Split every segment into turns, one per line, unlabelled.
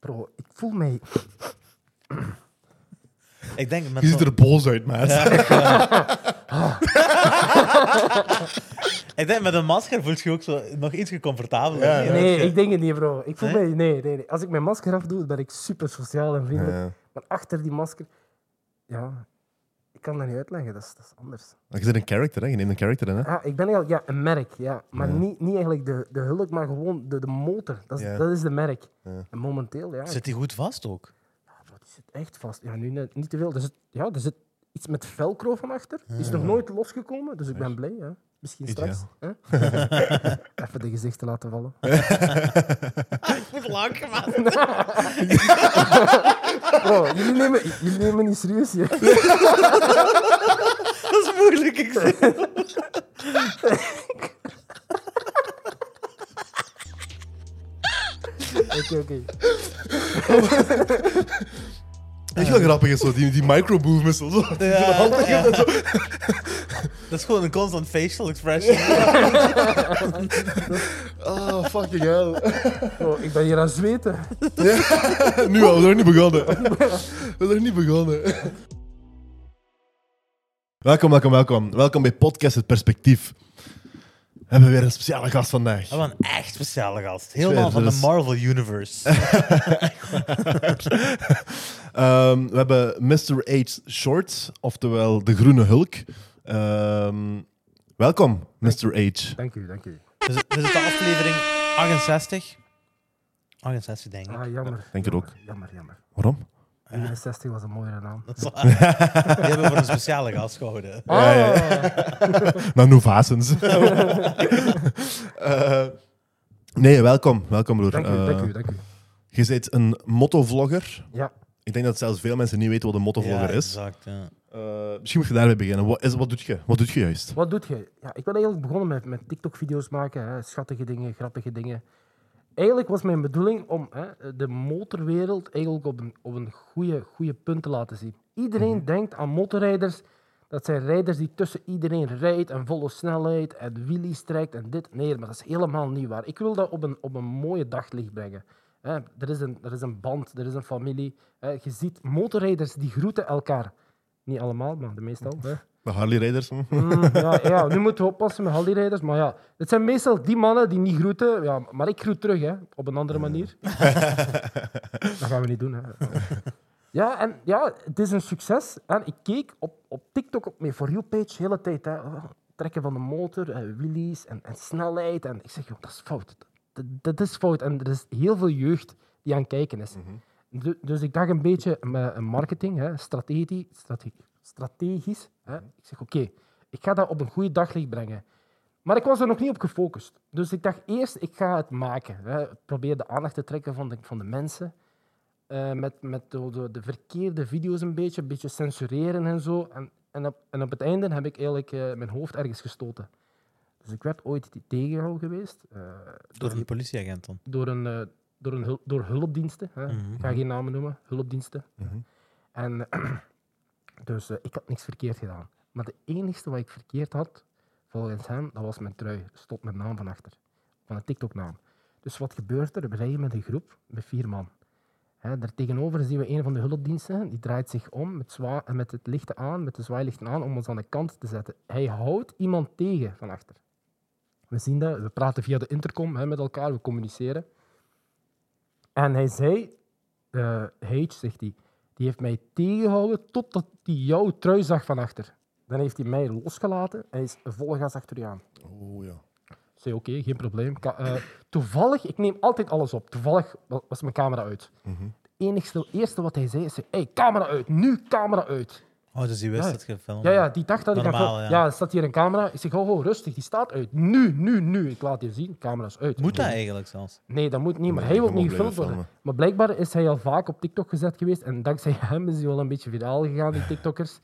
Bro, ik voel mij...
Ik denk met
Je ziet
zo'n-
er boos uit, maat.
Ja, echt waar. ik denk, met een masker voelt je ook zo nog iets gecomfortabeler.
Ja, ja.
Nee, ik denk het niet, bro. Ik voel
Nee?
mij... Nee, nee, nee. Als ik mijn masker afdoe, ben ik super sociaal en vriendelijk.
Ja.
Maar achter die masker... Ja, ik kan dat niet uitleggen. Dat is, dat is anders.
Je zit een character, hè? Je neemt een character in, hè?
Ja, ik ben eigenlijk ja, een merk, ja. Maar
Ja.
Niet, niet eigenlijk de, de hulk, maar gewoon de, de motor. Dat is,
Ja.
dat is de merk.
Ja.
En momenteel, ja.
Zit die goed vast ook?
Ah, bro, die zit echt vast. Ja, nu net niet te veel. Er zit, ja, er zit iets met velcro van achter. Die is nog nooit losgekomen, dus ik ben blij. Hè. Misschien
Ideaal.
straks. Hè? Even de gezichten laten vallen.
Goed lang gemaakt.
Bro, jullie nemen, jullie nemen me niet serieus. hè.
Dat is moeilijk. Ik zeg.
Oké, oké.
Weet je wat grappig is? Zo? Die, die micro-movements. Zo. zo.
Ja, ja. Dat is gewoon een constant facial expression.
Oh, fucking hell.
Bro, ik ben hier aan het zweten.
nu al, we zijn nog niet begonnen. We zijn nog niet begonnen. Welkom, welkom, welkom. Welkom bij Podcast Het Perspectief. We hebben weer een speciale gast vandaag.
We hebben een echt speciale gast. Helemaal
zweer,
van
dat
de
is-
Marvel Universe.
Ehm, we hebben Mr. H. Short, oftewel de Groene Hulk. Ehm, welkom, Mr. H.
Dank u, dank u.
Dus dit is de aflevering 68. 68, denk ik.
Ah, jammer.
Denk het ook.
Jammer, jammer.
Waarom?
61 was een mooiere naam.
Dat is waar. Die hebben we voor een speciale gast gehouden.
Ja, ja,
Ah,
Nou, Novasens. Eh nee, welkom. Welkom, broer.
dank u,
Eh,
dank u, dank u.
Je bent een mottovlogger.
Ja.
Ik denk dat zelfs veel mensen niet weten wat een mottovlogger
Ja,
is.
Exact, ja.
Eh, misschien moet je daarbij beginnen. Wat, is, wat, doet je? wat doet je juist?
Wat doet je? Ja, ik ben eigenlijk begonnen met, met TikTok-video's maken, hè, schattige dingen, grappige dingen. Eigenlijk was mijn bedoeling om hè, de motorwereld eigenlijk op een, op een goede, goede punt te laten zien. Iedereen denkt aan motorrijders. Dat zijn rijders die tussen iedereen rijdt en volle snelheid en wheelie trekt en dit. Nee, maar dat is helemaal niet waar. Ik wil dat op een, op een mooie daglicht brengen. Hè, er, is een, er is een band, er is een familie. Hè, je ziet motorrijders die groeten elkaar. Niet allemaal, maar de meestal. Hè.
De Harley-rijders?
Mm, ja, ja, nu moeten we oppassen met hallirijders. Maar ja, het zijn meestal die mannen die niet groeten. Ja, maar ik groet terug, hè, op een andere manier. dat gaan we niet doen. Hè. Ja, en ja, het is een succes. En ik keek op, op TikTok op mijn For You-page de hele tijd. Hè. Oh, Trekken van de motor, en wheelies en, en snelheid. En ik zeg, joh, dat is fout. Dat, dat is fout. En er is heel veel jeugd die aan het kijken is. Du- Dus ik dacht een beetje met een marketing, hè, strategie, strate- strategisch. Hè. Ik zeg, oké, ik ga dat op een goede daglicht brengen. Maar ik was er nog niet op gefocust. Dus ik dacht eerst, ik ga het maken. Hè. Ik probeer de aandacht te trekken van de, van de mensen. Eh, met met de, de, de verkeerde video's een beetje, een beetje censureren en zo. En, en, op, en op het einde heb ik eigenlijk eh, mijn hoofd ergens gestoten. Dus ik werd ooit tegengehouden geweest. eh,
Door een politieagent dan.
door, een, eh, door, een hul- door hulpdiensten. Hè. Ik ga geen namen noemen, hulpdiensten. En eh, dus eh, ik had niks verkeerd gedaan. Maar de enige wat ik verkeerd had, volgens hem, dat was mijn trui. Er Stond mijn naam van achter, van een TikTok-naam. Dus wat gebeurt er? We rijden met een groep, met vier man. Hè, daartegenover zien we een van de hulpdiensten, die draait zich om met, zwa- eh, met het lichten aan, met de zwaailichten aan, om ons aan de kant te zetten. Hij houdt iemand tegen van achter. We zien dat, we praten via de intercom hè, met elkaar, we communiceren. En hij zei, eh Hage, zegt hij, die heeft mij tegengehouden totdat hij jouw trui zag van achter. Dan heeft hij mij losgelaten en is volle gas achter je aan.
Oh ja.
Ik zei, oké, geen probleem. Ka- eh, toevallig, ik neem altijd alles op. Toevallig wa- was mijn camera uit.
Mhm.
Het enigste, eerste wat hij zei, is, hey, camera uit, nu camera uit.
Oh, dus die wist
Ja.
dat je filmd
Ja, ja, die dacht dat ik...
Normaal,
aan-
ja.
ja, er staat hier een camera. Ik zeg, ho, ho, rustig, die staat uit. Nu, nu, nu. Ik laat je zien, camera is uit.
Moet dat eigenlijk zelfs?
Nee, dat moet niet, maar
Nee,
hij
je
wil
moet
niet gefilmd
blijven
worden. Maar blijkbaar is hij al vaak op TikTok gezet geweest en dankzij hem is hij wel een beetje viraal gegaan, die TikTokkers.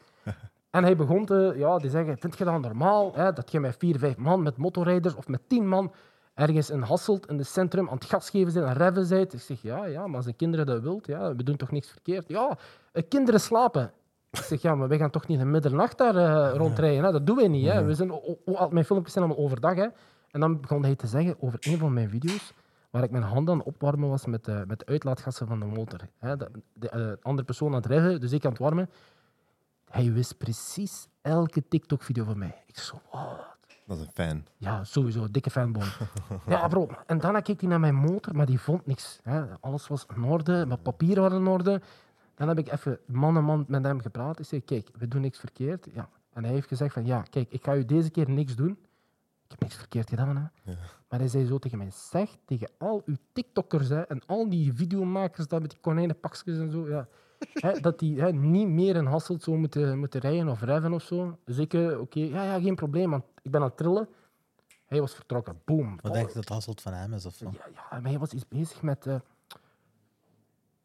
En hij begon te ja, die zeggen, vind je dat normaal, hè, dat je met vier, vijf man, met motorrijders of met tien man ergens in Hasselt, in het centrum, aan het gas geven zijn en reven zijt? Ik zeg, ja, ja, maar als de kinderen dat wilt, ja, we doen toch niks verkeerd? Ja, eh, kinderen slapen. Ik zeg, ja, maar wij gaan toch niet in middernacht daar eh, rondrijden? Hè? Dat doen wij niet. Hè? We zijn, o- o- al mijn filmpjes zijn allemaal overdag. Hè? En dan begon hij te zeggen over een van mijn video's waar ik mijn hand aan opwarmen was met, eh, met de uitlaatgassen van de motor. Hè, de, de eh, andere persoon aan het rijden, dus ik aan het warmen. Hij wist precies elke TikTok-video van mij. Ik zo, wow.
Dat is een fan.
Ja, sowieso, dikke fanboy. ja, bro. En dan keek hij naar mijn motor, maar die vond niks. Hè. Alles was in orde, mijn papieren waren in orde. Dan heb ik even man en man met hem gepraat. Ik zei, kijk, we doen niks verkeerd. Ja. En hij heeft gezegd van, ja, kijk, ik ga u deze keer niks doen. Ik heb niks verkeerd gedaan, hè.
Ja.
Maar hij zei zo tegen mij, zeg tegen al uw TikTokkers hè, en al die videomakers daar met die konijnenpakjes en zo, ja, hè, dat die hè, niet meer in Hasselt zo moeten, moeten rijden of reven of zo. Dus ik, eh, oké, ja, ja, geen probleem, want ik ben aan het trillen. Hij was vertrokken, boom.
Wat denk je dat Hasselt van hem is of zo?
Ja, ja, maar hij was iets bezig met. eh,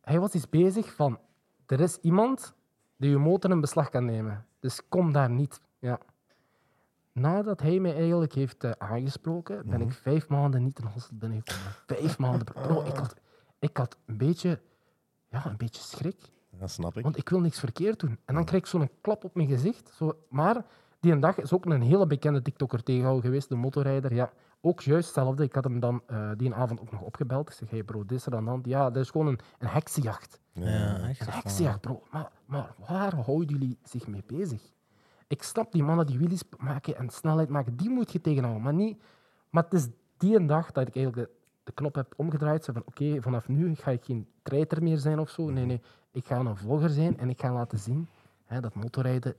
hij was iets bezig van. Er is iemand die je motor in beslag kan nemen. Dus kom daar niet. Ja. Nadat hij mij eigenlijk heeft eh, aangesproken, ben ik vijf maanden niet in Hasselt binnengekomen. Vijf maanden. bro. Bro, ik had, ik had een, beetje, ja, een beetje schrik.
Dat snap ik.
Want ik wil niks verkeerd doen. En dan krijg ik zo'n klap op mijn gezicht. Zo, maar die een dag is ook een hele bekende TikToker tegenhouden geweest, de motorrijder. Ja, ook juist hetzelfde. Ik had hem dan eh, die avond ook nog opgebeld. Ik zeg, hey bro, dit is er aan de hand. Ja, dat is gewoon een, een heksenjacht.
Ja, echt.
Een
van-
eh,
heksenjacht, bro. Maar, maar waar houden jullie zich mee bezig? Ik snap die mannen die wheelies maken en snelheid maken, die moet je tegenhouden. Maar, niet, maar het is die een dag dat ik eigenlijk de, de knop heb omgedraaid. Zo van, oké, vanaf nu ga ik geen treiter meer zijn of
Mhm.
zo. Nee, nee. Ik ga een vlogger zijn en ik ga laten zien hè, dat motorrijden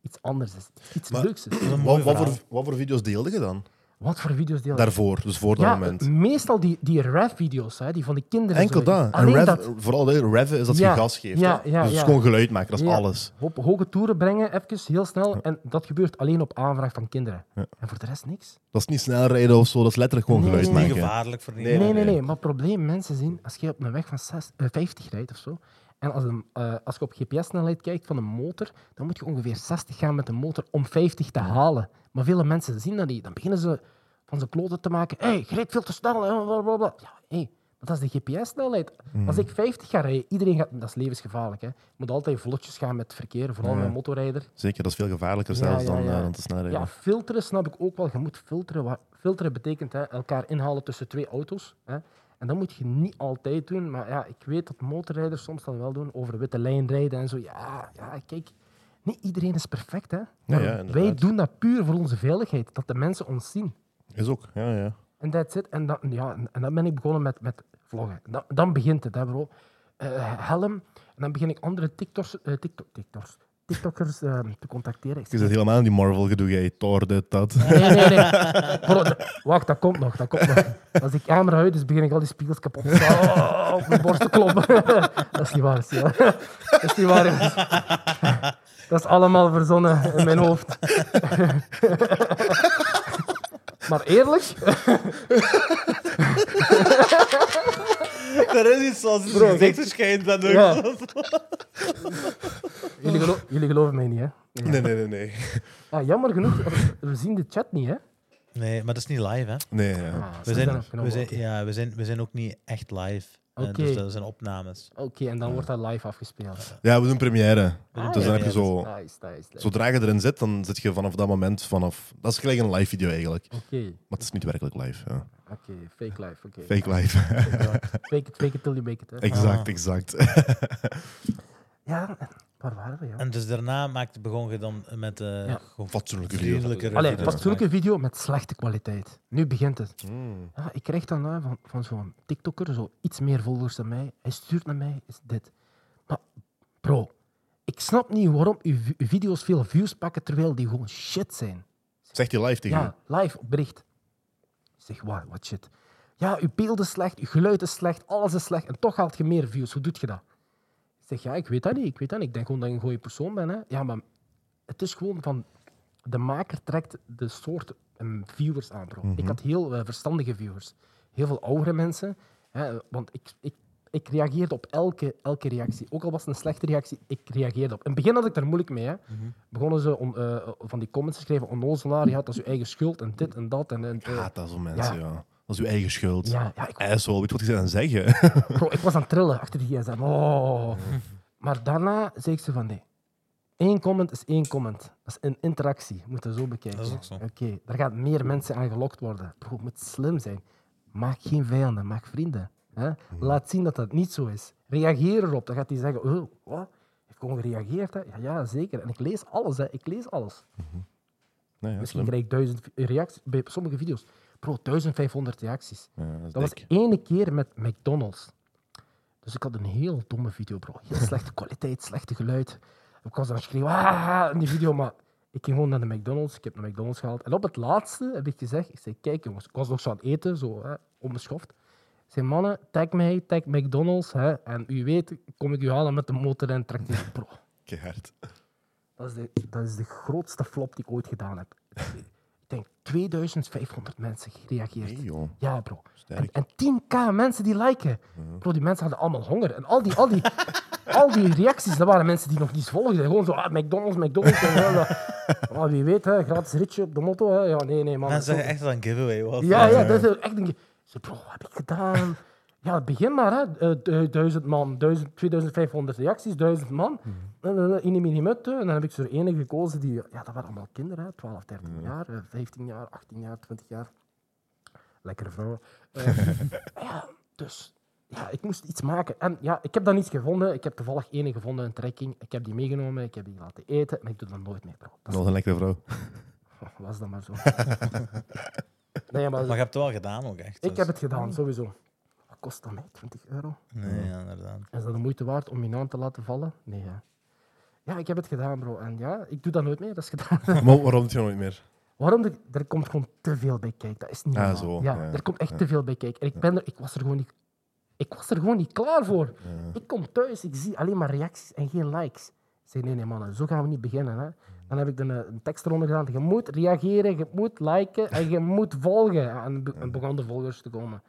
iets anders is. Iets
Maar-
leuks is.
een
Wat,
mooi
wat,
verhaal.
voor, wat voor video's deelde je dan?
Wat voor video's deel ik?
Daarvoor, dus voor dat
Ja,
moment.
meestal die, die ref-video's, hè, die van die kinderen.
Enkel
zo.
dat. En
Alleen
rev,
dat.
vooral de rev is dat
Ja,
je gas geeft.
ja,
hè.
ja,
dus het
ja.
is gewoon geluid maken, dat is
Ja.
alles.
Op hoge toeren brengen, even, heel snel. En dat gebeurt alleen op aanvraag van kinderen. En voor de rest niks.
Dat is niet snel rijden of zo, dat is letterlijk gewoon
Nee,
geluid
nee, nee.
Niet
maken.
gevaarlijk voor
Nee,
niemand.
nee, nee.
nee.
Maar het probleem, mensen zien, als je op een weg van zes- eh, 50 rijdt of zo, en als, een, eh, als je op GPS-snelheid kijkt van een motor, dan moet je ongeveer 60 gaan met de motor om 50 te halen. Maar vele mensen zien dat niet. Dan beginnen ze van zijn kloten te maken. Hé, hey, je rijdt veel te snel. hè, blablabla. Ja, hé, maar dat is de GPS-snelheid.
Mm.
Als ik 50 ga rijden, iedereen gaat... Dat is levensgevaarlijk, hè. Je moet altijd vlotjes gaan met het verkeer, vooral met een motorrijder.
Zeker, dat is veel gevaarlijker
Ja,
zelfs
ja,
dan,
ja.
eh, dan te snel rijden.
Ja, filteren snap ik ook wel. Je moet filteren. Wat filteren betekent hè, elkaar inhalen tussen twee auto's. Hè. En dat moet je niet altijd doen. Maar ja, ik weet dat motorrijders soms dan wel doen. Over witte lijn rijden en zo. Ja, ja kijk. Niet iedereen is perfect. Hè. Maar wij
inderdaad.
doen dat puur voor onze veiligheid. Dat de mensen ons zien.
Is ook, ja, ja.
En that's it. En dan, ja, en dan ben ik begonnen met, met vloggen. Dan, dan begint het, hè, bro. Eh, helm. En dan begin ik andere TikToks, eh, TikTok, TikToks, TikTokkers eh, te contacteren. Ik
Je
zeg,
zit helemaal in die Marvel-gedoe, jij Thor, dit, dat.
Nee, nee, nee. Bro, d- wacht, dat komt nog, dat komt nog. Als ik camera uit is, begin ik al die spiegels kapot te slaan. Oh, op mijn borst te kloppen. dat is niet waar, Sia. dat is niet waar. jongens. dat is allemaal verzonnen in mijn hoofd. maar eerlijk,
Er is iets zoals
Bro,
een gezicht verschijnt. Dat ook.
Ja. jullie, gelo- jullie geloven mij niet, hè?
Nee, nee, nee, nee.
Ah, jammer genoeg, we zien de chat niet, hè?
Nee, maar dat is niet live, hè?
Nee, ja.
Ah,
We
ze
zijn,
op knop,
we, zijn,
oké.
ja, we, zijn, we zijn ook niet echt live. Eh,
Oké.
Dus dat zijn opnames.
Oké, en dan wordt dat live afgespeeld.
ja, we doen première.
Ah,
dus
ja, ja,
dan heb je
dat is
zo...
Oh.
Nice, nice, nice.
Zodra je erin zit, dan zit je vanaf dat moment vanaf... Dat is gelijk een live video eigenlijk.
Oké,
Maar het is niet werkelijk live. Ja.
oké, fake live, oké.
Fake live.
Fake it, fake it till you make it, hè?
exact,
Ah.
exact.
Ja, en waar waren we? Ja?
En dus daarna maakte, begon je dan met eh
Ja.
gewoon
Fatsoenlijke video.
vriendelijke
Allee,
reviews te
fatsoenlijke video met slechte kwaliteit. Nu begint het.
Mm.
Ja, ik krijg dan eh, van, van zo'n TikToker zo iets meer volgers dan mij. Hij stuurt naar mij, is dit. Maar bro, ik snap niet waarom uw, vi- uw video's veel views pakken terwijl die gewoon shit zijn.
Zegt hij live tegen
Ja, live op bericht. Ik zeg, waar, wat shit. Ja, uw beeld is slecht, uw geluid is slecht, alles is slecht en toch haalt je meer views. Hoe doet je dat? Ik zeg, ja, ik weet dat niet. Ik weet dat niet. Ik denk gewoon dat ik een goede persoon ben. Hè. Ja, maar het is gewoon van... De maker trekt de soort mm, viewers aan, bro.
Mhm.
Ik had heel eh, verstandige viewers. Heel veel oudere mensen. Hè, want ik, ik, ik reageerde op elke, elke reactie. Ook al was het een slechte reactie, ik reageerde op. In het begin had ik daar moeilijk mee. Hè.
Mhm.
Begonnen ze om, eh, van die comments te schrijven. Onnozelaar, je had dat is je eigen schuld en dit en dat. En, en, eh,
je. Haat dat zo'n mensen, ja. Dat is uw eigen schuld.
ja, ja, ik
Asshole, weet je wat je zit aan het zeggen?
Bro, ik was aan het trillen achter die gsm. Oh. Maar daarna zei ik ze van nee. Eén comment is één comment. Dat is een interactie. Moeten we zo bekijken.
Dat is ook zo.
Oké, daar gaan meer mensen aan gelokt worden. Bro, het moet slim zijn. Maak geen vijanden, maak vrienden. Hè? Laat zien dat dat niet zo is. Reageer erop. Dan gaat hij zeggen, oh, wat? Heeft gewoon gereageerd? Hè? Ja, ja, zeker. En ik lees alles, hè. ik lees alles.
Nee, ja,
Misschien
slim.
krijg ik duizend reacties bij sommige video's. Bro, 1500 reacties.
Ja, dat is
Dat was
dik.
ene keer met McDonald's. Dus ik had een heel domme video, bro. Heel slechte kwaliteit, slechte geluid. Ik was aan het schreeuwen "Ah!" in die video, maar ik ging gewoon naar de McDonald's. Ik heb de McDonald's gehaald. En op het laatste heb ik gezegd, ik zei, kijk jongens, ik was nog zo aan het eten, zo, hè, onbeschoft. Ik zei, mannen, tag mij, tag McDonald's. Hè, en u weet, kom ik u halen met de motor en tracteer. Bro,
Keihard.
dat is, de, dat is de grootste flop die ik ooit gedaan heb. Ik denk 2500 mensen gereageerd.
Nee, joh.
Ja, bro. En,
Sterk. Mhm.
en 10k mensen die liken. Bro, die mensen hadden allemaal honger. En al die, al die, al die reacties, dat waren mensen die nog niet volgden. Gewoon zo, ah, McDonald's, McDonald's. en wel, eh, ah, wie weet, hè, gratis ritje op de motto. Hè. Ja, nee, nee, man.
Mensen
zo-
zeggen echt dat een giveaway was.
ja, ja, dat is echt een... Zo, bro, wat heb ik gedaan? Ja, begin maar, hè. Eh, du- duizend man, duizend, 2500 reacties, duizend man. In een minimut, en dan heb ik zo'n ene gekozen die... Ja, dat waren allemaal kinderen, hè. 12, 13 jaar, eh, 15 jaar, 18 jaar, 20 jaar. Lekkere vrouwen. Eh, ja, dus... Ja, ik moest iets maken. En ja, ik heb dan iets gevonden. Ik heb toevallig ene gevonden, een trekking. Ik heb die meegenomen, ik heb die laten eten. Maar ik doe dat nooit meer, bro. Dat
Dat was een lekkere vrouw.
is- was dan maar zo. Nee, maar
Maar je hebt het wel gedaan ook echt.
ik
dus-
heb het gedaan, sowieso. Wat kost dat mij? 20 euro?
Nee, ja, inderdaad.
Is dat de moeite waard om je naam te laten vallen? Nee, hè. Ja, ik heb het gedaan, bro. En ja, ik doe dat nooit meer. Dat is gedaan.
Maar waarom doet je nog niet meer?
Waarom? de- er komt gewoon te veel bij kijken. Dat is niet
Ah,
normaal.
zo,
Ja,
ja,
er komt echt te veel bij kijken. En ik, ben er, ik, was er gewoon niet, ik was er gewoon niet klaar voor. Ik kom thuis, ik zie alleen maar reacties en geen likes. Ik zei, nee, nee, mannen, zo gaan we niet beginnen. Hè. Dan heb ik er een, een tekst eronder gedaan. Je moet reageren, je moet liken en je moet volgen. En, be- en begonnen volgers te komen.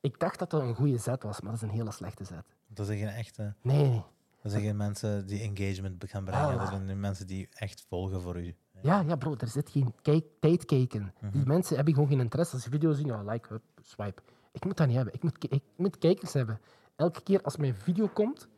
Ik dacht dat dat een goede zet was, maar dat is een hele slechte zet.
Dat zijn geen echte.
Nee.
Dat zijn geen mensen die engagement be- gaan brengen.
Ah.
Dat zijn mensen die echt volgen voor u.
Ja, ja, bro, er zit geen kijk, tijdkijken. Die mensen hebben gewoon geen interesse. Als ze video zien, ja, like, hup, swipe. Ik moet dat niet hebben. Ik moet, ki- ik moet kijkers hebben. Elke keer als mijn video komt,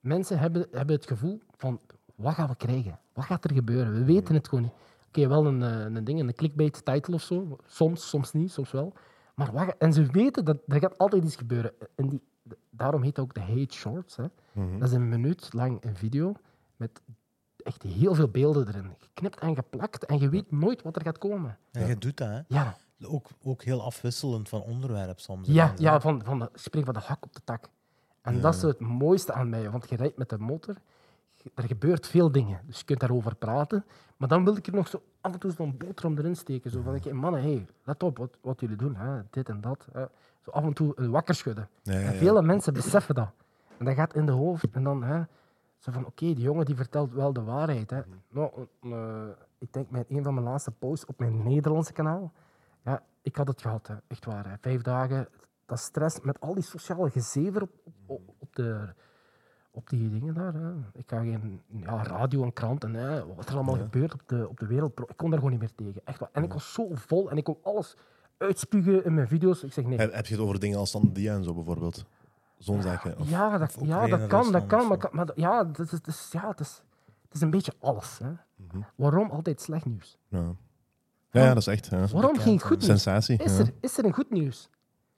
mensen hebben, hebben het gevoel van, wat gaan we krijgen? Wat gaat er gebeuren? We weten het gewoon niet. Oké, wel een, eh, een ding, een clickbait title of zo. Soms, soms niet, soms wel. Maar wat, ga- en ze weten dat er gaat altijd iets gebeuren. En die, daarom heet het ook de hate shorts. Hè. Dat is een minuut lang een video met echt heel veel beelden erin. Geknipt en geplakt en je weet nooit wat er gaat komen.
En je doet dat, hè?
Ja,
Ook, ook heel afwisselend van onderwerp soms. hè,
ja,
mensen.
ja van, van de, spring van de hak op de tak. En dat is het mooiste aan mij, want je rijdt met de motor, je- er gebeurt veel dingen, dus je kunt daarover praten. Maar dan wil ik er nog zo af en toe zo'n boterham erin steken. Zo van, "Oké, mannen, hey, let op wat, wat jullie doen, hè, dit en dat. Hè. Zo af en toe eh, wakker schudden.
Mhm. Ja, ja,
En
ja.
vele mensen beseffen dat. En dat gaat in de hoofd. En dan hè, zo van, oké, die jongen die vertelt wel de waarheid. Hè.
Mhm.
Nou, eh, ik denk mijn, een van mijn laatste posts op mijn Nederlandse kanaal. Ja, ik had het gehad, hè. echt waar. Hè. Vijf dagen, dat stress met al die sociale gezever op,
Mhm.
op, op de... Op die dingen daar. Hè. Ik ga geen ja, radio en krant en hè, wat er allemaal gebeurt op de, op de wereld. bro, Ik kon daar gewoon niet meer tegen. Echt waar. En
Mhm.
ik was zo vol en ik kon alles uitspugen in mijn video's. Ik zeg nee.
Heb, heb je het over dingen als Sander Dia en zo bijvoorbeeld? Zo'n zaken. Of,
Ja, dat,
ook
ja,
weer
dat
in
kan, dat
Rusland
kan.
of
Maar,
zo.
kan- maar dat- ja, het is, het is- ja, het is, het is een beetje alles. Hè.
Mhm.
Waarom altijd slecht nieuws?
ja. Ja, ja, dat is echt. Ja.
Waarom geen goed nieuws?
Sensatie.
Is
ja.
er, is er een goed nieuws?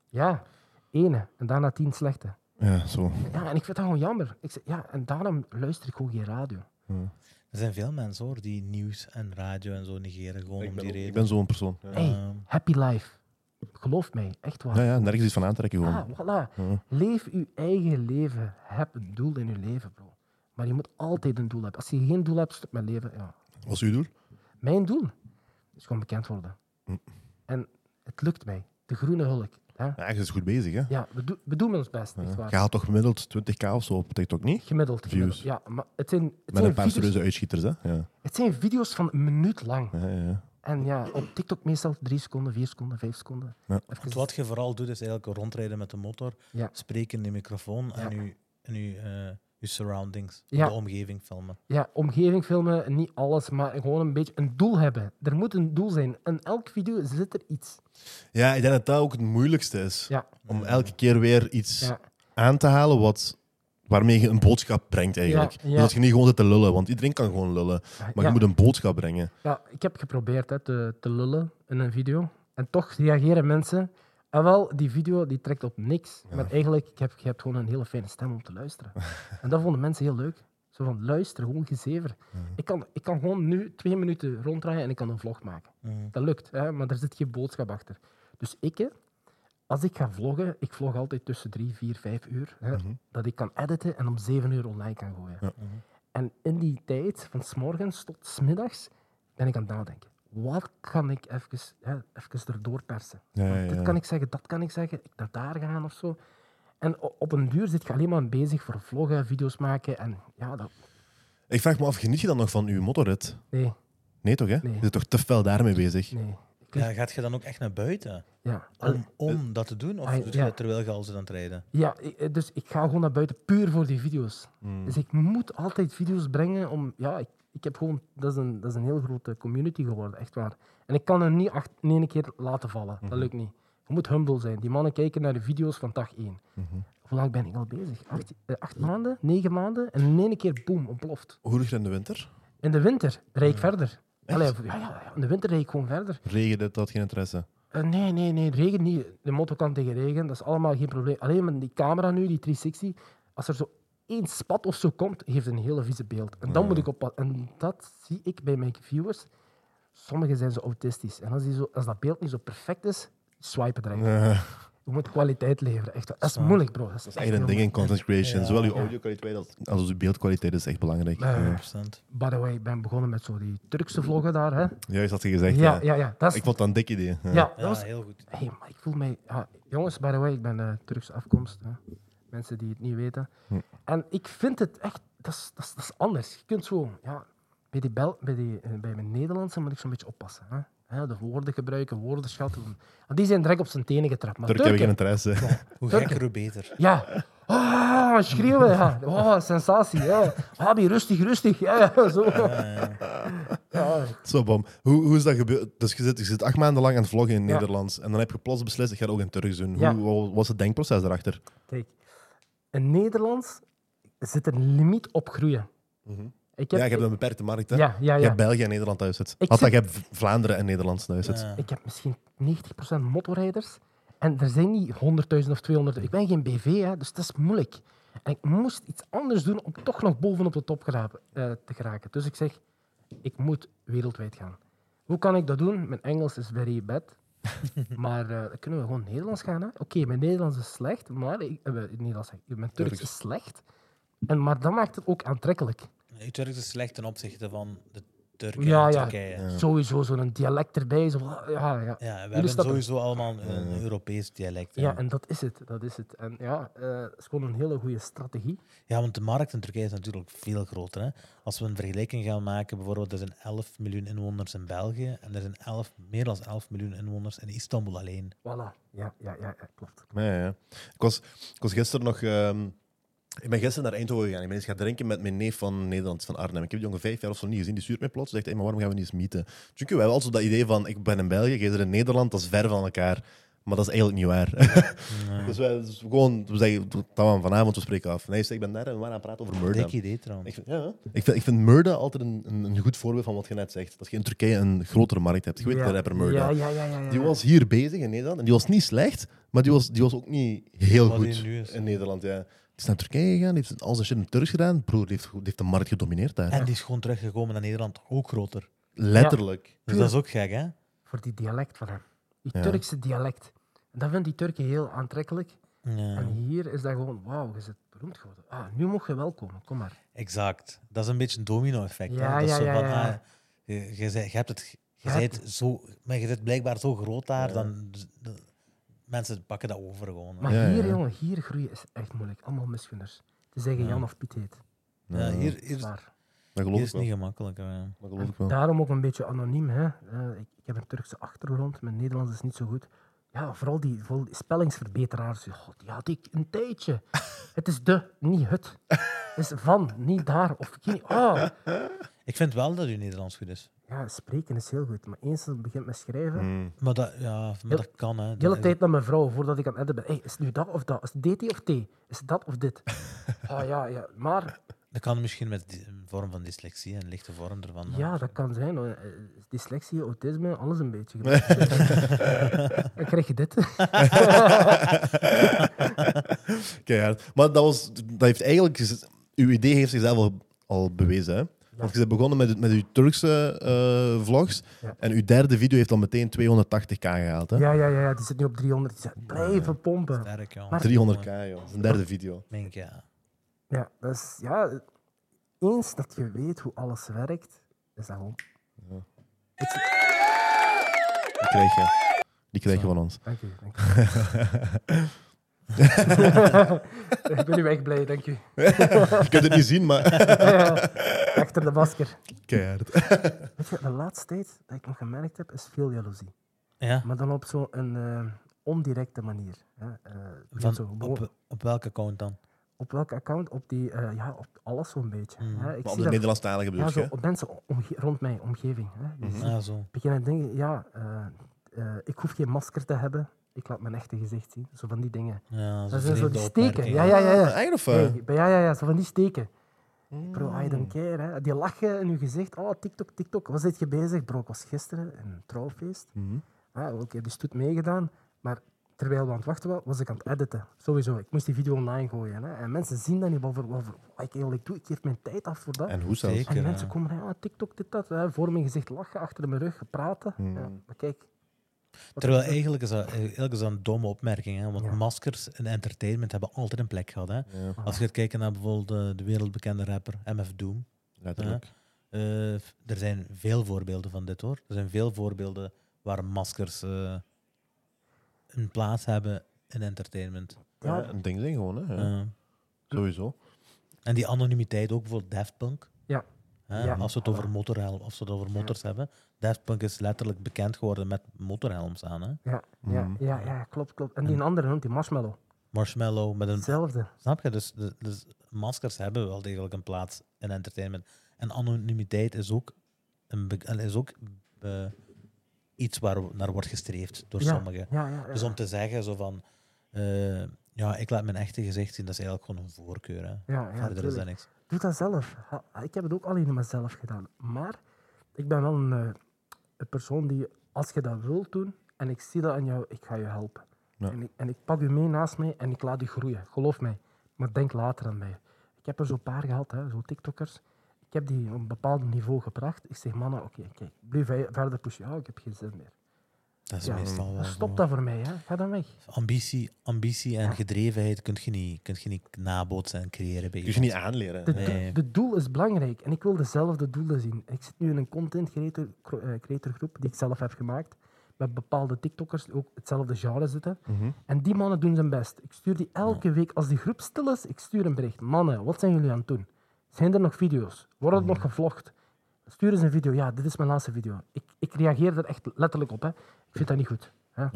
Ja, ene en daarna tien slechte.
ja, zo.
Ja, en ik vind dat gewoon jammer. Ik zeg, ja, en daarom luister ik gewoon geen radio.
Er zijn veel mensen hoor die nieuws en radio en zo negeren. Gewoon
Ik
om die
ben, ik
reden.
ben zo'n persoon. Ja,
hey, happy life. Geloof mij, echt waar.
ja, ja nergens iets van aantrekken gewoon.
Ah, voilà. Leef uw eigen leven. Heb een doel in je leven, bro. Maar je moet altijd een doel hebben. Als je geen doel hebt, stop met leven. Ja,
Wat is uw doel?
Mijn doel is gewoon bekend worden.
Hm.
En het lukt mij. De groene hulk. Hè?
Ja, je is goed bezig, hè?
Ja, we, do- we doen ons best, echt
Je
waar.
haalt toch gemiddeld 20k of zo op TikTok niet?
Gemiddeld. gemiddeld.
Views.
Ja, maar het zijn, het,
Met een
zijn
paar
video's,
serieuze uitschieters, hè? Ja.
het zijn video's van een minuut lang.
Ja, ja, ja.
En ja, op TikTok meestal drie seconden, vier seconden, vijf seconden.
Ja.
Even-
Want wat je vooral doet is eigenlijk rondrijden met de motor,
Ja.
spreken in de microfoon en je en uw, eh, uw surroundings,
Ja.
de omgeving filmen.
ja, omgeving filmen, niet alles, maar gewoon een beetje een doel hebben. Er moet een doel zijn. In elk video zit er iets.
ja, ik denk dat dat ook het moeilijkste is.
Ja,
Om elke keer weer iets
ja.
aan te halen wat, waarmee je een boodschap brengt, eigenlijk.
Ja, ja.
Dus dat je niet gewoon zit te lullen, want iedereen kan gewoon lullen. Maar
Ja.
je moet een boodschap brengen.
Ja, ik heb geprobeerd hè, te, te lullen in een video. En toch reageren mensen. En wel, die video die trekt op niks. Maar eigenlijk, ik heb, je hebt gewoon een hele fijne stem om te luisteren. en dat vonden mensen heel leuk. Zo van, luister, gewoon gezever. Ik, kan, ik kan gewoon nu twee minuten ronddraaien en ik kan een vlog maken. Dat lukt, hè? maar er zit geen boodschap achter. Dus ik, hè, als ik ga vloggen, ik vlog altijd tussen drie, vier, vijf uur. Hè,
Mhm.
Dat ik kan editen en om zeven uur online kan gooien. En in die tijd, van s morgens tot s middags, ben ik aan het nadenken. Wat kan ik even, hè, even erdoor persen?
Ja,
Want
ja,
Dit
ja.
kan ik zeggen, dat kan ik zeggen, ik naar daar gaan of zo. En o- op een duur zit je alleen maar bezig voor vloggen, video's maken en ja, dat,
Ik vraag me af, geniet je dan nog van uw motorrit?
nee,
Nee toch, hè?
Nee.
Je bent toch te fel daarmee bezig?
nee.
Ja, gaat je dan ook echt naar buiten
Ja, al-
om, om dat te doen? Of
Ah,
doe je
ja.
dat terwijl je al zit aan het rijden?
ja ik- eh, dus ik ga gewoon naar buiten puur voor die video's. Dus ik moet altijd video's brengen om, ja, ik, ik heb gewoon, dat is, een, dat is een heel grote community geworden, echt waar. En ik kan er niet acht, in één keer laten vallen, dat lukt niet. Je moet humble zijn. Die mannen kijken naar de video's van dag één. Hoe lang ben ik al bezig? Acht, eh, acht maanden, negen maanden en in één keer, boem, ontploft.
Hoe doe je dat in de winter?
In de winter rijd ik verder. Allee, ja, ja, ja, in de winter rijd ik gewoon verder.
Regen, dit, dat, geen interesse.
Eh, nee, nee, nee, regen niet. De motor kan tegen regen, dat is allemaal geen probleem. Alleen met die camera nu, die 360, als er zo één spat of zo komt, geeft een hele vieze beeld. En dan moet ik oppassen. En dat zie ik bij mijn viewers. Sommigen zijn zo autistisch. En als, die zo, als dat beeld niet zo perfect is, swipen direct.
Eh,
Je moet kwaliteit leveren. Echt, waar. dat is moeilijk, bro. Dat is echt
echt een
heel
ding in content creation.
Ja.
Zowel uw audio-kwaliteit als, als uw beeldkwaliteit is echt belangrijk.
moeilijk. Eh,
100%.
by the way, ik ben begonnen met zo die Turkse vloggen daar. Hè.
Juist had je gezegd,
Ja,
ja.
ja, ja. Dat is,
Ik vond dat een dik idee. Ja.
ja, dat
Ja,
was
heel goed.
Hey, maar ik voel mij... ja, jongens, by the way, ik ben eh Turkse afkomst. Hè. Mensen die het niet weten.
Hm.
En ik vind het echt... Dat is, dat is, dat is anders. Je kunt zo... Ja, bij, die bel, bij, die, eh, bij mijn Nederlandse moet ik zo'n beetje oppassen. Hè. Hè, de woorden gebruiken, woordenschatten. Want die zijn direct op zijn tenen getrapt. Maar
Turk hebben geen
Turken-
interesse.
Hoe gekker, hoe beter.
Ja. Ah, schreeuwen. Ja. Oh, sensatie. Ja. Habi, rustig, rustig. Ja, ja, zo. Ja,
Zo, bom. Hoe, hoe is dat gebeurd? Dus je zit, je zit acht maanden lang aan het vloggen in het
Ja.
Nederlands. En dan heb je plots beslist, ik ga het ook in het Turks doen.
Ja.
Hoe wat was het denkproces daarachter?
kijk. In Nederlands zit een limiet op groeien. Ik
Mhm. ja, je hebt een beperkte markt, hè?
Ja, ja,
Je
ja.
hebt België en Nederland thuis zit.
Ik
Had dat,
zit-
je hebt V- Vlaanderen en Nederland thuis zit.
Ja.
Ik heb misschien 90% motorrijders. En er zijn niet 100.000 of 200. Ik ben geen BV, hè, dus dat is moeilijk. En ik moest iets anders doen om toch nog bovenop de top gerapen- eh, te geraken. Dus ik zeg, ik moet wereldwijd gaan. Hoe kan ik dat doen? Mijn Engels is very bad. maar eh, dan kunnen we gewoon Nederlands gaan. hè? Oké, mijn Nederlands is slecht, maar ik, eh, mijn Nederlands, zeg ik, mijn Turks
Turks.
is slecht. En, maar dat maakt het ook aantrekkelijk.
Het Turks is slecht ten opzichte van de Turken
Ja,
en
ja.
Turkije. Ja,
Sowieso zo'n dialect erbij. Zo, ja, ja.
we hebben
Jullie snappen.
sowieso allemaal een
Eh.
Europees dialect. hè.
Ja, en dat is het. Dat is het. En ja, eh, het is gewoon een hele goede strategie.
Ja, want de markt in Turkije is natuurlijk veel groter. Hè? Als we een vergelijking gaan maken, bijvoorbeeld, er zijn 11 miljoen inwoners in België en er zijn 11, meer dan 11 miljoen inwoners in Istanbul alleen.
Voilà. Ja, ja, ja, ja klopt.
Ja, ja, ja. Ik, was, ik was gisteren nog... ehm, ik ben gisteren naar Eindhoven gegaan. Ik ben eens gaan drinken met mijn neef van Nederland, van Arnhem. Ik heb die jongen vijf jaar of zo niet gezien. Die stuurt mij plots. Zegt, hey, maar waarom gaan we niet eens meeten? Dus Tjonke, we hebben altijd dat idee van, ik ben in België, jij bent in Nederland. Dat is ver van elkaar. Maar dat is eigenlijk niet waar. dus wij dus gewoon, we zeggen, dat gaan we vanavond, we spreken af. En hij zegt, ik ben daar en we waren aan het praten over Murda.
Dik idee
Ik
trouwens.
vind, ja, ik vind, ik vind Murda altijd een, een, een goed voorbeeld van wat je net zegt. Dat je in Turkije een grotere markt hebt. Je weet
ja.
de rapper Murda.
Ja, ja, ja, ja, ja.
Die was hier bezig in Nederland. En die was niet slecht, maar die was, die was ook niet heel
Wat
goed
hij nu is.
in Nederland. Ja. Die is naar Turkije gegaan, die heeft al zijn shit in het Turks gedaan. Broer, die heeft, die heeft de markt gedomineerd daar.
En die is gewoon teruggekomen naar Nederland, ook groter.
Letterlijk.
Dus dat is ook gek, hè?
Voor die dialect van hem. Die Turkse dialect. En dat vindt die Turken heel aantrekkelijk. En
Ja,
hier is dat gewoon, wauw, je bent beroemd geworden. Ah, nu mocht je wel komen, kom maar.
exact. Dat is een beetje een domino-effect. hè.
Ja,
dat is
ja,
zo
ja,
van,
ja.
ah, je, je, zei- je hebt het, je
Je hebt
zijt zo, maar je zit blijkbaar zo groot daar, dan dus de- mensen pakken dat over gewoon. hè.
Maar
Ja,
hier,
ja.
jongen, hier groeien is echt moeilijk. Allemaal misgunners. Te zeggen Jan of Piet heet.
Ja, hier, hier,
Zwaar.
Dat
hier
Nou, geloof
is
ik
het niet
wel.
gemakkelijk. hè.
Dat geloof ik wel.
Daarom ook een beetje anoniem. Hè. Eh, ik, ik heb een Turkse achtergrond, mijn Nederlands is niet zo goed. Ja, vooral die, vooral die spellingsverbeteraars. God, die had ik een tijdje. Het is de, niet het. Het is van, niet daar. Of geen, oh.
Ik vind wel dat u Nederlands goed is.
Ja, spreken is heel goed, maar eens het begint met schrijven.
Maar dat, ja, maar
Heel-
dat kan, hè.
De
Dat-
hele tijd naar mijn vrouw, voordat ik aan het editen ben. Hey, is het nu dat of dat? Is het DT of T? Is het dat of dit? Ah Oh, ja, ja. Maar
Dat kan misschien met die- een vorm van dyslexie, een lichte vorm ervan. maar-
Ja, dat kan zijn. hoor. Eh, Dyslexie, autisme, alles een beetje. Dan krijg je dit.
Keihard. Maar dat, was, dat heeft eigenlijk... Uw idee heeft zichzelf al, al bewezen, hè? Want je bent begonnen met, met uw Turkse eh, vlogs.
Ja.
En uw derde video heeft al meteen 280k gehaald, hè?
Ja, ja, ja, ja, die zit nu op 300. Die zegt, blijven pompen.
Sterk, jongen.
Maar-
300k, joh. Zijn derde video.
Mink, ja.
Ja, dat is, ja, eens dat je weet hoe alles werkt, is dat gewoon...
Die krijg je. Die krijg je van ons.
Dank je, dank je. Ik ben nu echt blij, dank je.
Je kunt het niet zien, maar...
Achter de masker.
Keihard.
Weet je, de laatste tijd dat ik nog gemerkt heb, is veel jaloezie.
ja.
Maar dan op zo'n eh, ondirecte manier. Hè. Eh, niet
Van,
zo gewoon-
op, op welke account dan?
op welk account? Op die, eh, ja, op alles zo'n beetje.
Mhm.
Hè. Ik
Mm. Maar op
zie
de
dat
Nederlandstalige
ja,
bedoel
zo,
je?
op mensen omge- rond mijn omgeving. Hè. Die
Mhm.
Ah, zo.
beginnen te denken, ja, eh, eh, ik hoef geen masker te hebben. Ik laat mijn echte gezicht zien. Zo van die dingen.
Ja,
Dat
zo'n
zijn zo
vreemde
die steken.
opmerking.
Ja, ja, ja.
Ah,
ja.
Eigenlijk of... eh,
Nee, bij- ja, ja, ja, zo van die steken. Bro, I don't care. Hè. Die lachen in je gezicht. Oh, TikTok, TikTok. Waar zit je bezig? Bro, ik was gisteren in een trouwfeest.
mhm.
Ah, Oké, dus stoet meegedaan. Maar terwijl we aan het wachten waren, was ik aan het editen. Sowieso, ik moest die video online gooien. Hè. En mensen zien dat niet, wat, voor, wat, voor- wat ik eigenlijk doe. Ik geef mijn tijd af voor dat. En, eh,
En hoe zelfs?
Zeker.
die
ja.
mensen komen, ja, TikTok, dit, dat. Hè. Voor mijn gezicht lachen, achter mijn rug praten. Ja,
Mm.
maar kijk. wat
Terwijl
ik-
eigenlijk is, dat, eigenlijk is dat een domme opmerking. Hè? Want
Ja.
maskers en entertainment hebben altijd een plek gehad. Hè?
Ja,
Als je gaat kijken naar bijvoorbeeld eh, de, wereldbekende rapper MF Doom.
letterlijk.
eh, er zijn veel voorbeelden van dit hoor. Er zijn veel voorbeelden waar maskers eh, een plaats hebben in entertainment.
Ja.
Ja, een ding ding gewoon, hè. Ja,
Eh,
Sowieso.
en die anonimiteit ook, bijvoorbeeld Daft Punk.
Ja.
Hè,
Ja.
Als we het over motorhelm, als we het over motors hebben. Daft Punk is letterlijk bekend geworden met motorhelms aan. Hè?
Ja, ja,
Mhm.
ja, ja, klopt, klopt. En die andere noemt die marshmallow.
Marshmallow met een
Hetzelfde.
Snap je? Dus, de- dus maskers hebben wel degelijk een plaats in entertainment. En anonimiteit is ook, een be- allee, is ook eh, iets waar naar wordt gestreefd door
Ja,
sommigen.
Ja, ja, ja.
Dus om te zeggen zo van, eh, ja, ik laat mijn echte gezicht zien, dat is eigenlijk gewoon een voorkeur. Hè.
ja, ja,
Verder is
tuurlijk.
dat niks.
Doe dat zelf. Ha- Ik heb het ook alleen maar zelf gedaan. Maar ik ben wel een, eh, een persoon die, als je dat wilt doen en ik zie dat aan jou, ik ga je helpen.
Ja.
En, ik, en ik pak je mee naast mij en ik laat je groeien. Geloof mij. Maar denk later aan mij. Ik heb er zo'n paar gehad, hè, zo TikTokkers. Ik heb die op een bepaald niveau gebracht. Ik zeg, mannen, oké, kijk, blijf ve- verder pushen. Ja, ik heb geen zin meer.
Dat is
Ja,
meestal wel zo.
Stop dat voor mij, hè. ga dan weg.
Ambitie, ambitie en gedrevenheid kun je niet, kun je niet nabootsen en creëren bij
Kun je
iemand.
niet aanleren.
De,
hè.
do-
Nee.
de doel is belangrijk en ik wil dezelfde doelen zien. Ik zit nu in een content creator, cro- eh, creator groep die ik zelf heb gemaakt. Met bepaalde TikTokkers die ook hetzelfde genre zitten.
Mhm.
En die mannen doen zijn best. Ik stuur die elke week, als die groep stil is, ik stuur een bericht. Mannen, wat zijn jullie aan het doen? Zijn er nog video's? Wordt het nog gevlogd? Stuur eens een video. Ja, dit is mijn laatste video. Ik, ik reageer er echt letterlijk op. Hè. Ik vind dat niet goed. Hè.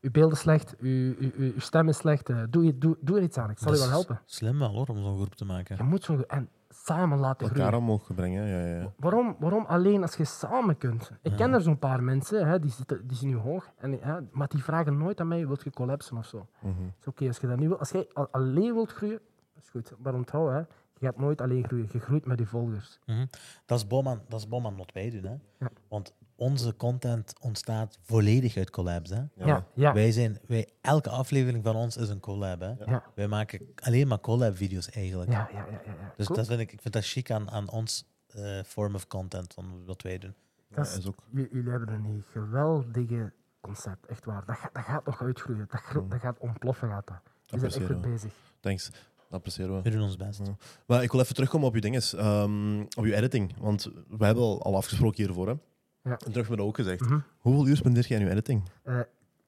Uw beeld is slecht, uw, uw, uw, uw stem is slecht. eh, Doe, doe, doe er iets aan, ik zal
Dat
je wel
is
helpen.
Slim wel hoor, om zo'n groep te maken.
Je moet zo... En samen laten groeien.
Elkaar omhoog brengen, ja, ja, ja.
Waarom, waarom alleen als je samen kunt? Ik ken er zo'n paar mensen, hè, die, zitten, die zijn nu hoog, en, hè, maar die vragen nooit aan mij, wilt je collapsen of zo? Het is oké, als je dat niet wil. Als jij al- alleen wilt groeien, is goed. Maar onthoud, hè, je gaat nooit alleen groeien. Je groeit met die volgers.
Mhm. Dat is bom aan, dat is bom aan wat wij doen. Hè?
Ja.
Want onze content ontstaat volledig uit collabs. Hè?
Ja, ja. ja.
Wij zijn, wij, elke aflevering van ons is een collab. Hè?
Ja.
Wij maken alleen maar collab-video's eigenlijk.
Ja, ja, ja, ja.
Dus
Klopt.
dat vind ik, ik vind dat chic aan, aan ons eh, form of content, van wat wij doen.
Dat
Ja, is ook-
j- Jullie hebben een geweldige concept, echt waar. Dat, ga- dat gaat nog uitgroeien. Dat, gro- dat gaat ontploffen, gaat dat. Je bent echt
Appreciëren
goed
we.
bezig.
Thanks. Dat appreciëren we.
We doen ons best.
Ja. Maar ik wil even terugkomen op je dinges, ehm, op je editing. Want we hebben al, al afgesproken hiervoor. Hè?
Ja.
En terug met dat ook gezegd.
Mhm.
Hoeveel uur spendeer jij aan je editing?
Eh,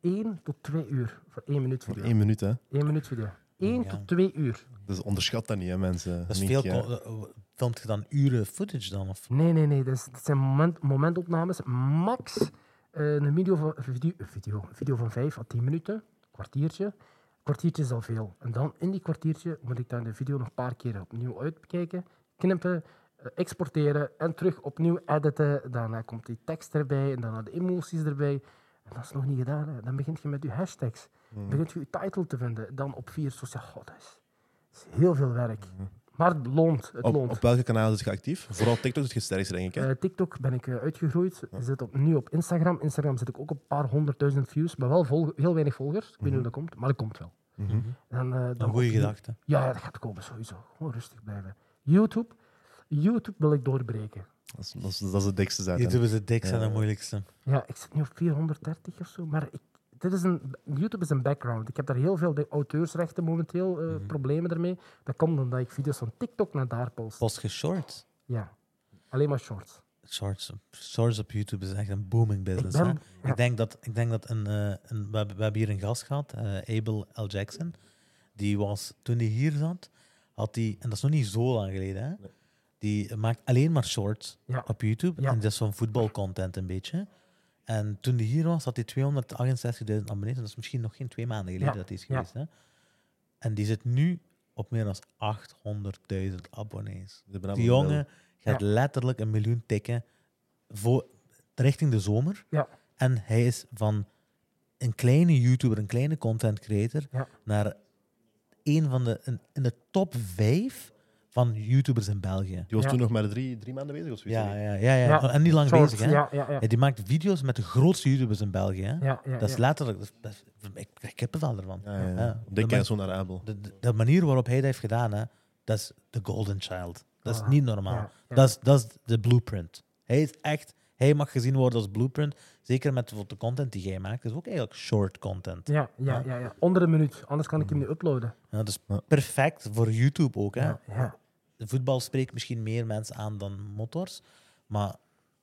Eén tot twee uur voor één minuut
Voor
video.
één minuut, hè?
Eén minuut video. Eén
Ja.
tot twee uur.
Dus onderschat dat niet, hè, mensen.
Dat is
Mink,
veel.
ja.
co- eh, eh, Filmt je dan uren footage dan? Of?
Nee, nee, nee. Dat, is- dat zijn moment, momentopnames. Max eh, een video van, video, video, video van 5 à 10 minuten. Kwartiertje. Kwartiertje is al veel. En dan in die kwartiertje moet ik dan de video nog een paar keer opnieuw uitkijken, knippen, eh, exporteren en terug opnieuw editen. Daarna komt die tekst erbij en daarna de emoties erbij. En dat is nog niet gedaan. Hè. Dan begint je met je
Mm.
hashtags. Begint je je title te vinden. Dan op vier sociale. God, dat is, dat is heel veel werk. Maar het loont. Het
Mm-hmm. Op,
loont.
op welke kanalen is je actief? Vooral TikTok is het sterkste, denk ik. Hè?
Eh, TikTok ben ik eh, uitgegroeid. Zit op, nu op Instagram. Instagram zit ik ook op een paar honderdduizend views, maar wel volg- heel weinig volgers. Ik weet niet hoe dat komt, maar dat komt wel.
Mhm.
En, eh, dan
Een goede
op-
gedachte.
Ja, dat gaat komen sowieso. Gewoon rustig blijven. YouTube. YouTube wil ik doorbreken.
Dat, is, dat, is, dat is het dikste zaak.
YouTube is het dikste en
Ja.
het moeilijkste.
Ja, ik zit nu op 430 of zo, maar ik, dit is een, YouTube is een background. Ik heb daar heel veel de auteursrechten momenteel eh, problemen ermee. Dat komt omdat ik video's van TikTok naar daar post.
Post je shorts.
Ja, alleen maar shorts.
Shorts, op- shorts op YouTube is echt een booming business.
ben-
hè?
ja.
ik denk dat, ik denk dat een, eh, een, we, hebben, we hebben hier een gast gehad, eh, Abel L. Jackson. Die was, toen hij hier zat, had hij, en dat is nog niet zo lang geleden, hè? die maakt alleen maar shorts
Ja.
op YouTube.
Ja.
En dat is zo'n voetbalcontent een beetje. En toen hij hier was, had hij 268.000 abonnees. En dat is misschien nog geen twee maanden geleden
Ja.
dat hij is
Ja.
geweest. Hè? En die zit nu op meer dan 800.000 abonnees. Die jongen gaat letterlijk een miljoen tikken voor, richting de zomer.
Ja.
En hij is van een kleine YouTuber, een kleine content creator,
Ja.
naar een van de, in, in de top vijf van YouTubers in België.
Die was
Ja.
toen nog maar drie, drie maanden bezig of zoiets.
Ja,
hè?
ja, ja, ja.
Ja.
En niet lang
Shorts,
bezig, hè?
Ja, ja, ja.
Ja, die maakt video's met de grootste YouTubers in België. Hè?
ja, ja,
dat is
ja.
letterlijk... dat is- dat is- ik, ik heb het al ervan.
Ja, Ah, ja, ja.
Ja,
Dikke
de man-
en zo naar Abel.
De, de- de manier waarop hij dat heeft gedaan, hè, dat is de golden child. Dat is
Ah,
niet normaal.
ja, ja.
Dat, is, dat is de blueprint. Hij is echt... Hij mag gezien worden als blueprint. Zeker met bijvoorbeeld de content die jij maakt. Dat is ook eigenlijk short content.
Ja, ja, ja, ja. Onder een minuut, anders kan ik hem niet uploaden.
Ja, dat is
Ja.
perfect voor YouTube ook. Hè.
Ja, ja.
De voetbal spreekt misschien meer mensen aan dan motors. Maar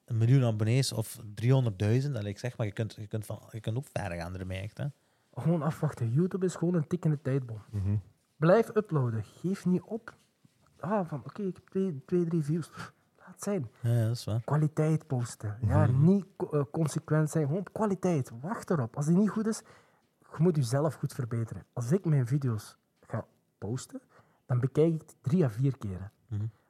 een miljoen abonnees of 300.000, dat ik zeg maar, je kunt, je, kunt van, je kunt ook ver gaan ermee. Echt, hè.
Gewoon afwachten. YouTube is gewoon een tikkende tijdbom. Blijf uploaden. Geef niet op. Ah, van oké, ik heb twee, twee, drie views. Pff, Laat het zijn.
Ja, ja, dat is waar.
Kwaliteit posten. Ja, niet co- eh, consequent zijn. Gewoon op kwaliteit. Wacht erop. Als die niet goed is, je moet jezelf goed verbeteren. Als ik mijn video's ga posten, dan bekijk ik het drie à vier keren.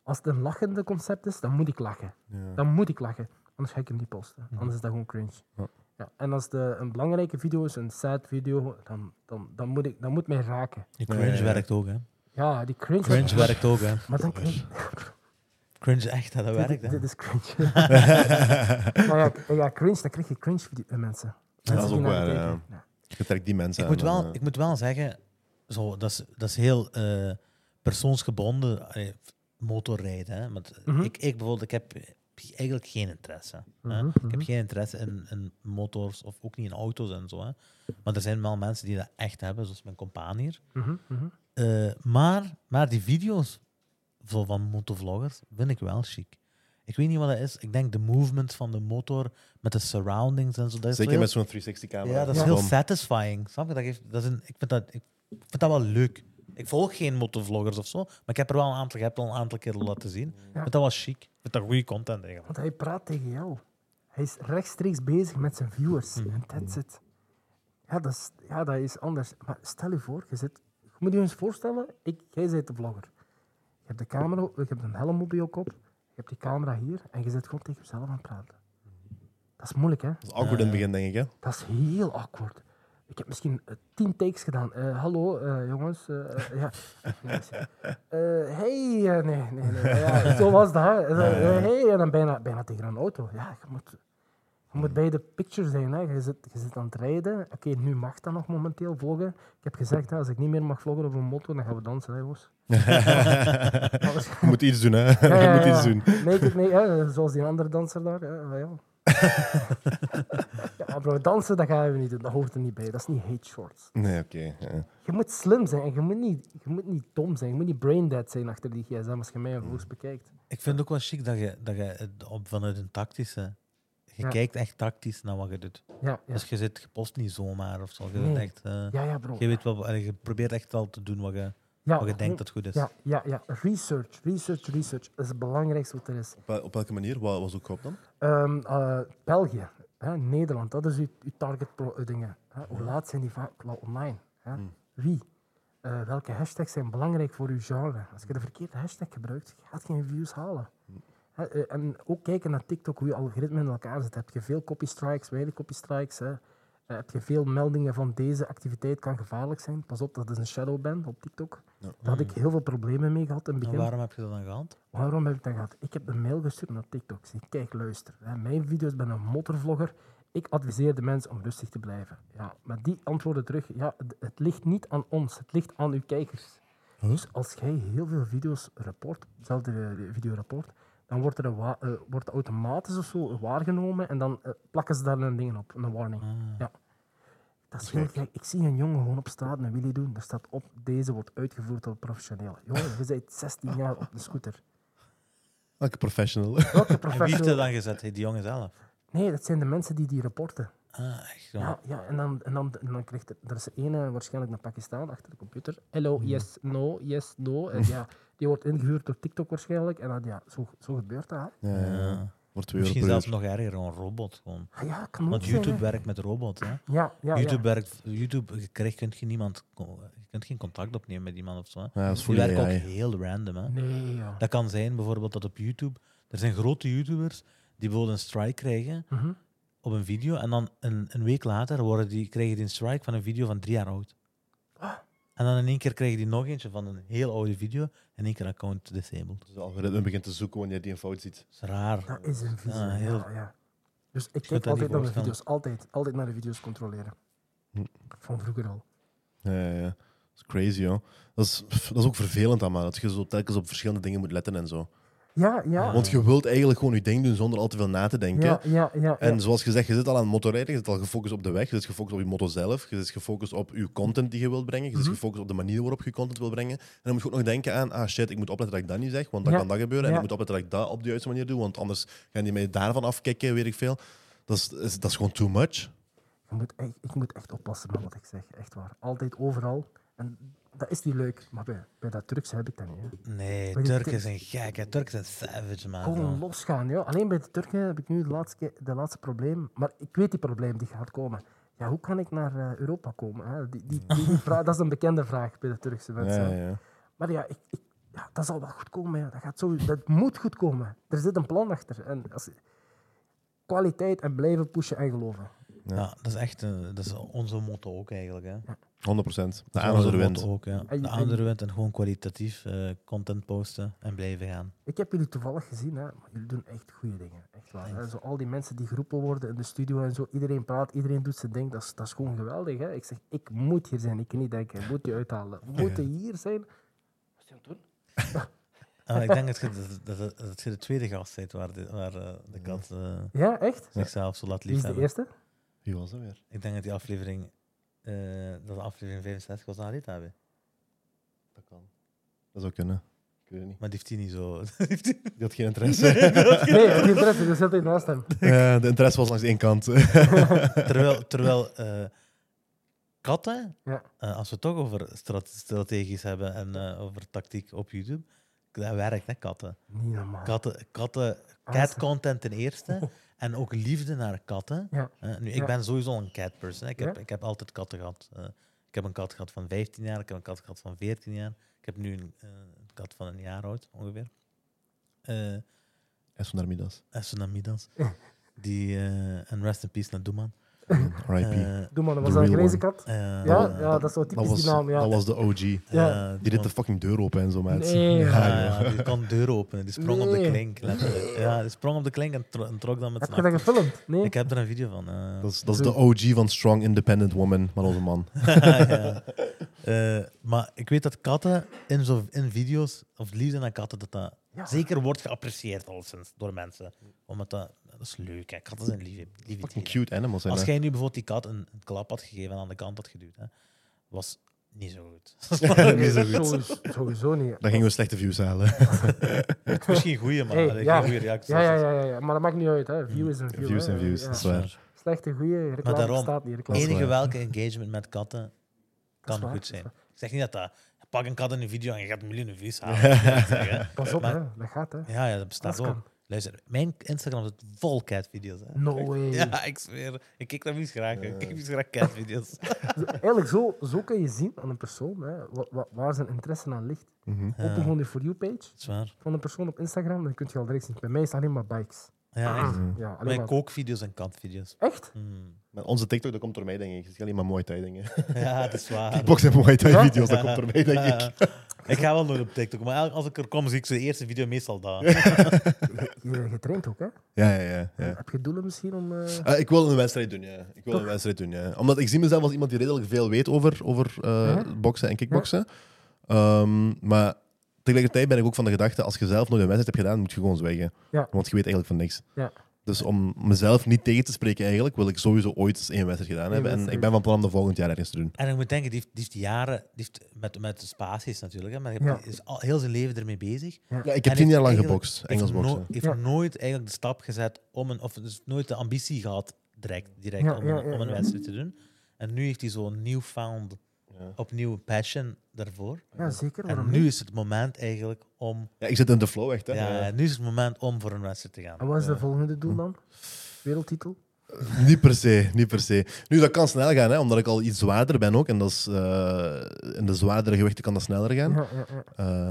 Als het een lachende concept is, dan moet ik lachen.
Ja.
Dan moet ik lachen. Anders ga ik hem niet posten. Anders is dat gewoon cringe.
Ja.
Ja. en als de, een belangrijke video is, een sad video, dan, dan, dan, moet, ik, dan moet mij raken.
Die cringe
ja, ja.
werkt ook, hè.
Ja, die cringe.
Cringe werkt ook, hè.
Maar dan cringe.
Cringe echt, hè, dat werkt, hè.
Dit is cringe. maar ja, ja, cringe, dan krijg je cringe video, eh, mensen.
dat
Mensen
is
die
ook
naar
waar,
kijken.
ja.
Ja.
Je trekt die mensen
Ik
aan,
moet, wel,
eh.
ik moet wel zeggen, zo, dat, is, dat is heel eh, persoonsgebonden allee, motorrijden. Hè? Want eh,
Mhm.
ik, ik bijvoorbeeld, ik heb eigenlijk geen interesse. Hè?
Mhm,
Ik heb
mhm.
geen interesse in, in motors of ook niet in auto's en zo. Hè? Maar er zijn wel mensen die dat echt hebben, zoals mijn compaan hier.
Mhm, mhm.
Eh, maar, maar die video's zo van motovloggers vind ik wel chic. Ik weet niet wat dat is. Ik denk de movement van de motor met de surroundings en zo. Dat is zo
Zeker
heel
met zo'n 360-camera.
ja, dat is
Ja.
heel
Bom.
satisfying. Snap je? Dat geeft, dat is een, ik, vind dat, ik vind dat wel leuk. Ik volg geen motorvloggers of zo, maar ik heb er wel een aantal, ik heb er al een aantal keer laten zien. Ik vind dat wel chic. Ik vind dat goede content eigenlijk.
Want hij praat tegen jou. Hij is rechtstreeks bezig met zijn viewers.
Mhm.
En that's it. Ja dat, is, ja, dat is anders. Maar stel je voor, je zit... Je moet je eens voorstellen, ik, jij bent de vlogger. Je hebt de camera, je hebt een helm op je kop. Je hebt die camera hier en je zit gewoon tegen jezelf aan het praten. Dat is moeilijk, hè?
Dat is awkward in het begin, denk ik. Hè?
Dat is heel awkward. Ik heb misschien eh, tien takes gedaan. Eh, hallo, eh, jongens. eh, eh, ja. Eh, hey, eh, nee, nee, nee. Ja, zo was dat. hè. Eh, eh, hey, en dan bijna, bijna tegen een auto. Ja, je moet, je moet bij de picture zijn. Hè. Je, zit, je zit aan het rijden. Oké, nu mag dat nog momenteel vloggen. Ik heb gezegd, hè, als ik niet meer mag vloggen op een motor, dan gaan we dansen, hè, jongens.
Je moet iets doen, hè. Je moet iets doen.
Nee, nee, hè, zoals die andere danser daar. hè, maar ja. ja, bro, dansen, dat gaan we niet doen. Dat hoort er niet bij. Dat is niet hate shorts.
Nee, oké. ja.
Je moet slim zijn en je moet niet, je moet niet dom zijn. Je moet niet braindead zijn achter die gsm als je mij en vlogs bekijkt.
Ik vind het ook wel chic dat je, dat je het op, vanuit een tactische. Je
Ja.
kijkt echt tactisch naar wat je doet.
Ja, ja.
Dus je, zit, je post niet zomaar of zo. Je,
Nee.
bent echt, eh,
ja, ja bro.
je, weet wel, allee, je probeert echt wel te doen wat je,
Ja,
wat je
gewoon-
denkt dat goed is.
Ja, ja, ja. Research, research, research. Dat is het belangrijkste wat er is.
Op, wel- op welke manier? Wat was ook op dan?
Ehm, eh, België, hè, Nederland, dat is uw, uw target pro- eh, dingen. Hè. Hoe laat zijn die vaak wel online? Hè? Wie? Eh, welke hashtags zijn belangrijk voor uw genre? Als je de verkeerde hashtag gebruikt, je gaat geen views halen. Hè, eh, en ook kijken naar TikTok, hoe je algoritme in elkaar zit. Heb je veel copy strikes, weinig copy strikes? Hè? Eh, heb je veel meldingen van deze activiteit kan gevaarlijk zijn. Pas op, dat is een shadowban op TikTok.
Ja.
Daar had ik heel veel problemen mee gehad in het
En
begin.
waarom heb je dat dan gehad?
Waarom heb ik dat gehad? Ik heb een mail gestuurd naar TikTok. Ik zeg, kijk, luister. Hè, mijn video's, ik ben een mottervlogger. Ik adviseer de mensen om rustig te blijven. Ja, maar die antwoorden terug, ja, het, het ligt niet aan ons. Het ligt aan uw kijkers.
Huh?
Dus als jij heel veel video's rapport, hetzelfde eh, video rapport, dan wordt er een wa- eh, wordt automatisch of zo waargenomen en dan eh, plakken ze daar een ding op, een warning.
Ah.
Ja. Dat is heel
gek.
gek. Ik zie een jongen gewoon op straat een willy doen. Er staat op, deze wordt uitgevoerd door professioneel. Jongen, je bent 16 jaar op de scooter.
Welke professional.
Welke
En wie heeft dat
professional?
dan gezet? Die jongen zelf?
Nee, dat zijn de mensen die die rapporten.
Ah, echt zo.
Ja, ja en, dan, en, dan, en dan krijgt er, er is er ene waarschijnlijk naar Pakistan achter de computer. Hello, yes, no, yes, no. En ja, die wordt ingehuurd door TikTok waarschijnlijk. En dan, ja, zo, zo gebeurt dat. hè.
Ja, ja, ja.
Ja.
Wordt twee euro
Misschien
per
zelfs
uur.
nog erger, gewoon een robot. Gewoon.
Ah, ja, kan ook
Want
zijn, hè.
YouTube werkt met robot. Hè?
Ja, ja, ja.
YouTube, werkt, YouTube je krijgt, kunt je, niemand, co- je kunt geen contact opnemen met iemand of zo. Hè?
Ja, dat
Die
is voor
werken ook
AI.
heel random. Hè?
Nee, ja.
Dat kan zijn bijvoorbeeld dat op YouTube, er zijn grote YouTubers die bijvoorbeeld een strike krijgen
Mhm.
op een video en dan een, een week later worden die, krijgen die een strike van een video van drie jaar oud. En dan in één keer krijgen die nog eentje van een heel oude video en in één keer account disabled.
Dus het algoritme begint te zoeken wanneer die een fout ziet.
Dat is raar.
Dat is een visie.
Ja, Ah, heel-
ja, ja. Dus ik
kunt
kijk
dat niet
altijd naar de
voorstellen.
video's. Altijd, altijd naar de video's controleren.
Hm.
Van vroeger al.
Ja, ja, ja. Dat is crazy, hoor. Dat is, pff, dat is ook vervelend aan, maar dat je zo telkens op verschillende dingen moet letten en zo.
Ja, ja.
Want je wilt eigenlijk gewoon je ding doen zonder al te veel na te denken.
Ja, ja, ja. ja.
En zoals gezegd, je zit al aan het motorrijden, je zit al gefocust op de weg, je zit gefocust op je motor zelf, je zit gefocust op je content die je wilt brengen, je zit gefocust op de manier waarop je content wil brengen. En dan moet je ook nog denken aan, ah shit, ik moet opletten dat ik dat niet zeg, want dan
Ja.
kan dat gebeuren. En
Ja.
ik moet opletten dat ik dat op de juiste manier doe, want anders gaan die mij daarvan afkicken, weet ik veel. Dat is, is- dat is gewoon too much.
Je moet echt, ik moet echt oppassen met wat ik zeg. Echt waar. Altijd, overal. En dat is niet leuk. Maar bij, bij dat Turks heb ik dat niet. hè.
Nee,
Maar die
Turken
Turk-
zijn gek. Hè. Turken zijn savage, man.
Gewoon
zo.
losgaan. Ja. Alleen bij de Turken heb ik nu de laatste, keer- de laatste probleem. Maar ik weet die probleem die gaat komen. Ja, hoe kan ik naar eh, Europa komen? Hè? Die, die, die, die vraag, dat is een bekende vraag bij de Turkse mensen.
Ja, ja.
Maar ja, ik, ik, ja, dat zal wel goed komen. Ja. Dat, gaat zo, dat moet goed komen. Er zit een plan achter. En als, kwaliteit en blijven pushen en geloven.
Ja, dat is echt een, dat is onze motto ook eigenlijk. Hè.
100%. De
Dat is
aanhouder
onze
wint.
motto ook, ja.
En-
De aanhouder wint en gewoon kwalitatief eh, content posten en blijven gaan.
Ik heb jullie toevallig gezien, hè, maar jullie doen echt goede dingen. Echt waar. Hè. Zo al die mensen die geroepen worden in de studio en zo. Iedereen praat, iedereen doet zijn ding. Dat is, dat is gewoon geweldig. Hè. Ik zeg, ik moet hier zijn. Ik kan niet denken, ik moet je uithalen. We moeten hier zijn. Wat is je aan het doen?
Ah, ik denk dat je, dat, dat, dat, dat je de tweede gast bent waar de, waar, eh, de kat eh,
Ja, echt?
zichzelf zo laat
Wie is de
liefhebben.
eerste?
Wie was dat weer?
Ik denk dat die aflevering, eh, dat de aflevering 65 was aan Rita hebben.
Dat kan. Dat zou kunnen. Ik weet het niet.
Maar die heeft die niet zo... die heeft die-
Ik had geen interesse.
Nee, die interesse, die zit hier naast hem.
Eh, de interesse was langs één kant.
terwijl terwijl eh, katten,
Ja.
eh, als we het toch over strat- strategisch hebben en eh, over tactiek op YouTube, dat werkt hè, katten.
Niet normaal.
Katten, katten
Ah,
cat content ten eerste. En ook liefde naar katten.
Ja.
Eh, nu, ik
Ja.
ben sowieso een cat person. hè. Ik heb,
Ja?
ik heb altijd katten gehad. Eh, ik heb een kat gehad van 15 jaar, ik heb een kat gehad van 14 jaar. Ik heb nu een, eh, een kat van een jaar oud ongeveer. Eh
Esson Armidas.
Tsunamidas. Die, eh en rest in peace naar Doeman.
RIP.
Eh,
Doe maar, dat
The
was dat een
real
grijze
one.
kat?
eh,
Ja,
eh,
ja, dat is wel
Dat
typisch
was,
die naam. Ja.
dat was de OG.
Ja.
eh,
Die deed de
Doeman.
fucking deur open en zo, mensen.
Nee.
Ja,
Ja,
ja, die kon deur openen. Die sprong op de
Nee.
klink, letterlijk. Ja, die sprong op de klink en, tro- en trok dan met
Heb
zijn
je dat
achter-
gefilmd? Nee?
Ik heb er een video van. eh.
Dat is, dat is de OG van Strong Independent Woman, maar onze man.
ja. Eh, maar ik weet dat katten in, zo, in video's, of liefde naar katten, dat dat
Ja.
zeker wordt geapprecieerd alleszins door mensen. Omdat dat, dat is leuk, hè. katten zijn lieve, lieve
Fucking
dieren.
cute animals zijn.
Als
hè.
jij nu bijvoorbeeld die kat een, een klap had gegeven en aan de kant had geduwd, hè, was niet zo goed.
Nee, sowieso, sowieso niet.
Dan gingen we slechte views halen.
Misschien goede, maar
Hey,
eh,
ja.
geen goede reactie. Hmm.
Ja, ja, ja, ja, ja, maar dat maakt niet uit. Hè. View is een view.
views
hè.
en views,
Ja.
dat is waar.
Slechte, goede reclame
daarom,
bestaat niet. Reclame.
is
Enige
waar.
welke engagement met katten
Dat
kan
is waar,
goed
dat is
zijn. Ik zeg niet dat dat... Pak een kat in een video en je gaat miljoenen views halen. dat wil ik zeggen.
Pas op,
Maar-
hè. dat gaat. Hè.
Ja, ja, dat bestaat
Dat kan.
ook. Luister, mijn Instagram zit vol catvideo's. Hè.
No way.
Ja, ik zweer. Ik kijk naar vies graag. Ik
Eh.
kijk vies graag catvideo's.
Eigenlijk, zo, zo kan je zien aan een persoon hè, wa- wa- waar zijn interesse aan ligt.
Mhm.
Open gewoon de For You-page
Zwaar.
van een persoon op Instagram, dan kun je al direct zien. Bij mij is het alleen maar bikes. Ah,
Ja, echt.
Mhm.
Ja, alleen
Mijn
maar.
kookvideo's en kantvideo's.
Echt?
Hmm.
Maar Onze TikTok, dat komt door mij, denk ik. Ik zie alleen maar Muay Thai dingen.
Ja, dat is waar.
Kickbox en Muay Thai
Ja?
video's, dat komt door mij, denk ik.
Ja. ik ga wel nooit op TikTok, maar elk- als ik er kom, zie ik zo de eerste video meestal daar.
Je, je traint ook, hè?
Ja, ja, ja. ja.
Heb je doelen misschien om... eh,
Eh, ik wil een wedstrijd doen, ja. Ik wil
Toch?
een wedstrijd doen, ja. Omdat ik zie mezelf als iemand die redelijk veel weet over, over eh,
Ja.
boksen en kickboksen. Ehm, maar tegelijkertijd ben ik ook van de gedachte, als je zelf nooit een wedstrijd hebt gedaan, moet je gewoon zwijgen.
Ja.
Want je weet eigenlijk van niks.
Ja.
Dus om mezelf niet tegen te spreken eigenlijk, wil ik sowieso ooit eens één wedstrijd gedaan
Eén
hebben. En
wedstrijd.
ik ben van plan om dat volgend jaar ergens te doen.
En ik moet denken, die heeft, die heeft jaren, die heeft met, met de spaties natuurlijk, hè, maar die heeft-
Ja.
is al heel zijn leven ermee bezig.
Ja, ik heb
En
tien
heeft
jaar lang
eigenlijk-
gebokst,
heeft
Engels boksen.
no- heeft
Ja.
nooit eigenlijk de stap gezet om een, of dus nooit de ambitie gehad direct, direct
Ja,
om,
ja,
een-
ja,
om een
ja.
wedstrijd te doen. En nu heeft hij zo'n newfound,
Ja.
opnieuw passion daarvoor.
Ja, zeker.
En
Waarom
nu
niet?
is het moment eigenlijk om,
Ja, ik zit in de flow echt, hè.
ja,
Ja.
nu is het moment om voor een wedstrijd te
En
gaan.
wat is
Ja.
de volgende
Hm.
doel dan? Wereldtitel?
Niet per se, niet per se. Nu, dat kan snel gaan, hè, omdat ik al iets zwaarder ben ook. En dat is, eh, in de zwaardere gewichten kan dat sneller gaan.
Ja, ja, ja.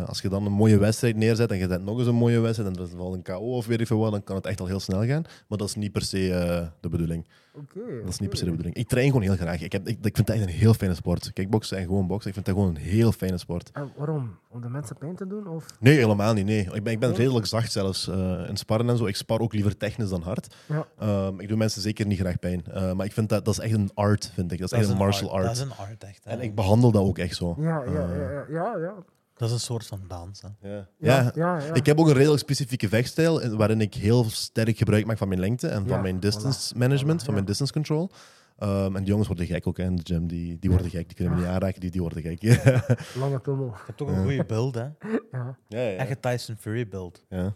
Eh, als je dan een mooie wedstrijd neerzet en je zet nog eens een mooie wedstrijd en er is wel een KO of weet ik veel wat, dan kan het echt al heel snel gaan. Maar dat is niet per se eh, de bedoeling.
Oké.
Dat is niet
oké.
per se de bedoeling. Ik train gewoon heel graag. Ik, heb, ik, ik vind het echt een heel fijne sport. Kickboksen en gewoon boksen, ik vind dat gewoon een heel fijne sport.
En Eh, waarom? Om de mensen pijn te doen? Of?
Nee, helemaal niet. Nee. Ik, ben, ik ben
Nee?
redelijk zacht zelfs eh, in sparren en zo. Ik spar ook liever technisch dan hard.
Ja.
Ehm, ik doe mensen zeker niet graag pijn. Eh, maar ik vind dat, dat is echt een art, vind ik. Dat is echt een martial art.
Dat is een art, echt. hè.
En ik behandel dat ook echt zo.
Ja, ja, ja, ja, ja, ja.
dat is een soort van dans. Hè.
Ja.
Ja,
Eh. Ja,
ja, ja.
Ik heb ook een redelijk specifieke vechtstijl eh, waarin ik heel sterk gebruik maak van mijn lengte en van
Ja,
mijn
voilà.
distance management,
Voilà,
van
ja.
mijn distance control. Ehm, en die jongens worden gek ook hè, in de gym. Die, die worden gek, die kunnen me
Ah.
niet aanraken, die, die worden gek. ja,
Lange tunnel.
Je hebt ook een goede beeld, hè?
Ja.
ja.
Echt een Tyson Fury beeld.
ja.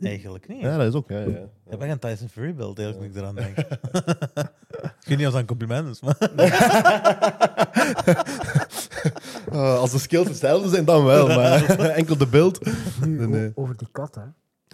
Eigenlijk niet.
Ja, dat is ook. Ja, ja.
Je hebt echt een Tyson Fury beeld, als ik eraan denk. ik weet niet of dat een compliment is, maar...
Eh, als de skills hetzelfde zijn, dan wel. Maar enkel de beeld.
Nu,
Nee,
o-
nee.
over die kat, hè.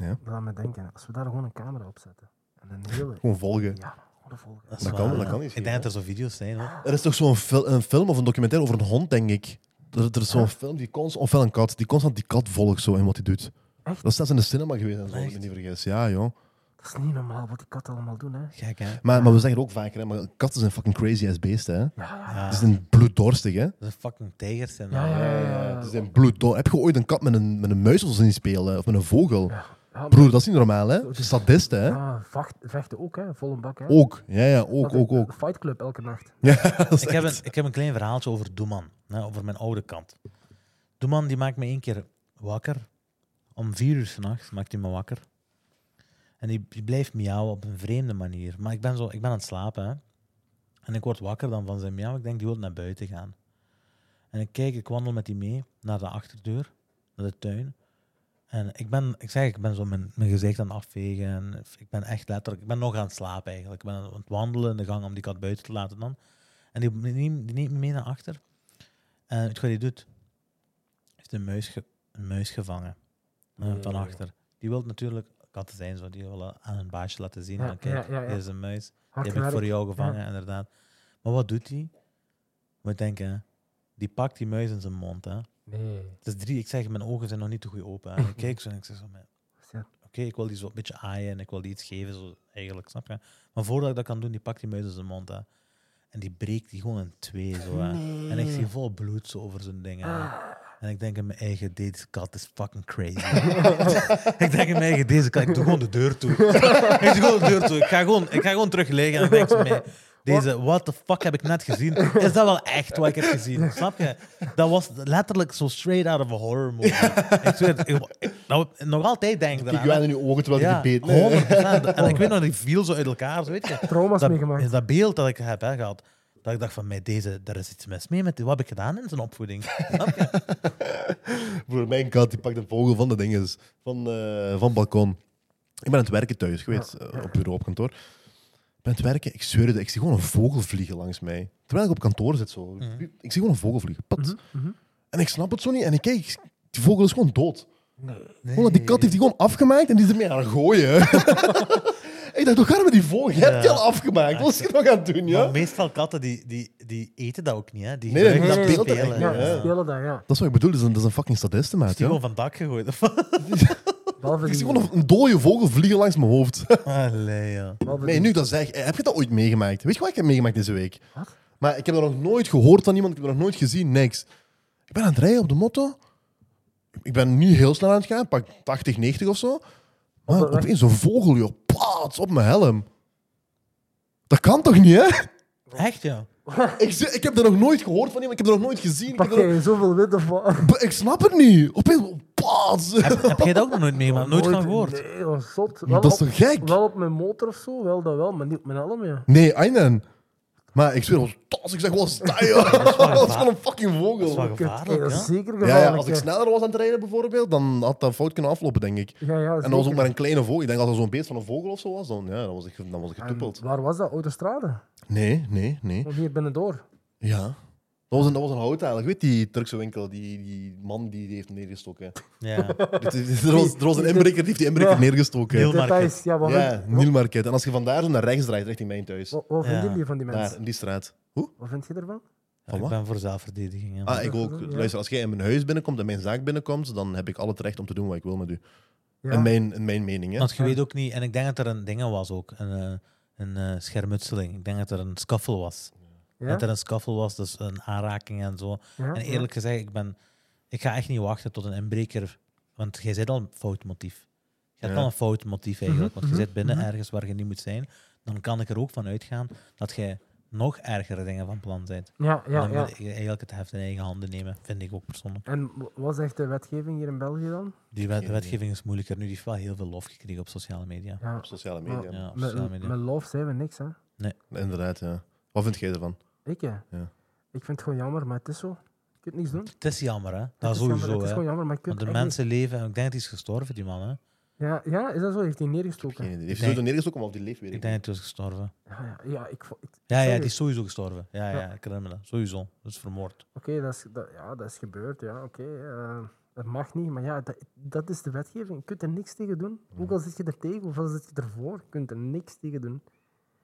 Ja.
Dat laat me denken. Als we daar gewoon een camera op zetten. En een hele...
Gewoon volgen.
Ja, gewoon een volgende.
Dat,
Dat
waar,
kan- dat
ja.
kan niet,
Ik denk dat er zo video's zijn,
Ah.
hoor.
Er is toch zo'n fil- een film of een documentaire over een hond, denk ik. Er, er is zo'n
Ja.
film, die constant, ofwel een kat, die constant die kat volgt zo in wat hij doet.
Echt?
Dat is zelfs in de cinema geweest, en zo, als ik
Echt?
me niet vergis. Ja, joh.
Dat is niet normaal wat die katten allemaal doen, hè.
Gek, hè?
Maar, maar we zeggen het ook vaker, hè, maar katten zijn fucking crazy ass beesten. Hè?
Ja,
Ah.
Ze zijn bloeddorstig, hè?
dat zijn fucking tijgers. zijn
Ja,
dat.
ja, ja. ja.
Ze zijn bloeddorstig. Heb je ooit een kat met een, met een muis of zo zien spelen? eh, Of met een vogel?
Ja, maar-
Broer, dat is niet normaal, hè? Sadisten, hè?
Ja, vacht, vechten ook, hè. Vol een bak, hè.
Ook, ja, ja, ook,
Dat
ook,
is
ook.
een Fight Club elke nacht.
eh, Ik, heb een, ik heb een klein verhaaltje over Doeman, hè, over mijn oude kant. Doeman die maakt me één keer wakker. Om vier uur s'nachts maakt hij me wakker. En die, die blijft miauwen op een vreemde manier. Maar ik ben, zo, ik ben aan het slapen. Hè. En ik word wakker dan van zijn miauw. Ik denk, die wil naar buiten gaan. En ik kijk, ik wandel met die mee naar de achterdeur, naar de tuin. En ik ben, ik zeg, ik ben zo mijn, mijn gezicht aan het afvegen. En ik ben echt letterlijk, ik ben nog aan het slapen eigenlijk. Ik ben aan het wandelen in de gang om die kat buiten te laten dan. En die, neemt, die neemt me mee naar achter. En weet je wat hij doet? Hij heeft een muis, ge- een muis gevangen. eh, van
Mm.
achter. Die wil natuurlijk katten zijn, zo. die willen aan hun baasje laten zien.
Ja,
van, kijk,
ja, ja, ja.
hier is een muis.
Hard
Die heb ik
werk.
voor jou gevangen, inderdaad. Maar wat doet hij? Moet denken, die pakt die muis in zijn mond. Hè.
Nee.
Het is drie, ik zeg, mijn ogen zijn nog niet te goed open. hè. En ik kijk zo en ik zeg zo, maar
Ja.
oké, ik wil die zo een beetje aaien en ik wil die iets geven, zo eigenlijk, snap je? Maar voordat ik dat kan doen, die pakt die muis in zijn mond, hè. En die breekt die gewoon in twee, zo, hè. En ik zie vol bloed zo over zijn dingen, hè. En ik denk in mijn eigen, deze kat is fucking crazy. ik denk in mijn eigen, deze kat, ik doe gewoon de deur toe. ik doe gewoon de deur toe. Ik ga gewoon, ik ga gewoon terug liggen en ik denk zo, "Mei, deze, what the fuck heb ik net gezien? Is dat wel echt wat ik heb gezien? Snap je? Dat was letterlijk zo straight out of a horror movie. ik zweer het, ik- ik- nou, nog altijd denk ik
Ik
eraan. hè.
wijn in je ogen terwijl je
Ja,
die beet.
100%. En ik weet nog, die viel zo uit elkaar, zo weet je.
Trauma's
Dat,
meegemaakt.
is dat beeld dat ik heb hè, gehad, dat ik dacht van, mij, deze, daar is iets mis mee met die. Wat heb ik gedaan in zijn opvoeding? Snap je?
Broer, mijn kat die pakt een vogel van de dinges. Van, eh, van het balkon. Ik ben aan het werken thuis geweest, eh, op bureau, op kantoor. Ik ben aan het werken, ik zweer het, ik zie gewoon een vogel vliegen langs mij. Terwijl ik op kantoor zit zo. Ik zie gewoon een vogel vliegen. Pat. En ik snap het zo niet. En ik kijk, die vogel is gewoon dood. Gewoon, die kat heeft die gewoon afgemaakt en die is ermee aan het gooien. ik dacht, hoe gaat het met die vogel? Je hebt die al afgemaakt. Wat is je nog aan het doen, ja?
Maar meestal katten, die, die, die eten dat ook niet. Hè? Die
Nee, nee,
gebruiken
nee,
dat
nee,
te
nee,
spelen.
Ja,
Ja.
ze spelen dat, ja.
Dat is wat ik bedoel, dat is een, dat is een fucking
Is
sadistenmaat,
Dus die
ja.
gewoon van het dak gegooid? of wat?
Behalve
Ik
die-
zie gewoon een- een dode vogel vliegen langs mijn hoofd.
Allee, ja.
behalve
Nee,
die-
nu ik dat zeg, eh, heb je dat ooit meegemaakt? Weet je wat ik heb meegemaakt deze week?
Wat?
Maar ik heb dat nog nooit gehoord van iemand, ik heb dat nog nooit gezien, niks. Ik ben aan het rijden op de motto. Ik ben niet heel snel aan het gaan, pak 80, 90 of zo. Maar
de weg.
opeens een vogel, joh, paats op mijn helm. Dat kan toch niet, hè?
Echt, ja.
Ik, zie- ik heb dat nog nooit gehoord van iemand, ik heb dat nog nooit gezien. Ik,
Pak
heb dat nog-
jij zoveel wind of wat?
B- ik snap het niet. Opeens, paats.
Heb jij dat ook nog nooit meegemaakt? Nooit van gehoord?
Nee, dat is zot. Wel
Dat is
op-
toch gek?
Wel op mijn motor of zo, wel dat wel, maar niet op mijn helm, ja.
Nee, Aynen. Maar ik zweer, als tas, ik zeg wel sta, joh. Dat is
waar.
gewoon een fucking vogel.
Dat is wel
Kut, hey,
gevaarlijk,
dat is
ja.
zeker
Ja, ja,
gevaarlijk.
als ik
ja.
sneller was aan het rijden bijvoorbeeld, dan had dat fout kunnen aflopen, denk ik.
Ja, ja,
En dat was ook maar een kleine vogel. Ik denk als er zo'n beest van een vogel of zo was, dan, ja, dan was ik, dan was ik getuppeld.
Waar was dat? Autostrade?
Nee, nee, nee.
Of hier binnendoor?
Ja. Dat was een, dat was een houtheilig. Weet die Turkse winkel, die, die man die die heeft neergestoken.
ja.
Dit is- er, was, er was een inbreker, die heeft die inbreker
Ja.
neergestoken.
Heel- Nieuwmarkt.
Details, ja, wat
Ja,
vind-
Nielmarket. En als je vandaar zo naar rechts draait, richting mijn thuis.
Wat, wat vind
Ja.
je van die
Daar,
mensen?
in die straat. Hoe?
Wat vind je ervan?
Ja, ik
wat?
ben voor zelfverdediging. Ja.
Ah, ik ook.
Ja.
Luister, als jij in mijn huis binnenkomt en mijn zaak binnenkomt, dan heb ik al het recht om te doen wat ik wil met u.
Ja.
In, mijn, in mijn mening, hè.
Want je weet ook niet, en ik denk dat er een ding aan was ook, een, eh, een eh, schermutseling. Ik denk dat er een scuffle was.
Ja?
Dat er een scuffle was, dus een aanraking en zo.
Ja?
En eerlijk gezegd, ik, ben, ik ga echt niet wachten tot een inbreker. Want jij zit al een fout motief. Je hebt
Ja.
al een fout motief eigenlijk.
Mhm,
Want je zit binnen ergens waar je niet moet zijn. Dan kan ik er ook van uitgaan dat jij nog ergere dingen van plan bent.
Ja, ja,
dan
ja.
moet je eigenlijk het heft in eigen handen nemen, vind ik ook persoonlijk.
En w- wat zegt de wetgeving hier in België dan?
Die wet-
idee.
wetgeving is moeilijker. Nu die heeft wel heel veel lof gekregen op sociale media.
Ja.
Op sociale media.
Ja, op sociale
Met,
media.
met love zijn we niks, hè?
Inderdaad, ja. Wat vind jij ervan?
Ik, hè?
Ja.
Ik vind het gewoon jammer, maar het is zo. Je kunt niks doen.
Het is jammer, hè?
Het
Dat
is jammer,
sowieso,
Het is
hè?
gewoon jammer, maar je kunt
Want de
echt
mensen leven, en ik denk dat hij is gestorven, die man. Hè?
niks- Ja, ja, is dat zo? Heeft hij neergestoken?
Geen idee. Heeft
Ik
hij sowieso neergestoken, maar of die leeft weer
Ik
niet.
denk dat hij is gestorven.
Ja, Ah, ja, ja, ik, vo- ik-
Ja, ja,
sorry.
die is sowieso gestorven. Ja, ja,
Ja.
ik herinner me dat. Sowieso. Dat is vermoord.
Oké, dat, is, dat, ja, dat is gebeurd. Ja, oké. eh, dat mag niet, maar ja, dat, dat is de wetgeving. Je kunt er niks tegen doen. Ook al zit je er tegen of al zit je ervoor, je kunt er niks tegen doen.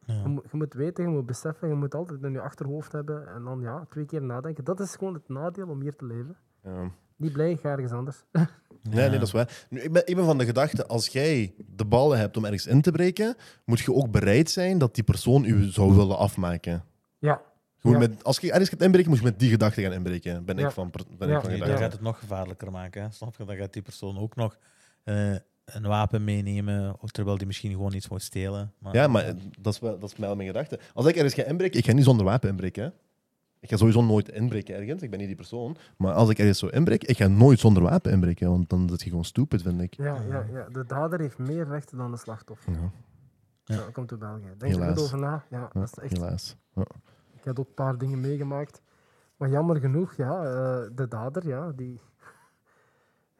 Je, moet, je moet weten, je moet beseffen, je moet altijd in je achterhoofd hebben en dan ja, twee keer nadenken. Dat is gewoon het nadeel om hier te leven.
Ja.
Niet blij, ga ergens anders.
Nee, nee, dat is waar. Nu, ik, ben, ik ben van de gedachte, als jij de ballen hebt om ergens in te breken, moet je ook bereid zijn dat die persoon u zou willen afmaken.
ja,
Je moet
Ja.
met, als je ergens gaat inbreken, moet je met die gedachte gaan inbreken. Ben
Ja.
ik van, per- ben
Ja.
ik van
Nee,
Nee, dan
gedachte.
gaat het nog gevaarlijker maken. Hè? Snap je? Dan gaat die persoon ook nog eh, een wapen meenemen, of terwijl die misschien gewoon iets moet stelen. Maar,
Ja, maar eh, dat is, wel, dat is wel mijn gedachte. Als ik ergens ga inbreken, ik ga niet zonder wapen inbreken. hè. Ik ga sowieso nooit inbreken ergens, ik ben niet die persoon. Maar als ik ergens zo inbreek, ik ga nooit zonder wapen inbreken, want dan zit je gewoon stupid, vind ik.
ja, ja, ja. De dader heeft meer rechten dan de slachtoffer.
Ja.
Ja. dat komt uit België. Denk er
Helaas.
goed over na. Ja,
Ja,
dat is echt
Helaas. Ja.
Ik heb ook een paar dingen meegemaakt. Maar jammer genoeg, ja, eh, de dader, ja, die...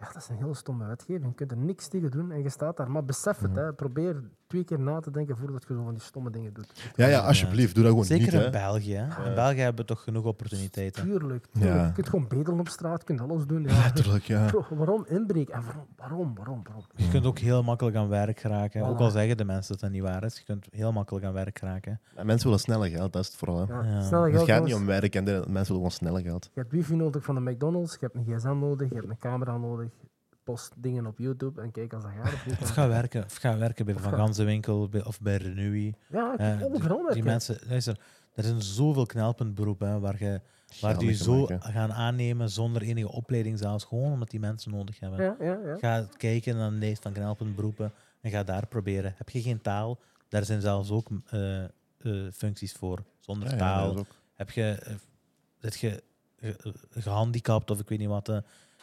Ja, dat is een heel stomme wetgeving. Je kunt er niks tegen doen en je staat daar. Maar besef het, hè. probeer twee keer na te denken voordat je zo van die stomme dingen doet.
Ja, ja, alsjeblieft, doe dat gewoon
Zeker
niet.
in
Hè.
België. Hè? In België hebben we toch genoeg opportuniteiten.
Tuurlijk. tuurlijk.
Ja.
Je kunt gewoon bedelen op straat, je kunt alles doen. Ja.
Letterlijk, ja.
Bro, waarom inbreken? En waarom, waarom, waarom? waarom?
Je kunt ook heel makkelijk aan werk geraken. Ook
Voilà.
al zeggen de mensen dat dat niet waar is, je kunt heel makkelijk aan werk geraken.
Ja, mensen willen sneller geld, dat is het vooral. Hè.
Ja,
Ja.
Snel
Het
geld,
gaat niet
jongens.
om werk en dit, mensen willen gewoon sneller geld.
Je hebt wifi nodig van de McDonald's, je hebt een gsm nodig, je hebt een camera nodig. Post dingen op YouTube en kijk als dat gaat. Of niet.
Of ga werken, of ga werken bij de
Of
Van
ga-
Ganzenwinkel bij- of bij Renui.
Ja,
Eh, die-
overal
die
werken.
mensen, luister, er zijn zoveel knelpuntberoepen hè, waar, je, waar
Geld
die
mee te
zo
maken.
gaan aannemen zonder enige opleiding zelfs, gewoon omdat die mensen nodig hebben.
Ja, ja, ja.
Ga kijken naar de lijst van knelpuntberoepen en ga daar proberen. Heb je geen taal, daar zijn zelfs ook eh, eh, functies voor, zonder
Ja, ja,
taal.
dat is ook-
Heb je, eh, zit je ge- eh, gehandicapt of ik weet niet wat. eh,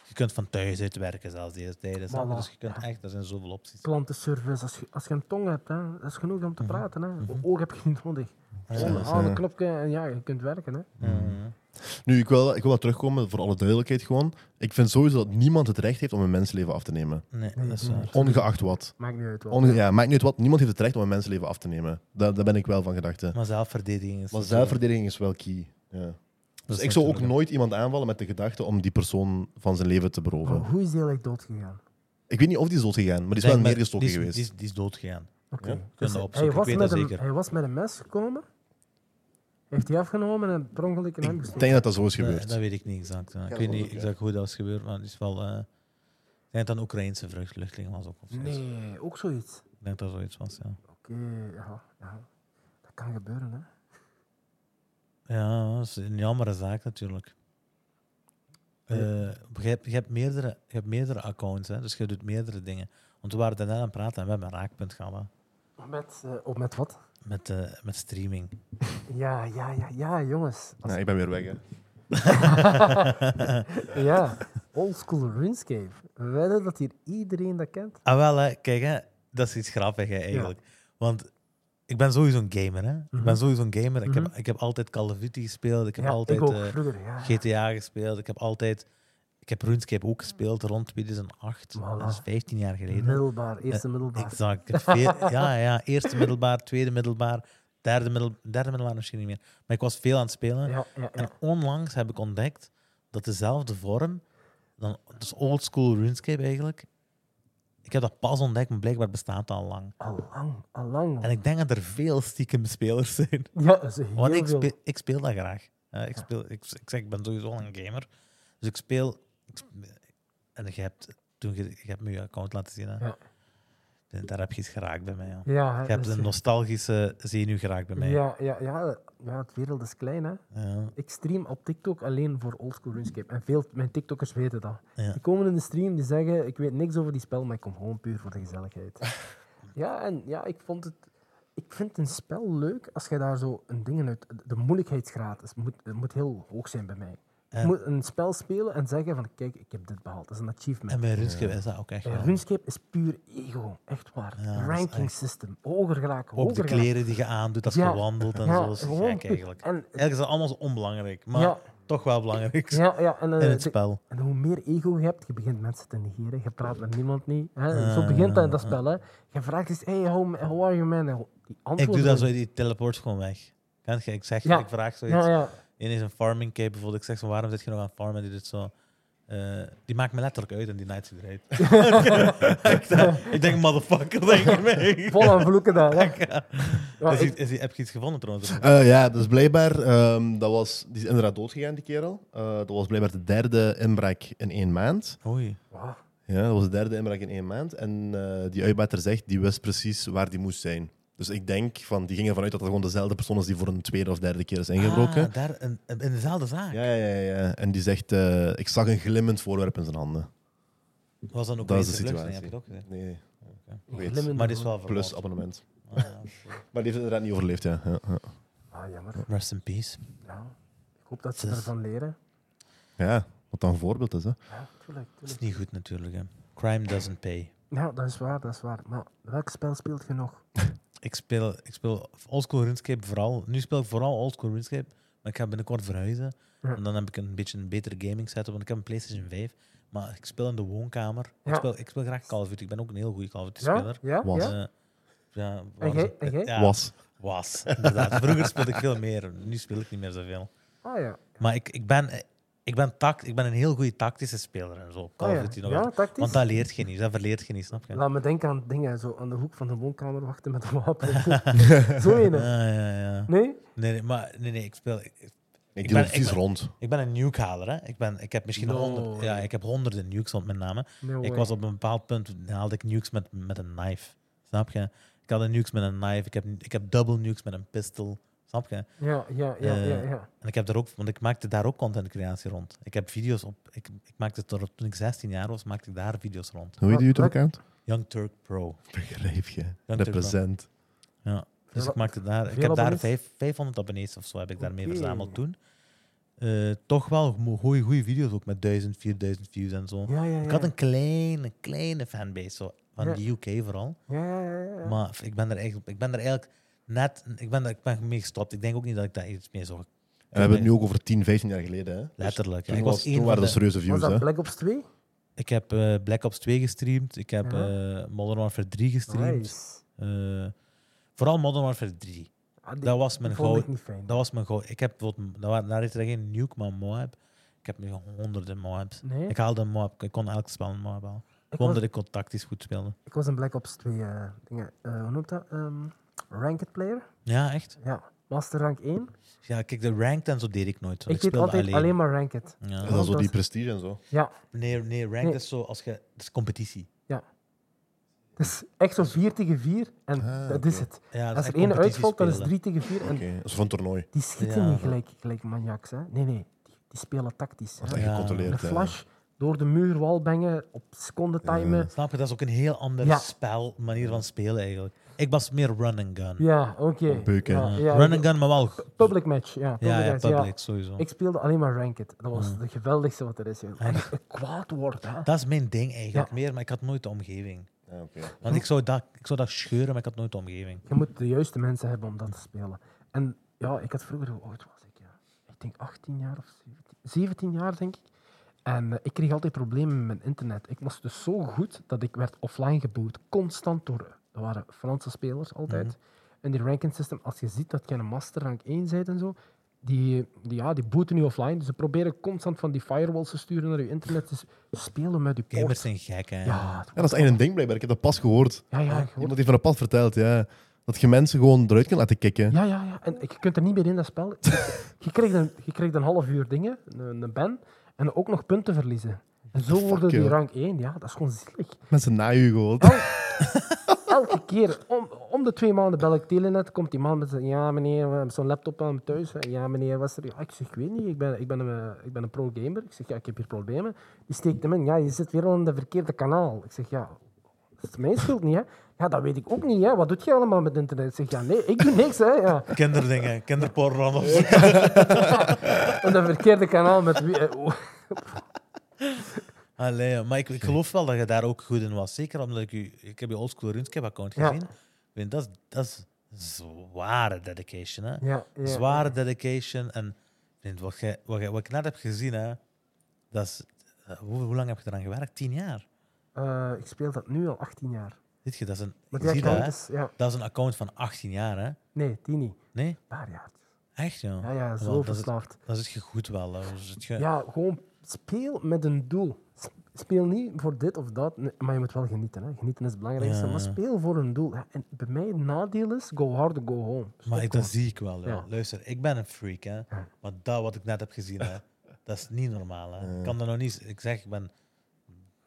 je kunt van thuis uit werken zelfs deze tijden. snap je?
Voilà.
Dus je kunt echt, er zijn zoveel opties.
klantenservice. Als je, als je een tong hebt, hè, dat is genoeg om te praten. Hè. Oog heb je niet nodig. Gewoon
Mhm. dat is,
aan een
eh,
knopje en ja, je kunt werken. Hè.
Eh,
Nu, ik wil, ik wil wel terugkomen, voor alle duidelijkheid gewoon. Ik vind sowieso dat niemand het recht heeft om een mensenleven af te nemen.
nee, dat is
Mm-hmm.
waar.
Ongeacht wat.
Maakt niet uit. Wel.
Onge ja, maakt niet uit wat. Niemand heeft het recht om een mensenleven af te nemen. Daar, daar ben ik wel van gedachte.
Maar zelfverdediging is...
Maar zelfverdediging is wel key. Ja. Dus ik zou ook nooit iemand aanvallen met de gedachte om die persoon van zijn leven te beroven.
Oh.
Maar hoe is die eigenlijk dood gegaan?
Ik weet niet of die is doodgegaan, maar die is
Denk
wel
maar,
neergestoken
die is-
geweest.
Die is, die is doodgegaan.
Oké. Dus
Ja,
kunnen we
hij,
opzoeken,
was
ik weet
met
dat
een,
zeker.
hij was met een mes gekomen, heeft die afgenomen en per ongeluk in hem
Ik
gestoken.
denk dat dat zo is
Dat,
gebeurd.
dat weet ik niet exact. ja. Ik
dat
weet
wel
niet
ook, ja.
exact hoe dat is gebeurd, maar het is wel... eh, denk dat het een Oekraïnse vlucht- vluchteling was ook. Of zoiets.
Nee, ook zoiets.
Ik denk dat dat zoiets was, ja.
Oké, ja, ja. Dat kan gebeuren, hè.
Ja, dat is een jammere zaak natuurlijk. Eh, je, hebt, je, hebt meerdere, je hebt meerdere accounts, hè, dus je doet meerdere dingen. Want we waren daarna aan het praten en we hebben een raakpunt gehad hè,
Met, eh, op met wat?
met, eh, met streaming.
Ja, ja, ja, ja, jongens. Als-
Nee, ik ben weer weg, hè.
ja, oldschool RuneScape. We weten dat hier iedereen dat kent.
Ah, wel, hè, kijk, hè, dat is iets grappigs hè, eigenlijk. Want ik ben sowieso een gamer. Hè. Ik ben sowieso een gamer. Ik, heb, ik heb altijd Call of Duty gespeeld. Ik heb
Mhm. ja,
altijd
ik ook,
eh,
vroeger, ja.
GTA gespeeld. Ik heb altijd. Ik heb RuneScape ook gespeeld rond 2008. Dat is
Voilà.
15 jaar geleden.
Middelbaar, eerste middelbaar.
Exact. Eh, Ik heb veel- ja, ja, eerste middelbaar, tweede middelbaar, derde, middel, derde middelbaar misschien niet meer. Maar ik was veel aan het spelen.
Ja, ja, ja.
En onlangs heb ik ontdekt dat dezelfde vorm, dan, dus old school RuneScape eigenlijk, ik heb dat pas ontdekt, maar blijkbaar bestaat dat al lang.
Allang, allang.
En ik denk dat er veel stiekem spelers zijn.
Ja, dat is heel
Want ik
veel.
speel, ik speel dat graag. Eh, ik, speel, ik, ik zeg, ik ben sowieso al een gamer. Dus ik speel. ik sp- en je hebt, toen je, je hebt me je account laten zien. Hè?
Ja.
Daar heb je iets geraakt bij mij. Ja.
Ja, hè,
Je hebt
dat is-
een nostalgische zenuw geraakt bij mij.
ja, ja, ja, ja, het wereld is klein, hè.
Ja,
Ik stream op TikTok alleen voor oldschool RuneScape. En veel mijn TikTokkers weten dat.
ja.
Die komen in de stream, die zeggen, ik weet niks over die spel, maar ik kom gewoon puur voor de gezelligheid. ja, en ja, ik vond het... Ik vind een spel leuk als je daar zo een ding uit... De moeilijkheidsgraad is, moet, het moet heel hoog zijn bij mij.
En-
Ik moet een spel spelen en zeggen van, kijk, ik heb dit behaald. Dat is een achievement.
En bij RuneScape is dat ook echt.
Eh,
wel.
RuneScape is puur ego, echt waar.
Ja, dat is
Ranking
echt-
system, hoger geraken,
Ook de
hoger geraken.
kleren die je aandoet als je
Ja.
wandelt en
Ja,
zo. Dat is
gewoon
gek
puur-
eigenlijk.
En,
Eigenlijk is dat allemaal zo onbelangrijk, maar
Ja.
toch wel belangrijk
ja, ja, en, eh,
in het
de-
spel.
En hoe meer ego je hebt, je begint mensen te negeren, je praat met niemand niet. Hè?
Ja,
zo begint dat in dat
ja,
spel. Hè? Je vraagt eens, hey, how, how are you man? En die
Ik doe
antwoorden
dat zo,
worden-
die teleport gewoon weg. Kan je? Ik zeg,
Ja.
ik vraag zoiets.
Ja, ja.
Eén is een farming cape bijvoorbeeld. Ik zeg zo, waarom zit je nog aan het farmen? Die doet zo. eh, die maakt me letterlijk uit en die night eruit. ik, denk, ik denk, motherfucker, denk ik mee.
Vol aan vloeken daar. Hè? Ja,
Is,
ik-
die- is, die- heb je iets gevonden trouwens?
Eh, ja, dus blijkbaar, ehm, dat was, die is inderdaad doodgegaan, die kerel. Eh, dat was blijkbaar de derde inbraak in één maand.
Oei.
Wauw.
Ja, dat was de derde inbraak in één maand. En eh, die uitbater zegt, die wist precies waar die moest zijn. Dus ik denk, van, die ging ervan uit dat dat gewoon dezelfde persoon is die voor een tweede of derde keer is ingebroken.
Ah, daar, in, in dezelfde zaak.
ja, ja, ja, ja. En die zegt, eh, ik zag een glimmend voorwerp in zijn handen.
Was dan ook
Dat is de
een
situatie.
Heb je het ook gezien?
Nee, weet.
glimmende
Maar dit is
vloek.
wel
plus
verloren.
abonnement.
Ah, ja, oké.
Maar die heeft inderdaad niet overleefd, ja. Ja, ja.
Ah, jammer.
Rest in peace.
Ja. Ik hoop dat ze
Dus-
ervan leren.
Ja, wat dan een voorbeeld is, hè.
Ja, tuurlijk,
Dat is
tuurlijk.
niet goed natuurlijk. Hè. Crime doesn't pay.
Ja, dat is waar, dat is waar. Maar welk spel speelt je nog?
Ik speel, ik speel oldschool RuneScape vooral. Nu speel ik vooral oldschool RuneScape. Maar ik ga binnenkort verhuizen.
Ja.
En dan heb ik een beetje een betere gaming setup. Want ik heb een PlayStation 5. Maar ik speel in de woonkamer. Ik,
Ja.
speel, ik speel graag Call of Duty. Ik ben ook een heel goede Call of Duty
Ja?
speler.
Ja?
Was.
ja?
Eh, ja,
En
was-
jij? En jij?
ja,
Was.
was, inderdaad. Vroeger speelde ik veel meer. Nu speel ik niet meer zoveel.
Ah ja.
Maar ik, ik, ben, ik, ben, tact, ik ben een heel goede tactische speler en zo. Call
Ah,
of
ja.
Duty nog
ja,
altijd.
tactisch.
Want dat leert je niet, dat verleert je niet, snap je?
Laat me denken aan dingen, zo aan de hoek van de woonkamer wachten met een wapen. zo een. hè?
Ja, ja, ja.
Nee?
Nee, nee, maar nee, nee, ik speel. Ik,
Ik,
Ik
doe
ben-
het precies
ik ben-
rond.
ik ben een nukehaler, hè? Ik, ben, ik heb misschien
No
honderd, ja,
way.
ik heb honderden nukes op mijn naam.
No
Ik
way.
was op een bepaald punt haalde ik nukes met, met een knife, snap je? Ik had een nukes met een knife, ik heb, ik heb double nukes met een pistol, snap je?
Ja, ja, ja,
Eh,
ja, ja.
En ik heb daar ook, want ik maakte daar ook content creatie rond. Ik heb video's op, ik, ik maakte tot toen ik 16 jaar was, maakte ik daar video's rond.
Hoe heet die
Wat- wat-
YouTube-account?
Young Turk Pro.
Begrijp je.
wel.
Represent.
Ja, dus
Veel-
ik maakte daar. Ik
veel
heb daar
abonnees?
vijf, 500 abonnees of zo heb ik daarmee
Oké.
verzameld toen. Eh, toch wel goede goeie video's ook met 1000, 4000 views en zo.
Ja, ja, ja.
Ik had een kleine, kleine fanbase zo, van
Ja.
de UK vooral.
Ja, ja, ja, ja.
Maar f- ik ben er eigenlijk, ik ben er eigenlijk net ik ben, er, ik ben mee gestopt. Ik denk ook niet dat ik daar iets mee zou.
En we hebben het nu ook over 10, 15 jaar geleden. Hè? Dus
Letterlijk. ja.
toen
Ik,
was,
was één
toen
van
waren dat
de-
serieuze
Was
views. Hè?
dat Black Ops 2?
ik heb eh, Black Ops 2 gestreamd. Ik heb
Ja.
eh, Modern Warfare 3 gestreamd.
Nice.
Eh, vooral Modern Warfare 3.
Ah, die-
Dat was
die
mijn
vond
gouden.
ik niet fijn.
Dat was mijn goal. Ik heb bijvoorbeeld, daar wa- daar is er geen nuke, maar Moab. Ik heb nu honderden Moabs.
Nee,
Ik
ik,
haalde een Moab. Ik kon elk spel een Moab halen. Gewoon
was,
omdat ik contactisch goed speelde.
ik was een Black Ops 2 eh dingen. eh, hoe noemt dat? Ehm ranked player?
Ja, echt?
Ja. Master rank 1.
Ja, kijk, de ranked en zo deed ik nooit. want
Ik deed
speelde
altijd alleen, maar ranked.
Ja.
En dan zo die prestige en zo.
Ja,
Nee, nee, ranked
Nee.
is zo als je... Dat is competitie.
het is echt zo 4 tegen 4 en
Ah,
dat is
oké.
het.
Ja, dat
Als
is
er
echt
één uitvalt, dan is het
competitiespelen.
3 tegen 4 en
Oké, dat is van toernooi.
die schieten
Ja.
niet gelijk, gelijk maniaks. Hè. Nee, nee, die, die spelen tactisch.
Dat
hè.
is echt eh,
Ja.
Een
gecontroleerd. hè.
flash, door de muur, walbengen, op seconde timen.
Snap je? Dat is ook een heel andere
Ja.
spel, manier van spelen eigenlijk. Ik was meer run and gun.
Ja, oké.
Beuken.
Ja, ja,
run and gun, maar wel...
Public match, ja. Public
ja, ja,
match, ja.
public, sowieso.
Ik speelde alleen maar ranked. Dat was het geweldigste wat er is. joh. En ik kwaad word, hè.
Dat is mijn ding eigenlijk
Ja.
meer, maar ik had nooit de omgeving.
Ja, oké.
Want ik zou, dat, ik zou dat scheuren, maar ik had nooit de omgeving.
Je moet de juiste mensen hebben om dat te spelen. En ja, ik had vroeger, hoe oud was ik? Ja? Ik denk 18 jaar of 17, 17 jaar, denk ik. En eh, ik kreeg altijd problemen met mijn internet. Ik was dus zo goed dat ik werd offline geboot, constant door. eh, Dat waren Franse spelers altijd. En die ranking system, als je ziet dat je een master rank 1 bent en zo, die, die, ja, die booten je offline. Dus ze proberen constant van die firewalls te sturen naar je internet. Dus spelen met je
Gamers
poort.
zijn gek, hè.
Ja, het-
Ja, dat is echt een ding blijkbaar. Ik heb dat pas gehoord.
ja, ja, gewoon-
Iemand heeft van een pad verteld, ja. Dat je mensen gewoon eruit kan laten kicken.
Ja, ja, ja. En je kunt er niet meer in dat spel. Je krijgt een, je krijgt een half uur dingen, een, een ban, en ook nog punten verliezen. En zo
Fuck,
worden die
joh.
rank 1. Ja, dat is gewoon zielig.
Mensen na je gewoon.
Oh. Elke keer, om, om de twee maanden bel ik Telenet, komt die man met zijn, ja meneer, we hebben zo'n laptop aan thuis. Ja meneer, was er... Ja, ik zeg, ik weet niet, ik ben, ik ben een, eh, ik ben een pro-gamer. Ik zeg, ja, ik heb hier problemen. Die steekt hem in, ja, je zit weer aan de verkeerde kanaal. Ik zeg, ja, dat is mijn schuld niet, hè. Ja, dat weet ik ook niet, hè. Wat doet je allemaal met internet? Ik zeg, ja, nee, ik doe niks, hè. Ja.
Kinderdingen, kinderporno of zo.
Op dat verkeerde kanaal met wie... eh, oh.
Allee, maar ik, ik geloof wel dat je daar ook goed in was. Zeker omdat ik je... Ik heb je oldschool RuneScape-account
Ja.
gezien. Ik weet, dat, is, dat is zware dedication, hè.
Ja, ja.
Zware dedication. En ik weet, wat, jij- wat, jij- wat ik net heb gezien, hè. Dat is... eh, hoe, hoe lang heb je eraan gewerkt? Tien jaar.
Eh, ik speel dat nu al 18 jaar.
Weet je, dat is een...
Maar
je
die
ziet dat,
account
hè.
is... Ja.
Dat is een account van 18 jaar, hè.
Nee, die niet. Een
Nee?
paar jaar.
Echt, joh.
Ja, ja, zo
Want dat is-
verslaafd.
Dan zit je goed wel. hè. Dan zit je...
Ja, gewoon speel met een doel. S- Speel niet voor dit of dat, nee, maar je moet wel genieten. Hè. Genieten is het belangrijkste,
Ja,
maar
ja.
speel voor een doel. Ja, en bij mij het nadeel is, go hard or go home. Stop
maar ik,
gewoon.
dat zie ik wel. joh.
Ja.
Luister, ik ben een freak, hè. Maar dat wat ik net heb gezien, hè, dat is niet normaal. Hè. Ik kan dat nog niet... Ik zeg, ik ben...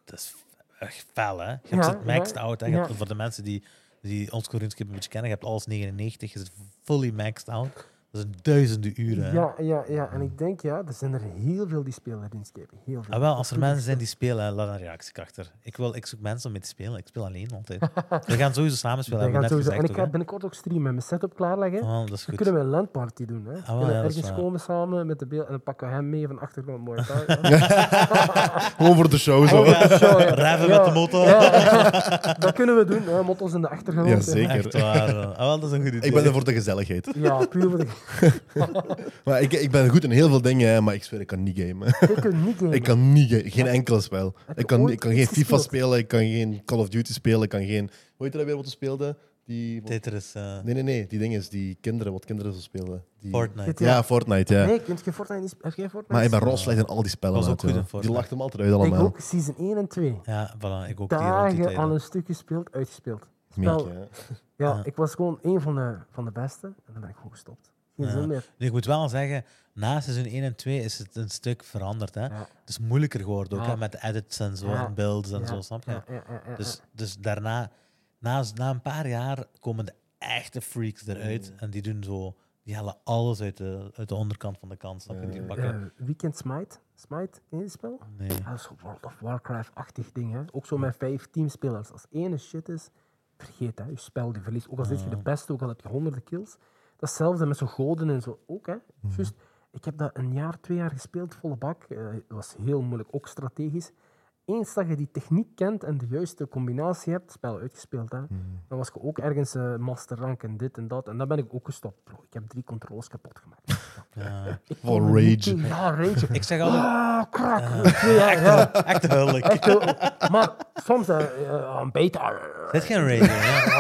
Dat is echt fel, hè. Je hebt
Ja,
het maxed
ja,
out. Hè. Je hebt-
ja.
voor de mensen die, die ons Corinthians een beetje kennen, je hebt alles 99. Je zit fully maxed out. Dat zijn duizenden uren. hè.
Ja, ja, ja, en ik denk, ja, er zijn er heel veel die spelen in Skype. Heel veel.
Ah, wel, als er mensen zijn die spelen, hè, laat een reactie achter. Ik, wil, ik zoek mensen om mee te spelen. Ik speel alleen altijd. We gaan sowieso samen spelen.
Wij gaan
hebben we net
sowieso- en
gezegd
ik
ook,
ga binnenkort ook streamen, mijn setup klaarleggen.
hè. Oh, dat is
Dan
goed. Ah,
kunnen we een landparty doen. Hè.
wel,
kunnen
ja, dat is
ergens
waar.
komen samen met de beeld en dan pakken we hem mee van de achtergrond. Mooi.
gewoon voor de show zo.
ja, zo, ja.
Rijven
Ja,
met de motor.
ja, ja. dat kunnen we doen. Hè. Motto's in de achtergrond.
Ja,
hè.
zeker.
Echt waar. man. Ah, wel, dat is een goed idee.
Ik ben er voor de gezelligheid.
Ja, puur voor de...
Maar ik, ik ben goed in heel veel dingen, hè, maar ik zweer, ik kan niet gamen.
Je kunt niet gamen.
Ik kan niet gamen. Geen enkel spel.
Heb je
Ik kan,
ooit
ik kan geen
iets
FIFA
gespeeld?
spelen, ik kan geen Call of Duty spelen, ik kan geen... Hoe heet dat weer wat we speelden? Die...
Tetris, eh,
Nee, nee, nee. Die dingen is die kinderen, wat kinderen zo spelen. Die...
Fortnite.
Ja, Fortnite, ja.
Nee, kunt je Fortnite niet... sp- Heb jij Fortnite?
Maar ik ben rol slecht in al die spellen.
Was ook
maat,
goed
joh.
in Fortnite.
Die lacht hem altijd uit
Ik
allemaal.
ook season 1 en 2.
Ja, voilà. Ik ook die rond die
Dagen aan
tijden.
een stuk gespeeld, uitgespeeld.
Mink,
Spel,
ja.
ja,
Ja.
ik was gewoon één van de, van de beste. En dan ben ik gewoon gestopt. Geen
Ja.
zin meer.
Nu, ik moet wel zeggen, na seizoen 1 en 2 is het een stuk veranderd. Hè?
Ja.
Het is moeilijker geworden ook,
Ja.
hè, met edits en zo,
Ja.
en builds en
Ja.
zo, snap je?
Ja, ja, ja, ja,
Dus, dus daarna, na, na een paar jaar, komen de echte freaks eruit.
Mm.
En die doen zo, die halen alles uit de, uit de onderkant van de kant, snap je? Die
ja.
pakken...
Eh, Weekend Smite. Smite, één spel.
Nee.
Ja, dat is World of Warcraft-achtig ding. Hè? Ook zo met vijf teamspelers. Als ene shit is, vergeet hè, je spel, je verliest. Ook al zit je de beste, ook al heb je honderden kills. Datzelfde met zo'n goden en zo ook. Hè? Juist, ik heb dat een jaar, twee jaar gespeeld, volle bak. Eh, Het was heel moeilijk, ook strategisch. Eens dat je die techniek kent en de juiste combinatie hebt, spel uitgespeeld. Hè? Dan was je ook ergens eh, master rank en dit en dat. En dan ben ik ook gestopt. Bro, ik heb drie controles kapot gemaakt.
Ja.
Ik
Voor
kon er niet
rage.
tegen- Ja, rage.
Ik zeg altijd,
Ah, krak. Ja, ja.
echt huilijk.
Echt, eh, maar soms eh, eh, een beta.
Dit is geen rating, hè.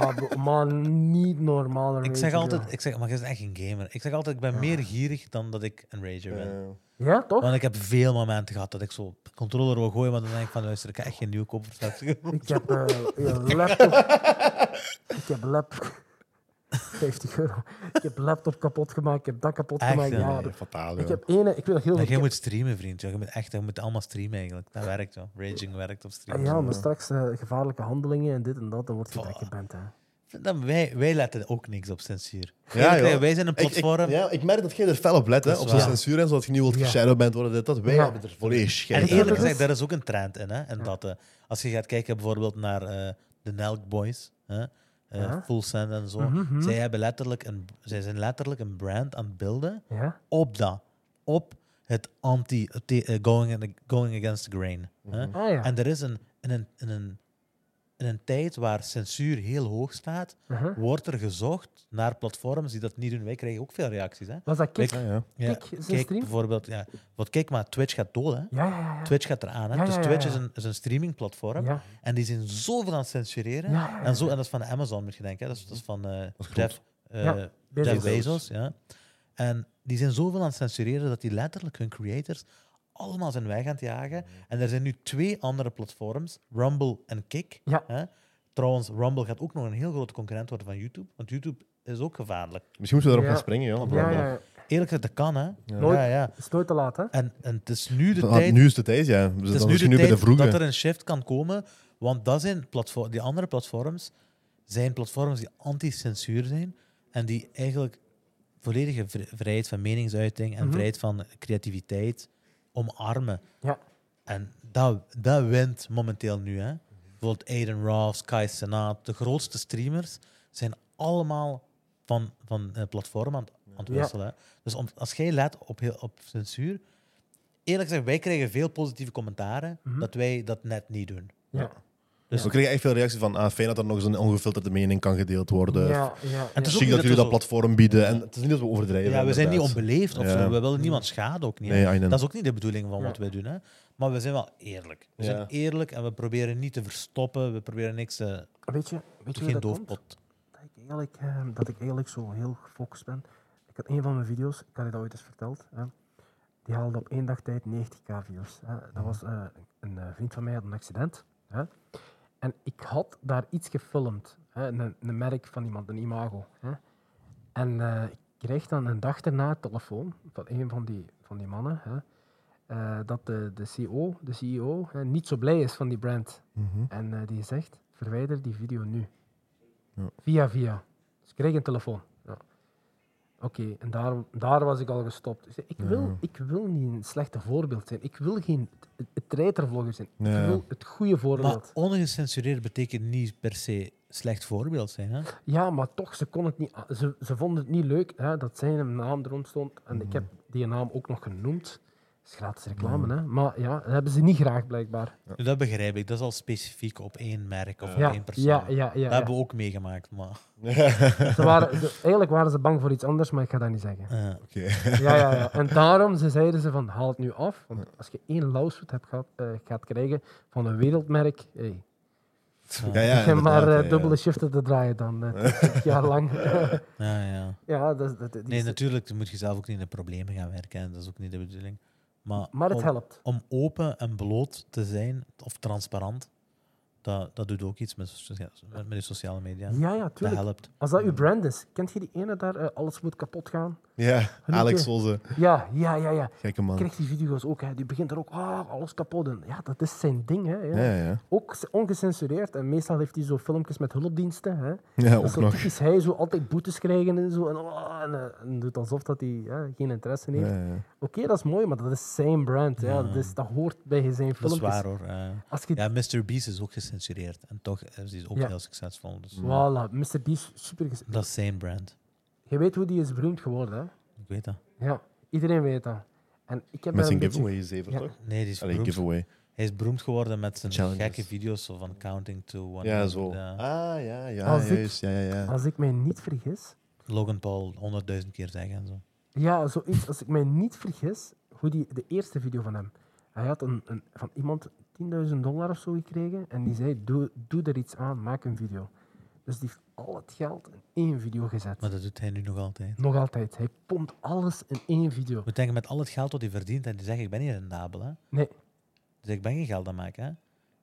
Ah, bro, man, niet normaal. een
Ik zeg
rager,
altijd, ik zeg, maar je bent echt geen gamer. Ik zeg altijd, ik ben meer gierig dan dat ik een rager ben.
joh. Ja, toch?
Want ik heb veel momenten gehad dat ik zo de controller wil gooien, maar dan denk ik van, luister, ik ga echt geen nieuw kopen.
Ik heb eh, een laptop. ik heb laptop. 50 euro. Ik heb laptop kapot gemaakt, ik heb dat kapot
Echt,
gemaakt.
hè?
Ja,
Ja,
dat-
fataal,
ik
ja.
heb ene, ik wil heel
Ja,
veel.
je moet streamen, vriend. Ja, Je moet echt, je moet allemaal streamen eigenlijk. Dat werkt wel. Raging werkt op
Ah
streamen.
ja, maar straks eh, gevaarlijke handelingen en dit en dat, dan word je
Voilà.
direct geband. Hè.
Dan, wij, wij letten ook niks op censuur.
Ja,
Eerlijk,
joh.
wij zijn een platform.
Ik, ik, ja, ik merk dat jij er fel op let, hè,
Dat is
op zo'n
waar.
censuur en zo, dat je niet wilt
Ja.
geshadowband bent worden, dit, dat. Wij
Ja.
hebben er volledig
en
scheid aan.
eerlijk
dat
gezegd,
is-
daar is ook een trend in. Hè? En dat, eh, als je gaat kijken bijvoorbeeld naar eh, de Nelk Boys, hè? eh,
Ja.
Full Send en zo.
Mhm,
Zij, hebben letterlijk een, zij zijn letterlijk een brand aan het beelden
Ja?
op dat. Op het anti, te- eh, going, in the- going against the grain. hè.
Ah ja.
En er is een, in, een, in, een, in een tijd waar censuur heel hoog staat,
Mhm.
wordt er gezocht naar platforms die dat niet doen. Wij krijgen ook veel reacties. Hè?
Was dat kick?
Ja, ja.
Ja,
Kijk, is een
kijk
stream?
bijvoorbeeld, ja. Want kijk maar, Twitch gaat dood, hè?
Ja, ja, ja.
Twitch gaat eraan. Hè?
Ja,
dus
ja, ja,
Twitch
ja.
Is, een, is een streamingplatform.
Ja.
En die zijn zoveel aan het censureren.
Ja, ja, ja.
En, zo, en dat is van Amazon, moet je denken. Hè? Dat is, dat is van eh,
groot.
Jeff, eh,
Ja,
Jeff
Bezos.
Bezos. Ja. En die zijn zoveel aan het censureren dat die letterlijk hun creators allemaal zijn weg aan het jagen. En er zijn nu twee andere platforms, Rumble en Kick.
Ja.
Hè? Trouwens, Rumble gaat ook nog een heel grote concurrent worden van YouTube. Want YouTube is ook gevaarlijk.
Misschien moeten we erop
Ja.
gaan springen, joh.
ja, ja, ja.
Eerlijk gezegd, dat kan, hè?
Nooit.
Ja, ja.
Het is nooit te laat, hè?
En, en het is nu de
Ah,
tijd
nu Dus is de tijd, ja. We
Het is
zitten
nu de
misschien nu bij de
tijd dat er
vroege.
een shift kan komen, want dat zijn platform, die andere platforms zijn platforms die anti-censuur zijn en die eigenlijk volledige vri- vrijheid van meningsuiting en
Mhm.
vrijheid van creativiteit omarmen.
Ja.
En dat, dat wint momenteel nu. Hè? Bijvoorbeeld Aiden Ross, Kai Senaat, de grootste streamers zijn allemaal van, van eh, platform aan, het- aan het
Ja.
wisselen. hè. Dus om- als jij let op, heel- op censuur, eerlijk gezegd, wij krijgen veel positieve commentaren
Mhm.
dat wij dat net niet doen.
Ja.
Dus-
We kregen echt veel reacties van, ah, fijn dat er nog eens een ongefilterde mening kan gedeeld worden.
Ja, ja,
het is
ja.
ook
Chic
niet
dat
dat
jullie
we
dat
zo-
platform bieden. En het is niet dat we overdrijven.
Ja, we zijn niet
inderdaad.
onbeleefd of
Ja.
zo. We willen niemand schaden ook niet. hè.
Nee, I know.
dat is ook niet de bedoeling van wat
Ja.
wij doen. Hè? Maar we zijn wel eerlijk. We
Ja.
zijn eerlijk en we proberen niet te verstoppen. We proberen niks... eh,
Weet je, weet je hoe
geen
dat komt?
doofpot.
dat ik eigenlijk, eh, dat ik eigenlijk zo heel gefocust ben. Ik had een van mijn video's, ik had je dat ooit eens verteld, hè, die haalde op één dag tijd 90k views. Hè. Dat was eh, een eh, vriend van mij had een accident. Hè. En ik had daar iets gefilmd, hè, een, een merk van iemand, een imago. Hè. En eh, ik kreeg dan een dag daarna een telefoon van een van die, van die mannen, hè, eh, dat de, de CEO, de CEO hè, niet zo blij is van die brand. En eh, die zegt, verwijder die video nu. Via, via. Dus ik kreeg een telefoon. Ja. Oké, en daar, daar was ik al gestopt. Ik, zei, ik, wil, ik wil niet een slechte voorbeeld zijn. Ik wil geen het- het treitervlogger zijn.
Ja.
Ik wil het goede
Maar
voorbeeld.
ongecensureerd betekent niet per se slecht voorbeeld zijn. Hè?
ja, maar toch, ze, kon het niet, a- ze, ze vonden het niet leuk hè, dat zijn naam erom stond. En ik heb die naam ook nog genoemd. Dat is gratis reclame, hè. Maar ja, dat hebben ze niet graag, blijkbaar.
Nu, Dat begrijp ik. Dat is al specifiek op één merk of op
Ja,
één persoon.
ja, ja,
Dat
ja. ja.
hebben we ook meegemaakt. Maar,
Mhm.
Ze waren, ze- eigenlijk waren ze bang voor iets anders, maar ik ga dat niet zeggen.
eh,
Oké.
Ja, ja, ja. En daarom ze zeiden ze van haal het nu af. Want als je één lawsuit hebt gehad, eh, gaat krijgen van een wereldmerk, hey,
Ja, ja,
heb je maar
inderdaad,
eh,
ja,
dubbele
ja.
shiften te draaien dan, eh, 20 jaar lang.
ja, ja.
ja, dat, is- dat, Dus dat is-
Nee, natuurlijk dan moet je zelf ook niet in de problemen gaan werken. En dat is ook niet de bedoeling. Maar,
maar het
om,
helpt.
om open en bloot te zijn, of transparant, dat, dat doet ook iets met, socia- met, met de sociale media.
Ja, ja,
dat
tuurlijk.
helpt.
Als dat uw brand is, kent je die ene daar, eh, alles moet kapot gaan?
Ja, Alex Solze.
Ja, ja, ja, ja.
Gekke
Ik
man.
krijg die video's ook, hè. die begint er ook, ah, alles kapot. En ja, dat is zijn ding, hè. Ja.
Ja, ja, ja.
Ook s- ongecensureerd. En meestal heeft hij zo filmpjes met hulpdiensten, hè.
Ja,
Dat
ook
is zo
nog.
typisch hij, zo altijd boetes krijgen en zo. En, ah, en, eh, en doet alsof dat hij hè, geen interesse heeft.
Ja, ja.
Oké, dat is mooi, maar dat is zijn brand. Ja. Dat, is, dat hoort bij zijn filmpjes.
Dat is waar hoor. eh.
Als je,
ja, Mr. Beast is ook gecensureerd. En toch is hij ook
Ja.
heel succesvol. Dus
Voilà, Mr. Beast, super ges-
Dat is zijn brand.
Je weet hoe die is beroemd geworden,
Ik weet dat.
hè? Ja, iedereen weet dat. En ik heb
Met
daar
zijn
een beetje-
giveaway zeven,
Ja.
toch?
Nee, die is
Allee,
beroemd.
giveaway.
Hij is beroemd geworden met zijn
Challenges.
gekke video's zo van counting to one. eh,
Ja, zo.
Ja.
Ah, ja, ja,
Als ik-
juist. Ja, ja, ja.
Als ik mij niet vergis...
Logan Paul 100.000 keer zeggen en zo.
Ja, zoiets. Als ik mij niet vergis, hoe die, de eerste video van hem. Hij had een, een, van iemand 10.000 dollar of zo gekregen en die zei: doe, doe er iets aan, maak een video. Dus die heeft al het geld in één video gezet.
Maar dat doet hij nu nog altijd.
Nog altijd. Hij pompt alles in één video.
Je moet denken, met al het geld wat hij verdient, en die zegt, ik ben niet rendabel. Hè?
Nee,
Dus ik ben geen geld aan maken. Hè?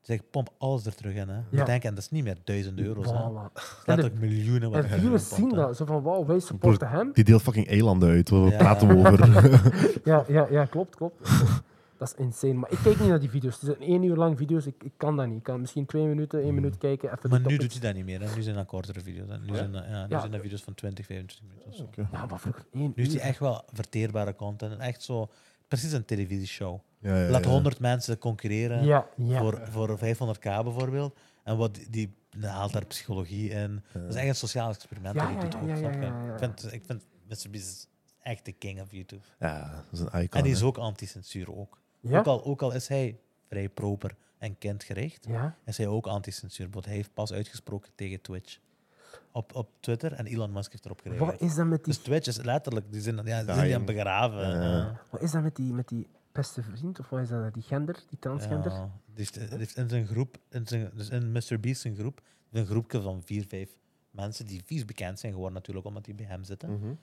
Dus ik pomp alles er terug in. Hè.
Ja.
Ik denk, en dat is niet meer duizend euro's. hè. Dat
Voilà.
is letterlijk miljoenen. wat
En
er erin
viewers
pompt,
zien
hè.
dat. Zo van, wauw, wij supporten hem.
Die deelt fucking eilanden uit. Wat
Ja.
praten we over?
Ja, ja, ja klopt, klopt. Dat is insane. Maar ik kijk niet naar die video's. Het zijn één uur lang video's. Ik, ik kan dat niet. Ik kan misschien twee minuten, één minuut kijken. Even
Hmm. Maar
de
nu
topics.
doet hij dat niet meer. Hè. Nu zijn dat kortere video's. Hè. Nu, zijn, dat, ja, nu
Ja.
zijn dat video's van 20, 25 minuten. Of zo.
Ja, maar vroeger één
Nu is die
uur.
echt wel verteerbare content. En Echt zo, precies een televisieshow.
Ja, ja,
Laat
ja.
100 mensen concurreren
Ja, ja.
eh, Voor, voor 500k bijvoorbeeld. En wat die, die haalt daar psychologie in. Dat is echt een sociaal experiment.
Ja,
dat hij
ja,
doet
ja,
ook,
ja,
snap
ja,
je?
ja, ja.
Ik vind, ik vind Mr. Beast is echt de king of YouTube.
Ja, dat is een icon.
en die
hè.
is ook anti-censuur. Ook.
Ja?
Ook, al, ook al is hij vrij proper en kindgericht,
Ja.
is hij ook anti-censuur. Want hij heeft pas uitgesproken tegen Twitch. Op, op Twitter. En Elon Musk heeft erop
Wat
gereageerd.
is dat met die,
Dus Twitch is letterlijk, die zijn, ja, die zijn die
Dying.
aan het begraven. ja.
wat is dat met die, met die beste vriend? Of wat is dat? Die gender? Die transgender?
Ja, die heeft, die heeft in zijn groep, in zijn, dus in Mr. Beast zijn groep, een groepje van vier, vijf mensen die vies bekend zijn geworden natuurlijk, omdat die bij hem zitten.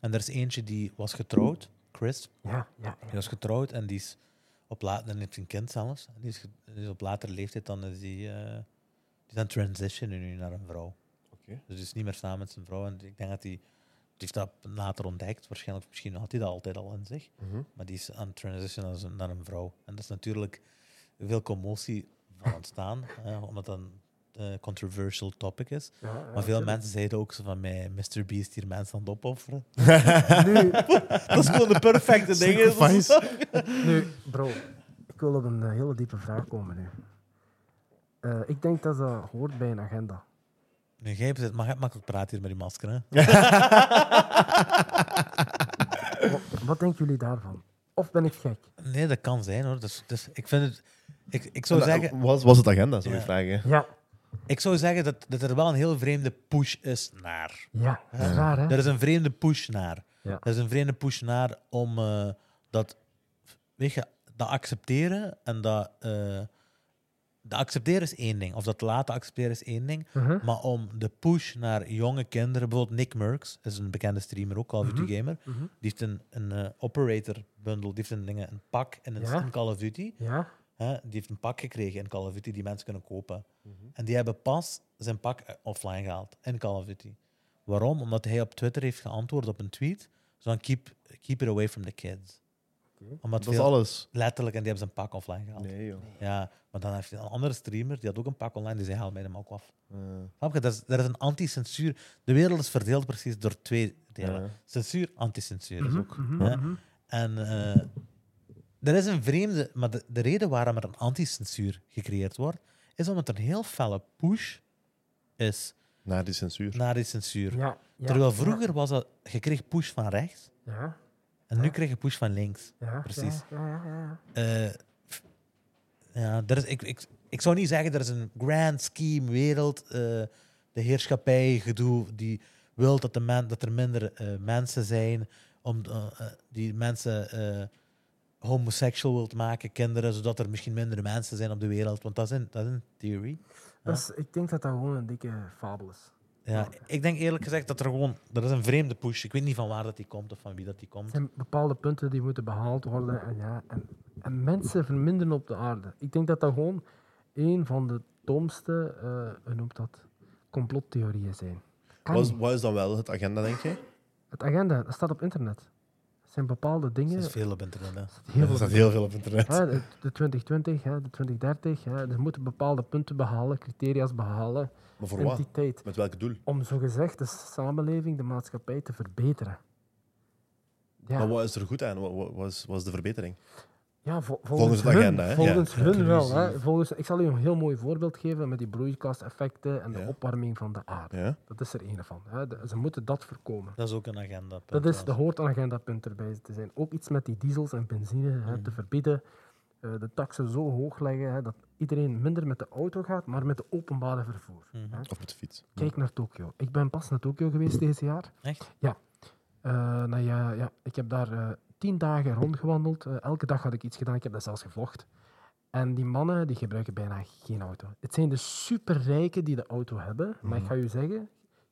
En er is eentje die was getrouwd, Chris,
Ja, ja, ja.
die was getrouwd en die is op later, en heeft een kind zelfs, en die is, ge- die is op latere leeftijd dan is die, eh, die is aan het transitionen nu naar een vrouw.
Oké.
Dus die is niet meer samen met zijn vrouw en ik denk dat hij die heeft dat later ontdekt, waarschijnlijk misschien had hij dat altijd al in zich.
Mhm.
Maar die is aan het transitionen naar, zijn- naar een vrouw. En dat is natuurlijk veel commotie van ontstaan, hè, omdat dat een eh, controversial topic is.
Ja, ja,
maar veel mensen zeiden ook zo van mij, Mr. Beast hier mensen aan het opofferen.
Nu,
dat is gewoon de perfecte ding. hè. Dat is-
nu, bro, ik wil op een eh, hele diepe vraag komen nu. Eh, ik denk dat dat hoort bij een agenda.
Nu, jij zit mag makkelijk praten hier met die masker. Hè?
Wat, wat denken jullie daarvan? Of ben ik gek?
Nee, dat kan zijn hoor. Dus, dus ik vind het... Ik, ik zou
Nou,
zeggen...
was, was het agenda, zou je
Ja.
vragen?
Ja,
Ik zou zeggen dat, dat er wel een heel vreemde push is naar.
ja, dat is raar, hè?
Er is een vreemde push naar.
Ja.
Er is een vreemde push naar om eh, dat, weet je, dat accepteren en dat. eh, dat accepteren is één ding, of dat laten accepteren is één ding.
Mhm.
Maar om de push naar jonge kinderen, bijvoorbeeld Nick Murks, is een bekende streamer ook, Call of Duty
Mhm.
Gamer. Die heeft een, een eh, operator bundle, die heeft een, dingen, een pak en een
Ja.
in Call of Duty.
Ja,
Hè, die heeft een pak gekregen in Call of Duty die mensen kunnen kopen.
Mhm.
En die hebben pas zijn pak eh, offline gehaald in Call of Duty. Waarom? Omdat hij op Twitter heeft geantwoord op een tweet. Zo van keep, keep it away from the kids. Omdat
Dat is
veel-
alles.
Letterlijk, en die hebben zijn pak offline gehaald.
Nee, joh.
Ja, maar dan heeft hij een andere streamer, die had ook een pak online, die zei haal mij hem ook af.
Eh,
Snap je? Dat is, dat is een anti-censuur. De wereld is verdeeld precies door twee delen.
Ja.
Censuur, anti-censuur is ook.
mhm,
hè. En eh, er is een vreemde... Maar de, de reden waarom er een anti-censuur gecreëerd wordt, is omdat er een heel felle push is
naar die censuur.
Nou,
naar die censuur.
ja, ja.
Terwijl vroeger was dat... Je kreeg push van rechts,
Ja,
en nu kreeg je push van links.
ja,
Precies.
Ja, ja, ja, ja.
Eh, f- ja, er is, ik, ik, ik zou niet zeggen, er is een grand scheme wereld, eh, de heerschappij, gedoe, die wil dat, de men, dat er minder eh, mensen zijn, om, eh, eh, die mensen eh homoseksueel wilt maken, kinderen, zodat er misschien minder mensen zijn op de wereld. Want dat is een, dat is een theory.
Dat is, ik denk dat dat gewoon een dikke fabel is.
Ja, ik denk eerlijk gezegd dat er gewoon, er is een vreemde push. Ik weet niet van waar dat die komt of van wie dat die komt.
Er zijn bepaalde punten die moeten behaald worden. En, ja, en, en mensen verminderen op de aarde. Ik denk dat dat gewoon een van de domste, eh hoe noemt dat, complottheorieën zijn. Kan
Wat is,
niet.
wat is dan wel het agenda, denk je?
Het agenda, dat staat op internet. Er zijn bepaalde dingen.
Er is veel op internet. hè.
heel
Er
veel-
staat heel veel op internet.
hè, de, de 2020, hè, de 2030. Hè, er moeten bepaalde punten behalen, criteria's behalen.
Maar voor wat?
Entiteit.
Met welk doel?
Om zogezegd de samenleving, de maatschappij te verbeteren. Ja.
Maar wat is er goed aan? Wat, wat, wat is, wat is de verbetering?
Ja, vol- volgens,
Volgens de
hun,
agenda, hè?
Volgens
Ja.
hun wel.
Inclusief.
Hè. Volgens, ik zal u een heel mooi voorbeeld geven met die broeikaseffecten en de
Ja.
opwarming van de aarde.
Ja?
Dat is er een van. Hè. De- ze moeten dat voorkomen.
Dat is ook een agenda.
Dat, is, dat hoort een agendapunt erbij te zijn. Ook iets met die diesels en benzine hè, te verbieden. eh, de taxen zo hoog leggen hè, dat iedereen minder met de auto gaat, maar met de openbare vervoer. hè.
Of met de fiets?
Kijk naar Tokio. Ik ben pas naar Tokio geweest deze jaar.
Echt?
Ja. Eh, nou ja, ja, ik heb daar eh, tien dagen rondgewandeld. Eh, elke dag had ik iets gedaan. Ik heb dat zelfs gevlogd. En die mannen die gebruiken bijna geen auto. Het zijn de superrijken die de auto hebben. Maar ik ga u zeggen,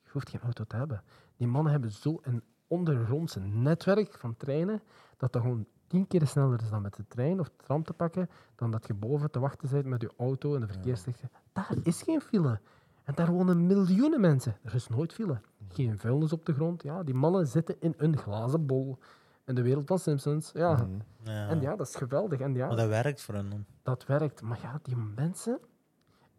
je hoeft geen auto te hebben. Die mannen hebben zo'n ondergrondse netwerk van treinen dat dat gewoon tien keer sneller is dan met de trein of de tram te pakken, dan dat je boven te wachten bent met je auto en de verkeerslichten. Daar is geen file. En daar wonen miljoenen mensen. Er is nooit file. Geen vuilnis op de grond. Ja, die mannen zitten in een glazen bol. En de wereld van Simpsons. Ja.
Mhm.
Ja.
En ja, dat is geweldig. En ja,
Maar dat werkt voor hen. dan.
dat werkt. Maar ja, die mensen,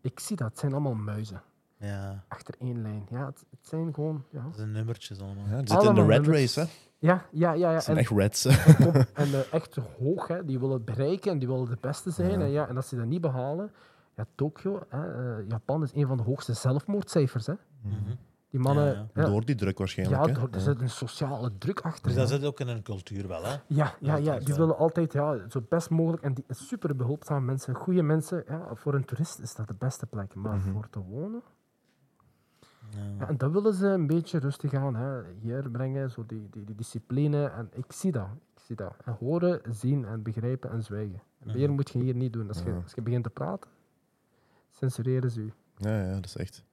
ik zie dat, het zijn allemaal muizen.
Ja,
Achter één lijn. Ja, het, het zijn gewoon. Ja,
dat zijn nummertjes allemaal.
Ja,
Ja.
die zitten in de
Allemaal
red
nummers.
race, hè?
ja, ja. ja, ja.
Het zijn
En-
echt reds. hè.
Kom, en eh, echt hoog, hè. die willen het bereiken en die willen de beste zijn. En, ja, en als ze dat niet behalen, ja, Tokio, hè, eh, Japan is een van de hoogste zelfmoordcijfers. Hè.
Mhm.
Die mannen, ja,
Door die druk
ja,
waarschijnlijk. hè.
door- er zit een sociale druk achter.
Dus
hè.
dat zit ook in een cultuur wel, hè?
Ja, ja,
dat
ja,
is
die
wel.
willen altijd ja, zo best mogelijk en die super behulpzame mensen, goede mensen. Ja, voor een toerist is dat de beste plek, maar voor te wonen. Ja, en dat willen ze een beetje rustig aan hè, hier brengen, zo die, die, die discipline. En ik zie dat. Ik zie dat. En horen, zien en begrijpen en zwijgen. En meer moet je hier niet doen. Als je, als je begint te praten, censureren ze u.
Ja, ja, dat is echt.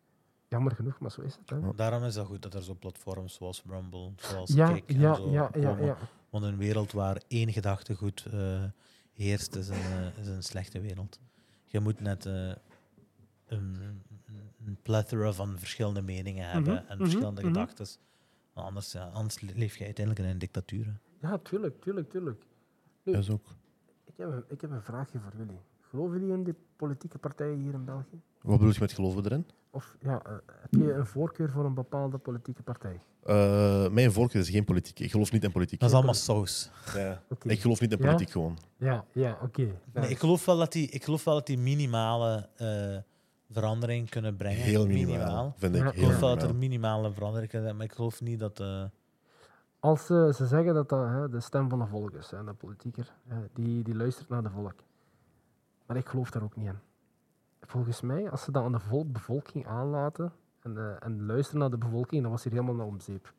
Jammer genoeg, maar zo is het. Hè.
Daarom is dat goed dat er zo platforms zoals Rumble, zoals
Ja,
Kik en
ja,
zo
ja, ja,
komen.
ja.
Want een wereld waar één gedachtegoed eh heerst, is een, eh, is een slechte wereld. Je moet net eh, een, een plethora van verschillende meningen hebben
Mhm,
en
mhm,
verschillende
mhm.
gedachtes. Want Anders, ja, anders le- leef je uiteindelijk in een dictatuur. hè.
Ja, tuurlijk, tuurlijk, tuurlijk.
Dat is ook.
Ik heb, een, ik heb een vraagje voor jullie. Geloven jullie in de politieke partijen hier in België?
Wat bedoel je met geloven erin?
Of ja, eh, heb je een voorkeur voor een bepaalde politieke partij?
Eh, mijn voorkeur is geen politiek. Ik geloof niet in politiek.
Dat is allemaal saus.
Ja.
Oké.
Ik geloof niet in
Ja?
politiek gewoon.
Ja, ja, oké.
Nee, ik, geloof wel dat die, ik geloof wel dat die minimale eh, verandering kunnen brengen.
Heel minimaal, vind ik.
Ja,
Heel
Ik geloof wel
minimaal.
dat er minimale veranderingen kunnen zijn, maar ik geloof niet dat... eh,
Als eh, ze zeggen dat dat hè, de stem van de volk is, hè, de politieker, hè, die, die luistert naar de volk. Maar ik geloof daar ook niet in. Volgens mij, als ze dat aan de vol- bevolking aanlaten en, eh, en luisteren naar de bevolking, dan was hier helemaal naar om zeep.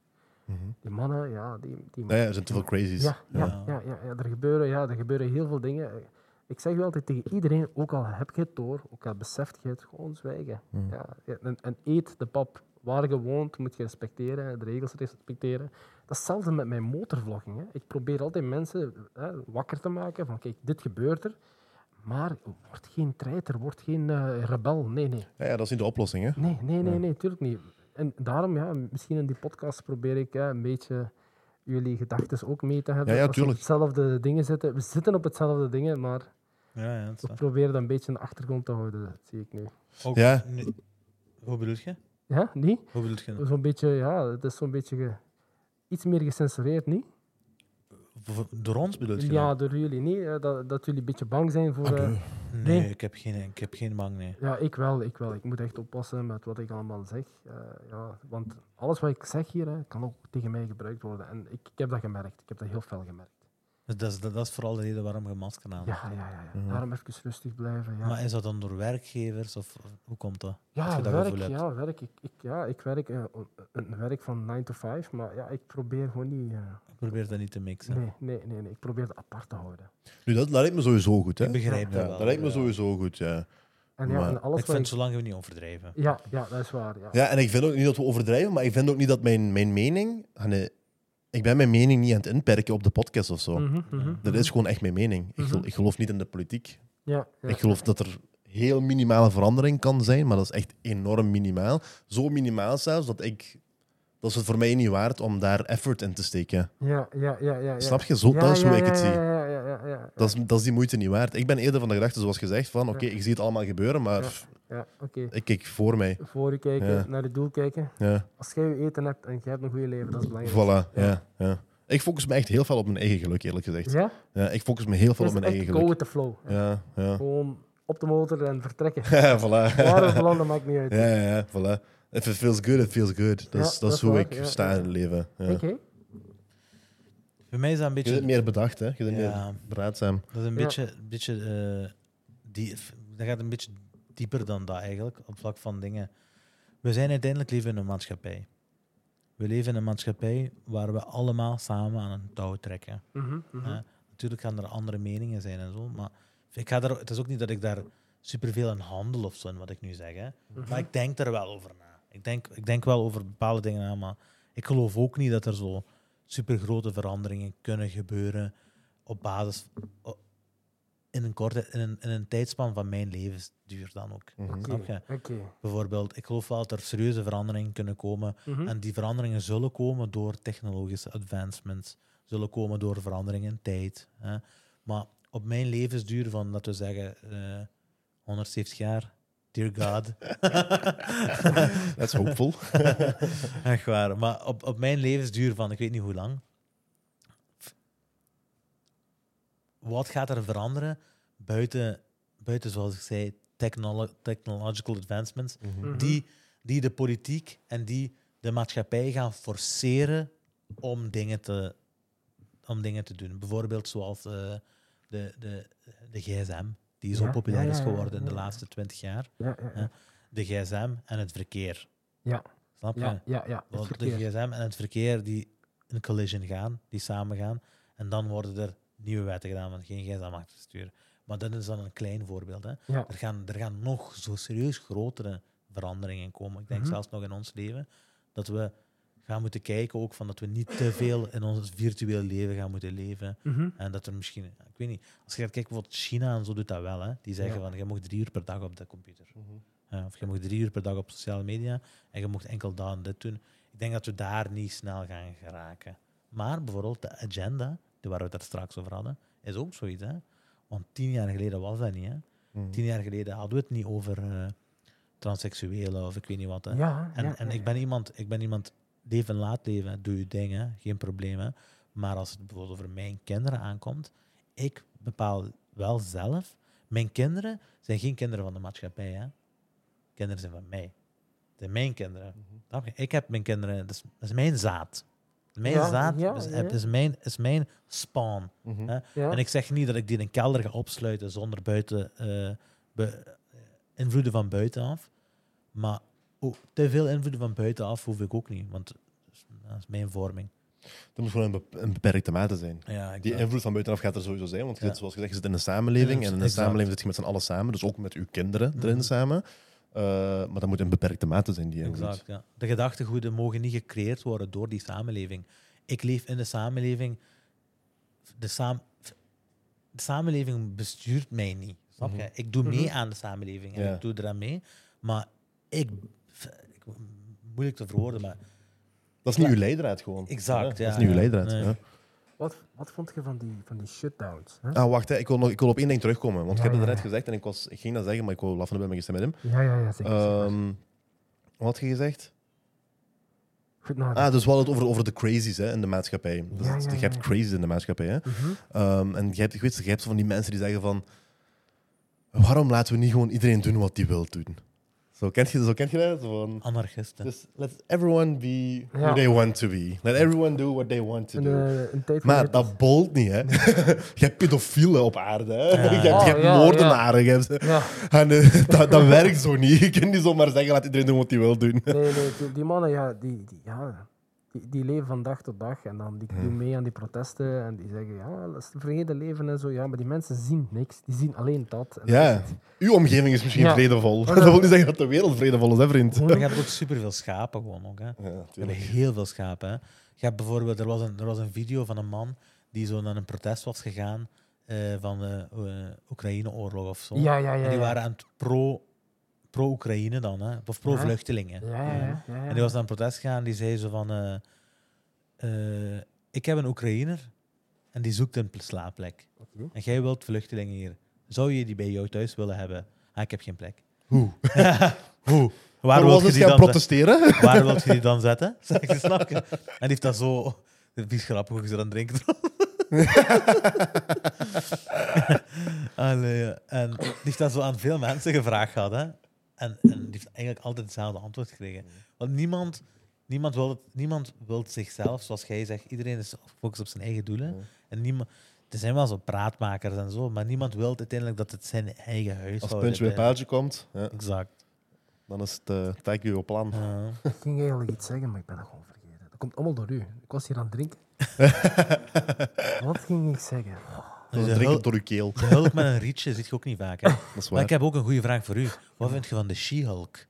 Mhm.
Die mannen, ja, die... die
Ja, ja, er zijn te veel crazies.
ja, ja,
Ja.
ja. Ja, ja, er gebeuren, ja, er gebeuren heel veel dingen. Ik zeg wel altijd tegen iedereen, ook al heb je het door, ook al beseft je het, gewoon zwijgen. Ja, ja, en, en eet de pap. Waar je woont, moet je respecteren, de regels respecteren. Dat is hetzelfde met mijn motorvlogging. Hè. Ik probeer altijd mensen hè, wakker te maken van, kijk, dit gebeurt er. Maar word geen treiter, word geen eh, rebel. Nee, nee.
Ja, ja, dat is niet de oplossing, hè?
Nee, nee, nee, nee, tuurlijk niet. En daarom, ja, misschien in die podcast probeer ik hè, een beetje jullie gedachten ook mee te hebben.
Ja, ja,
Als we op
tuurlijk.
hetzelfde dingen zitten. We zitten op hetzelfde dingen, maar
ja, ja, dat is
we
waar.
proberen dat een beetje in de achtergrond te houden. Dat zie ik nu.
Ook
Ja.
nu- hoe bedoel je?
Ja, niet?
Hoe bedoel je?
Zo'n beetje, ja, het is zo'n beetje ge- iets meer gecensureerd, niet?
V- Door ons bedoel je?
Ja, door jullie niet. hè, Dat, dat jullie een beetje bang zijn voor...
Ah,
eh,
Nee,
nee.
Ik, heb geen, ik heb geen bang, nee.
Ja, ik wel, ik wel. Ik moet echt oppassen met wat ik allemaal zeg. eh, ja, want alles wat ik zeg hier, hè, kan ook tegen mij gebruikt worden. En ik, ik heb dat gemerkt. Ik heb dat heel fel gemerkt.
Dus dat is, dat, dat is vooral de reden waarom je masker aan hebt.
Ja, ja, ja. ja. Daarom even rustig blijven. Ja,
Maar is dat dan door werkgevers of of hoe komt dat? Als
ja
je dat
werk.
gevoel hebt.
Ja, werk. Ik, ik, ja, ik werk eh, o- een werk van 9 to 5, maar ja, ik probeer gewoon niet. eh,
Ik probeer dat niet te mixen.
nee, nee, nee, nee. Ik probeer het apart te houden.
Nu, dat, dat lijkt me sowieso goed, hè?
Ik begrijp
Ja,
dat wel.
dat lijkt me
ja.
sowieso goed, ja.
En ja,
Maar
en alles
Ik vind
wat ik...
zolang we niet overdrijven.
Ja, ja, dat is waar. Ja.
Ja, en ik vind ook niet dat we overdrijven, maar ik vind ook niet dat mijn, mijn mening... Ah, nee, ik ben mijn mening niet aan het inperken op de podcast of zo.
Mhm, mhm.
Dat is gewoon echt mijn mening. Ik, gel-
Mhm.
ik geloof niet in de politiek.
ja, ja.
Ik geloof dat er heel minimale verandering kan zijn, maar dat is echt enorm minimaal. Zo minimaal zelfs dat ik... Dat is het voor mij niet waard om daar effort in te steken.
ja, ja, ja, ja, ja.
Snap je? Zo,
Ja,
dat is
ja,
hoe ik
ja,
het zie.
Ja, ja, ja, ja, ja.
Dat is, dat is die moeite niet waard. Ik ben eerder van de gedachte, zoals gezegd, van oké,
Ja.
ik zie het allemaal gebeuren, maar
Ja.
pff,
Ja, oké.
ik kijk voor mij.
Voor je kijken,
Ja.
naar het doel kijken.
Ja,
Als jij je eten hebt en jij hebt een goede leven, dat is belangrijk.
voilà. Ja. Ja, Ik focus me echt heel veel op mijn eigen geluk, eerlijk gezegd. Ja.
Ja?
ik focus me heel veel
Dus
op mijn eigen
echt go
geluk.
with the flow.
Ja, ja.
Gewoon op de motor en vertrekken.
voilà.
Waar we belanden maakt niet uit.
Ja, ja, ja, voilà. If it feels good, it feels good.
Ja,
Dat is, dat
dat
is
is
hoe
waar,
ik
ja,
sta
ja.
in het leven. Ja.
Oké.
Voor mij is dat een
Je
beetje...
bent meer bedacht, hè? Je bent
Ja.
meer braadzaam.
Dat is een
Ja.
beetje... beetje eh, die, dat gaat een beetje dieper dan dat eigenlijk, op vlak van dingen. We zijn uiteindelijk leven in een maatschappij. We leven in een maatschappij waar we allemaal samen aan een touw trekken.
Mhm, mhm.
Hè? Natuurlijk gaan er andere meningen zijn en zo, maar ik ga daar, het is ook niet dat ik daar superveel aan handel of zo in wat ik nu zeg. Hè. Maar ik denk er wel over na. Ik denk, ik denk wel over bepaalde dingen na, maar ik geloof ook niet dat er zo supergrote veranderingen kunnen gebeuren op basis o- in een korte, in een, in een tijdspan van mijn levensduur dan ook.
Mhm.
Snap je?
Oké.
Bijvoorbeeld, ik geloof wel dat er serieuze veranderingen kunnen komen.
Mhm.
En die veranderingen zullen komen door technologische advancements, zullen komen door veranderingen in tijd. Hè. Maar op mijn levensduur van, laten we zeggen, eh, 170 jaar, dear God.
That's hopeful.
Mhm. Echt waar. Maar op, op mijn levensduur van, ik weet niet hoe lang. Wat gaat er veranderen buiten, buiten zoals ik zei, technolo- technological advancements,
Mhm.
die, die de politiek en die de maatschappij gaan forceren om dingen te, om dingen te doen. Bijvoorbeeld zoals eh, de, de, de gsm, die zo
Ja,
populair
ja,
is
ja, ja,
geworden in de
ja.
laatste twintig jaar.
Ja, ja, ja.
De gsm en het verkeer.
Ja.
Snap je?
Ja, ja, ja. Het
Want de
verkeer.
gsm en het verkeer die in collision gaan, die samen gaan. En dan worden er nieuwe wetten gedaan, want geen gsm mag te sturen. Maar dat is dan een klein voorbeeld. Hè.
Ja.
Er, gaan, er gaan nog zo serieus grotere veranderingen komen. Ik denk
Mhm.
zelfs nog in ons leven. Dat we gaan moeten kijken ook van dat we niet te veel in ons virtueel leven gaan moeten leven.
Mhm.
En dat er misschien, ik weet niet, als je gaat kijken wat China en zo doet dat wel. Hè. Die zeggen
Ja.
van, je mag drie uur per dag op de computer. Ja, of je mag drie uur per dag op sociale media en je mocht enkel dat en dit doen. Ik denk dat we daar niet snel gaan geraken. Maar bijvoorbeeld de agenda, die waar we het daar straks over hadden, is ook zoiets. Hè? Want tien jaar geleden was dat niet. Hè? Tien jaar geleden hadden we het niet over eh, transseksuelen of ik weet niet wat. Hè?
Ja,
En,
ja,
en
ja.
ik ben iemand, ik ben iemand, leef en laat leven, hè. doe je dingen, geen problemen. Maar als het bijvoorbeeld over mijn kinderen aankomt, ik bepaal wel zelf. Mijn kinderen zijn geen kinderen van de maatschappij. Hè. Kinderen zijn van mij. Het zijn mijn kinderen. Snap je? Ik heb mijn kinderen, dat is, dat is mijn zaad. Mijn
Ja,
zaad
ja,
is,
ja.
is, mijn, is mijn spawn.
Mhm.
Hè?
Ja.
En ik zeg niet dat ik die in een kelder ga opsluiten zonder buiten, eh, be- eh, invloeden van buitenaf. Maar ook te veel invloeden van buitenaf hoef ik ook niet, want dat is mijn vorming.
Er moet gewoon een, bep- een beperkte mate zijn.
Ja, ik
Die invloed van buitenaf gaat er sowieso zijn, want je
Ja.
zit, zoals gezegd, je zit in een samenleving en in een
Exact. Mhm.
samenleving zit je met z'n allen samen, dus ook met uw kinderen erin samen. Eh, maar dat moet in beperkte mate zijn, die invloed.
Exact, ja. De gedachtegoeden mogen niet gecreëerd worden door die samenleving. Ik leef in de samenleving. De, saam, de samenleving bestuurt mij niet. Snap je? Ik doe mee aan de samenleving en
Ja.
ik doe eraan mee. Maar ik, ik- Moeilijk te verwoorden, maar...
Dat is niet uw leidraad gewoon.
Exact,
Dat is
ja,
niet uw
ja.
leidraad.
Nee.
ja.
Wat, wat vond je van die, van die shutdowns? Hè?
Ah, wacht, hè. Ik, wil nog, ik wil op één ding terugkomen,
Ja,
want ik heb het
ja,
net
ja.
gezegd en ik, was, ik ging dat zeggen, maar ik wou laffen bij mijn gestemd met hem.
Ja, ja, ja, zeker. zeker.
Ehm, wat had je gezegd?
Goed nadenken.
Ah, dus we hadden het over, over de crazies hè, in de maatschappij. Dus
Ja,
het-
ja,
Je hebt
ja.
crazies in de maatschappij. Hè?
Mhm.
Ehm, en je hebt, ik weet, je hebt zo van die mensen die zeggen van... Waarom laten we niet gewoon iedereen doen wat die wil doen? Zo kent je, zo kent je dat? Zo van,
Anarchisten.
dus let everyone be who
Ja.
they want to be. Let everyone do what they want to
Een,
do.
eh, een tijd
maar
geleden-
dat bolt niet, hè? je hebt pedofielen op aarde, hè?
Ja.
Je hebt, je hebt
Oh, ja,
moordenaren. Je hebt,
Ja,
en, eh, dat, dat werkt zo niet. Je kunt niet zomaar zeggen, laat iedereen doen wat hij wil doen.
nee, nee, die, die mannen, ja, die, die, ja die, die leven van dag tot dag en dan die doen mee aan die protesten en die zeggen, ja, dat is het vrede leven en zo. Ja, maar die mensen zien niks, die zien alleen dat. En
Ja, uw omgeving is misschien
Ja.
vredevol.
Oh,
Maar
Dat
dat-
wil niet zeggen dat de wereld vredevol is, hè, vriend?
Maar je hebt ook superveel schapen gewoon ook, hè.
Ja,
Je hebt
tuurlijk.
heel veel schapen, hè. Je hebt bijvoorbeeld, er was een, er was een video van een man die zo naar een protest was gegaan eh, van de eh, Oekraïne-oorlog of zo.
Ja, ja, ja.
En die
ja.
waren aan het pro- pro-Oekraïne dan, hè? of pro-vluchtelingen.
Ja, ja, ja. ja, ja.
En die was aan het protest gegaan en die zei zo van... eh, eh, ik heb een Oekraïner en die zoekt een pl- slaapplek.
Oké.
En jij wilt vluchtelingen hier. Zou je die bij jou thuis willen hebben? Ah, ik heb geen plek.
Hoe?
Hoe? Waar
Maar
wil
was
je
het
die
gaan
dan
protesteren?
Waar wil je die dan zetten? Zeg je, snap je? En die heeft dat zo... Dat is grappig hoe ze dan drinken. Allee, ja. en die heeft dat zo aan veel mensen gevraagd gehad. Hè? En, en die heeft eigenlijk altijd hetzelfde antwoord gekregen. Want niemand, niemand, wil, het- niemand wil zichzelf, zoals jij zegt, iedereen is gefocust op zijn eigen doelen. En niemand, er zijn wel zo praatmakers en zo, maar niemand wil uiteindelijk dat het zijn eigen huis
Als puntje bij paaltje komt, ja,
Exact.
dan is het eh tag je plan.
Ja.
Ik ging eigenlijk iets zeggen, maar ik ben dat gewoon vergeten. Dat komt allemaal door u. Ik was hier aan het drinken. Wat ging ik zeggen?
Dan
Dus de
drink
hul-
het door je keel.
de hulp met een rietje zit je ook niet vaak. Hè?
Dat is
Maar ik
Oh, waar.
heb ook een goede vraag voor u. Wat vind je van de She-Hulk?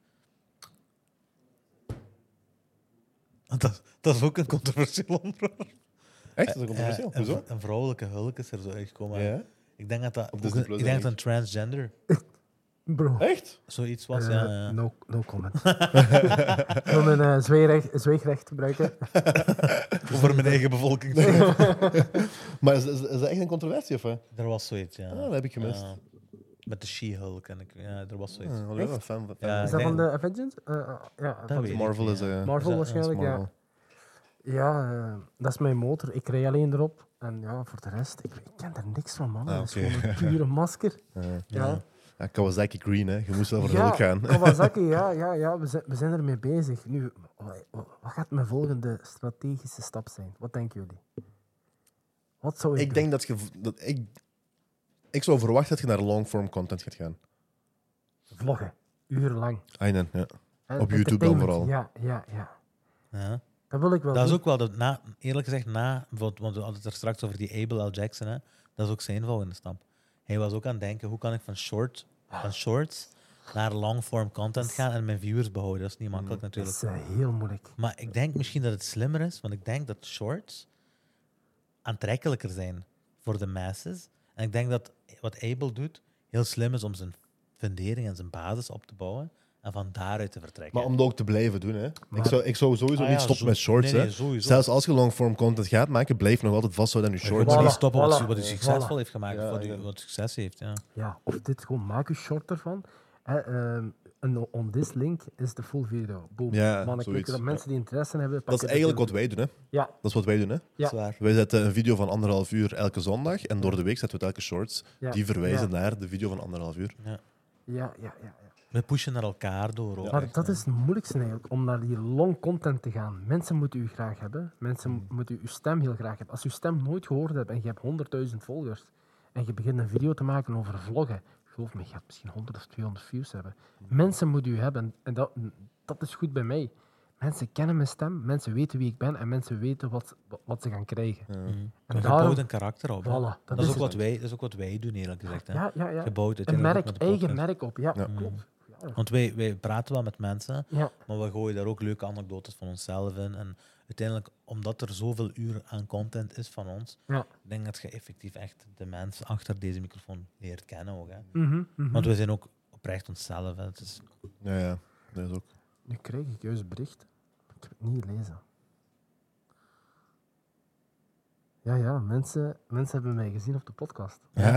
Want Dat, dat is ook een controversieel onderwerp.
Echt? Dat is
Eh,
controversieel.
een,
Hoezo?
vr- een vrouwelijke hulk is er zo uitgekomen.
Ja?
Ik denk dat dat,
Op
ook
Disney
een-
Plus
ik denk
dan
dat een transgender
Bro.
Echt?
zoiets was.
Eh,
ja, ja.
no, no comment. ik wil een eh, zweerrecht- zweegrecht gebruiken.
Voor mijn eigen bevolking.
Maar is, is, is dat echt een controversie? Of? hè?
er was zoiets, ja.
Ah, dat heb ik gemist.
Ja. met de She-Hulk en ik, ja, er was zoiets.
Ah, wel een fan van. fan
Ja,
Is
van-
dat van
denk-
de Avengers? Eh, eh, ja, van
weet ik
Marvel
niet,
is...
ja.
eh,
Marvel
Ja,
waarschijnlijk,
is
ja.
Marvel.
Ja, eh, dat is mijn motor. Ik rij alleen erop. En ja, voor de rest, ik, ik ken er niks van, man.
Ah,
Dat is
oké.
gewoon een pure masker.
Eh,
Ja,
ja, Kawasaki Green, hè. Je moest wel voor
Ja,
hulk gaan.
Kawasaki, ja, ja, ja we, zijn, we zijn ermee bezig. Nu, wa- wa- wat gaat mijn volgende strategische stap zijn? Wat denken jullie? Wat zou ik,
Ik denk dat je... v- Dat ik, ik zou verwachten dat je naar long-form content gaat gaan.
doen? Vloggen, urenlang.
I know, ja.
Eh,
Op YouTube dan
entertainment.
vooral.
Ja, ja, ja.
eh,
Ja.
Dat wil ik wel
Dat is
doen.
ook wel, de, na, eerlijk gezegd, na, want want we hadden het er straks over die Abel L. Jackson, hè, dat is ook zijn volgende stap. Hij was ook aan het denken, hoe kan ik van, short, van shorts naar long-form content gaan en mijn viewers behouden. Dat is niet makkelijk
Mm.
Dat
natuurlijk.
is eh, heel moeilijk.
Maar ik denk misschien dat het slimmer is, want ik denk dat shorts aantrekkelijker zijn voor de masses. En ik denk dat wat Abel doet, heel slim is om zijn fundering en zijn basis op te bouwen en van daaruit te vertrekken.
Maar om dat ook te blijven doen, hè. Ik
Maar-
zou, ik zou sowieso
Ah
niet
ja,
stoppen
zo-
met shorts,
nee,
hè.
nee, sowieso.
Zelfs als je long-form content gaat maken, blijf nog altijd vasthouden aan je
Shorts
shorts.
Voilà,
niet stoppen wat,
voilà,
wat hij succesvol
voilà.
heeft gemaakt,
Ja,
wat,
ja.
hij, wat succes heeft. Ja.
Ja, of dit gewoon, maak je short ervan. Hè, ehm, en o- on this link is de full video. Boom.
Ja,
Mannen
zoiets,
klikken dat
ja.
mensen die interesse hebben.
Dat is
pakken
eigenlijk wat
filmpje.
wij doen, hè.
Ja,
Dat is wat wij doen, hè.
Ja.
Zwaar.
Wij zetten een video van anderhalf uur elke zondag en door de week zetten we telkens shorts
Ja.
die verwijzen
Ja.
naar de video van anderhalf uur.
ja, ja. ja, ja.
We pushen naar elkaar door. Ook,
Maar
echt,
dat
hè.
is het moeilijkste eigenlijk, om naar die long content te gaan. Mensen moeten u graag hebben. Mensen moeten uw stem heel graag hebben. Als je uw stem nooit gehoord hebt en je hebt 100.000 volgers en je begint een video te maken over vloggen, geloof me, je gaat misschien 100 of 200 views hebben. Mensen moeten u hebben en dat, dat is goed bij mij. Mensen kennen mijn stem, mensen weten wie ik ben en mensen weten wat, wat, wat ze gaan krijgen.
Mhm.
En
Maar je
daarom-
bouwt een karakter op. hè.
Voilà, dat
dat, is
is
ook wat wij, dat is ook wat wij doen, eerlijk gezegd. Hè.
Ja, ja, ja.
Je bouwt
Een
uiteindelijk ook
merk,
met de
eigen
podcast.
merk op, ja,
Ja.
klopt. Ja.
Want wij, wij praten wel met mensen,
Ja.
maar we gooien daar ook leuke anekdotes van onszelf in. En uiteindelijk, omdat er zoveel uren aan content is van ons,
Ja.
ik denk dat je effectief echt de mensen achter deze microfoon leert kennen. Ook, hè.
Mhm, mhm.
Want we zijn ook oprecht onszelf. Hè. Het is,
Ja, ja. Dat is ook.
Nu krijg ik juist bericht. Ik heb het niet gelezen. Ja, ja, mensen, mensen hebben mij gezien op de podcast.
Ah, let's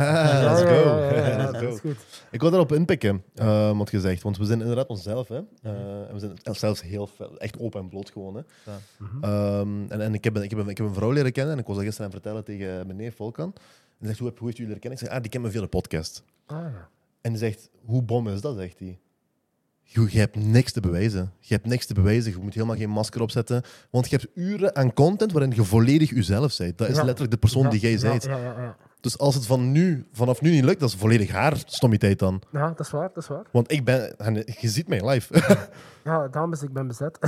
ja,
go.
Ja, ja, ja, ja,
Let's
dat
go.
is goed.
Ik wil daarop inpikken, eh, wat gezegd. Want we zijn inderdaad onszelf. Hè? Eh, en we zijn zelfs heel fel- echt open en bloot gewoon. Hè?
Ja.
Mhm.
Ehm, en en ik, heb, een- ik, heb een, ik heb een vrouw leren kennen en ik was dat gisteren aan het vertellen tegen meneer Volkan. En die zegt, hoe, heb, hoe heeft u leren kennen? Ik zeg, ah, die kent me via de podcast.
Ah, ja.
En die zegt, hoe bom is dat, zegt hij. Je, je hebt niks te bewijzen. Je hebt niks te bewijzen. Je moet helemaal geen masker opzetten. Want je hebt uren aan content waarin je volledig jezelf bent. Dat is
Ja.
letterlijk de persoon
Ja,
die jij
ja,
bent.
Ja, ja, ja.
Dus als het van nu, vanaf nu niet lukt, dat is volledig haar stommiteit dan.
ja, dat is waar, dat is waar.
Want ik ben, en je ziet mij live.
Ja, dames, ik ben bezet.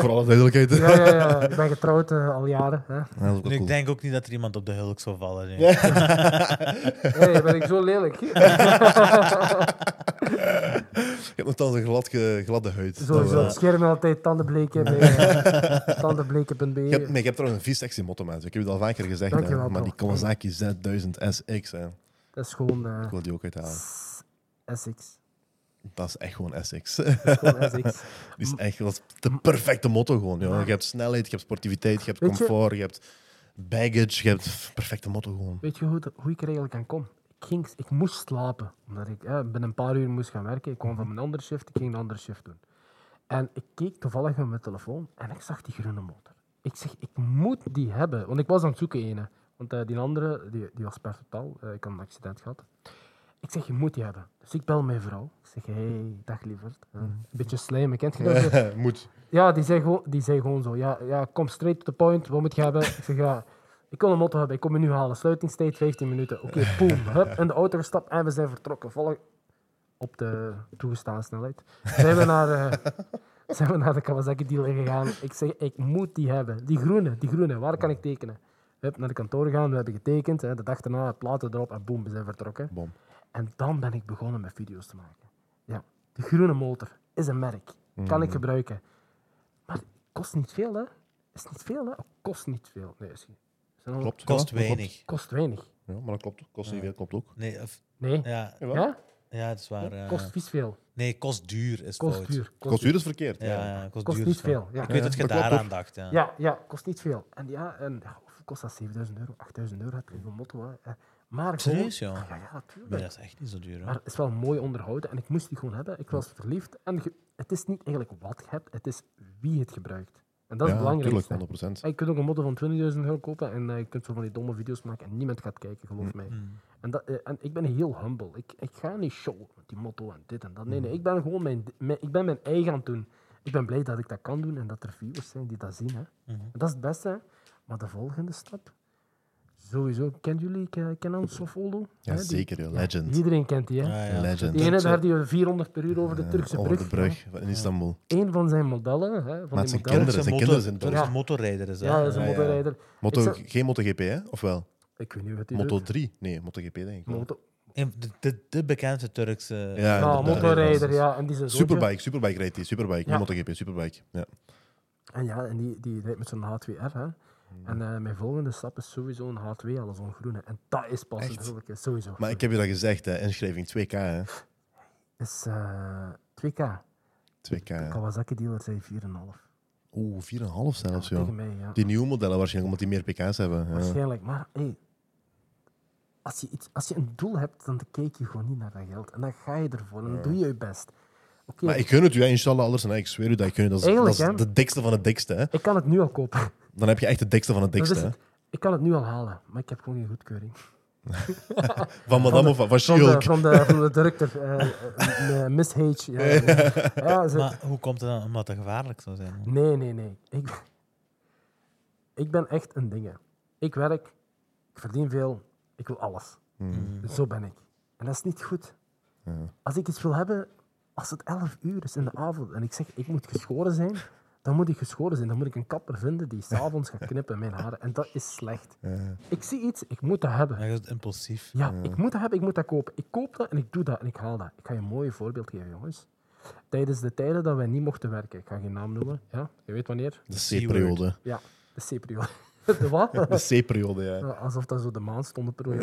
Voor alle duidelijkheid.
ja, ja, ja, ik ben getrouwd eh, al jaren. Hè.
Ja, dat is ook wel
Nu,
cool.
Ik denk ook niet dat er iemand op de hulk zou vallen. nee.
Hey, ben ik zo lelijk?
Je hebt nogthans een glad, ge- gladde huid. Dat,
Sowieso,
eh,
het scherm altijd tandenbleken bij eh, tandenbleken.be.
je hebt, nee, je hebt trouwens een vies sexy motto, mensen. Ik heb het al vaker gezegd.
Dank je
hè,
wel,
maar die
bro.
Kawasaki Z1000SX, hè.
Dat is gewoon eh,
ik wil die ook uithalen.
S- SX.
Dat is echt gewoon SX.
Dat is gewoon SX.
Die is echt, dat is de perfecte motto gewoon. joh. Je hebt snelheid, je hebt sportiviteit, je hebt
Weet je-
comfort, je, hebt baggage. Je hebt pff, perfecte motto gewoon.
Weet je hoe, het- hoe ik er eigenlijk aan kom? Ik, ging, ik moest slapen, omdat ik eh, binnen een paar uur moest gaan werken. Ik kwam van mijn andere shift, ik ging een andere shift doen. En ik keek toevallig op mijn telefoon en ik zag die groene motor. Ik zeg, ik moet die hebben, want ik was aan het zoeken ene. Want eh, die andere, die, die was per totaal, Eh, ik had een accident gehad. Ik zeg, je moet die hebben. Dus ik bel mijn vrouw. Ik zeg, hé, hey, dag lieverd. Eh, Een beetje slijmen, kent je dat?
Moet.
Ja, die zei gewoon, die zei gewoon zo. Ja, ja, kom straight to the point. Wat moet je hebben? Ik zeg ja, ik wil een motto hebben. Ik kom je nu halen. Sluitingstijd 15 minuten. Oké, boom. Hup, in de auto gestapt en we zijn vertrokken. Volg op de toegestaan snelheid. Zijn we naar, eh, zijn we naar de Kawasaki dealer gegaan. Ik zeg, ik moet die hebben. Die groene, die groene. Waar kan ik tekenen? Hup, naar de kantoor gegaan. We hebben getekend. Hè, de dag daarna, platen erop en boom, we zijn vertrokken.
Bom.
En dan ben ik begonnen met video's te maken. Ja, de
Mhm.
groene motor is een merk. Kan ik gebruiken. Maar het kost niet veel, hè? is niet veel, hè? Oh, Kost niet veel. Nee, is is een-
Kost
Klopt. ja, dat klopt.
weinig.
Kost weinig.
Ja, maar dat klopt. Kost niet
Ja.
veel, klopt ook.
Nee, of-
Nee.
ja,
Jawel.
Ja?
ja, dat is waar. eh.
Kost vies veel.
nee, kost duur is
Kost
fout.
duur.
Kost duur is verkeerd.
Ja,
Ja.
ja, kost,
Kost
duur
niet
is fout.
veel. Ja.
Ik weet dat je
dat klopt
daaraan
ook.
dacht. Ja.
Ja, ja, kost niet veel. En ja, en, ja, hoeveel kost dat? 7000 euro, 8000 euro, dat is een motto. Hè. Eh, Maar gewoon- Ah,
Serieus, ja?
Ja, ja,
Maar
natuurlijk.
dat is echt niet zo duur.
Maar
Hè?
het is wel mooi onderhouden en ik moest die gewoon hebben. Ik was verliefd en ge- het is niet eigenlijk wat je hebt, het is wie het gebruikt. En dat is het
tuurlijk,
belangrijkste.
100%.
En je kunt ook een motto van 20.000 euro kopen en eh, je kunt zo van die domme video's maken en niemand gaat kijken,
Mm,
geloof mij. En, dat, eh, en ik ben heel humble. Ik, ik ga niet showen met die motto en dit en dat. Nee,
Mm.
nee, ik ben gewoon mijn, mijn- ik ben mijn eigen aan het doen. Ik ben blij dat ik dat kan doen en dat er viewers zijn die dat zien. Hè.
Mhm.
Mm-hmm.
En Dat is het beste. Hè. Maar de volgende stap, sowieso, kennen jullie Ke- Kenan Sofolo?
Ja,
Hè, die-
zeker. ja, Legend.
Iedereen kent die, hè?
Ah, ja.
Legend.
Die ene daar die 400 per uur over de
Eh,
Turkse
over
brug.
de brug van- in Istanbul.
Eén van zijn modellen. Hè, van
Maar
die
het zijn
modellen.
kinderen, zijn
motor-
kinderen zijn
Turkse
dood.
motorrijder is hè?
Ja, dat is een
Ja, ja.
motorrijder.
Moto,
Ik
Geen MotoGP, hè? Of wel?
Ik weet niet wat hij
Moto 3? Nee, MotoGP denk ik. wel.
Moto,
Een- de, de, de bekendste Turkse.
Ja,
ja,
inderdaad.
Nou, motorrijder, ja. En die zijn zoontje.
Superbike, Superbike rijdt die. Superbike,
Ja.
niet MotoGP, Superbike. Ja.
En ja, en die, die rijdt met zo'n H2R. Hè. En eh, mijn volgende stap is sowieso een H2, alles zo'n groene. En dat is pas een
Echt?
zulke, sowieso.
Maar ik heb je dat gezegd, hè. inschrijving 2K. Hè.
is eh 2K.
2K. hè.
Kawasaki dealer zei 4,5.
Oeh, 4,5 zelfs,
Tegen
joh.
mij, ja.
Die nieuwe modellen waarschijnlijk, omdat die meer pk's hebben. Ja.
Waarschijnlijk, maar hey, als, je iets, als je een doel hebt, dan kijk je gewoon niet naar dat geld. En dan ga je ervoor en dan doe je je best. Oké,
Maar ik gun het u, hè, inshallah, alles. En ik zweer u dat ik gun u. Dat is, dat
Eigenlijk,
is
hè.
de dikste van het dikste. Hè.
ik kan het nu al kopen.
Dan heb je echt de dikste van het
Dat
dikste.
is
hè.
het. Ik kan het nu al halen, maar ik heb gewoon geen goedkeuring.
Van madame of van, van
Van de,
She-Hulk.
van de, van de directeur, eh, eh, eh, Miss H. Ja, ja. Ja, ze-
Maar hoe komt het dan omdat dat gevaarlijk zou zijn?
Nee, nee, nee. Ik, ben- ik ben echt een ding. hè. Ik werk, ik verdien veel, ik wil alles. Zo ben ik. En dat is niet goed. Als ik iets wil hebben, als het 11 uur is in de avond en ik zeg ik moet geschoren zijn, dan moet ik geschoren zijn. Dan moet ik een kapper vinden die s'avonds gaat knippen in mijn haren. En dat is slecht. Ik zie iets, ik moet dat hebben.
Dat is impulsief.
Ja, ik moet dat hebben, ik moet dat kopen. Ik koop dat en ik doe dat en ik haal dat. Ik ga je een mooi voorbeeld geven, jongens. Tijdens de tijden dat wij niet mochten werken, ik ga geen naam noemen, ja, je weet wanneer.
De C-periode.
Ja, de C-periode. De wat?
De C-periode, ja.
Alsof dat zo de maand stond op de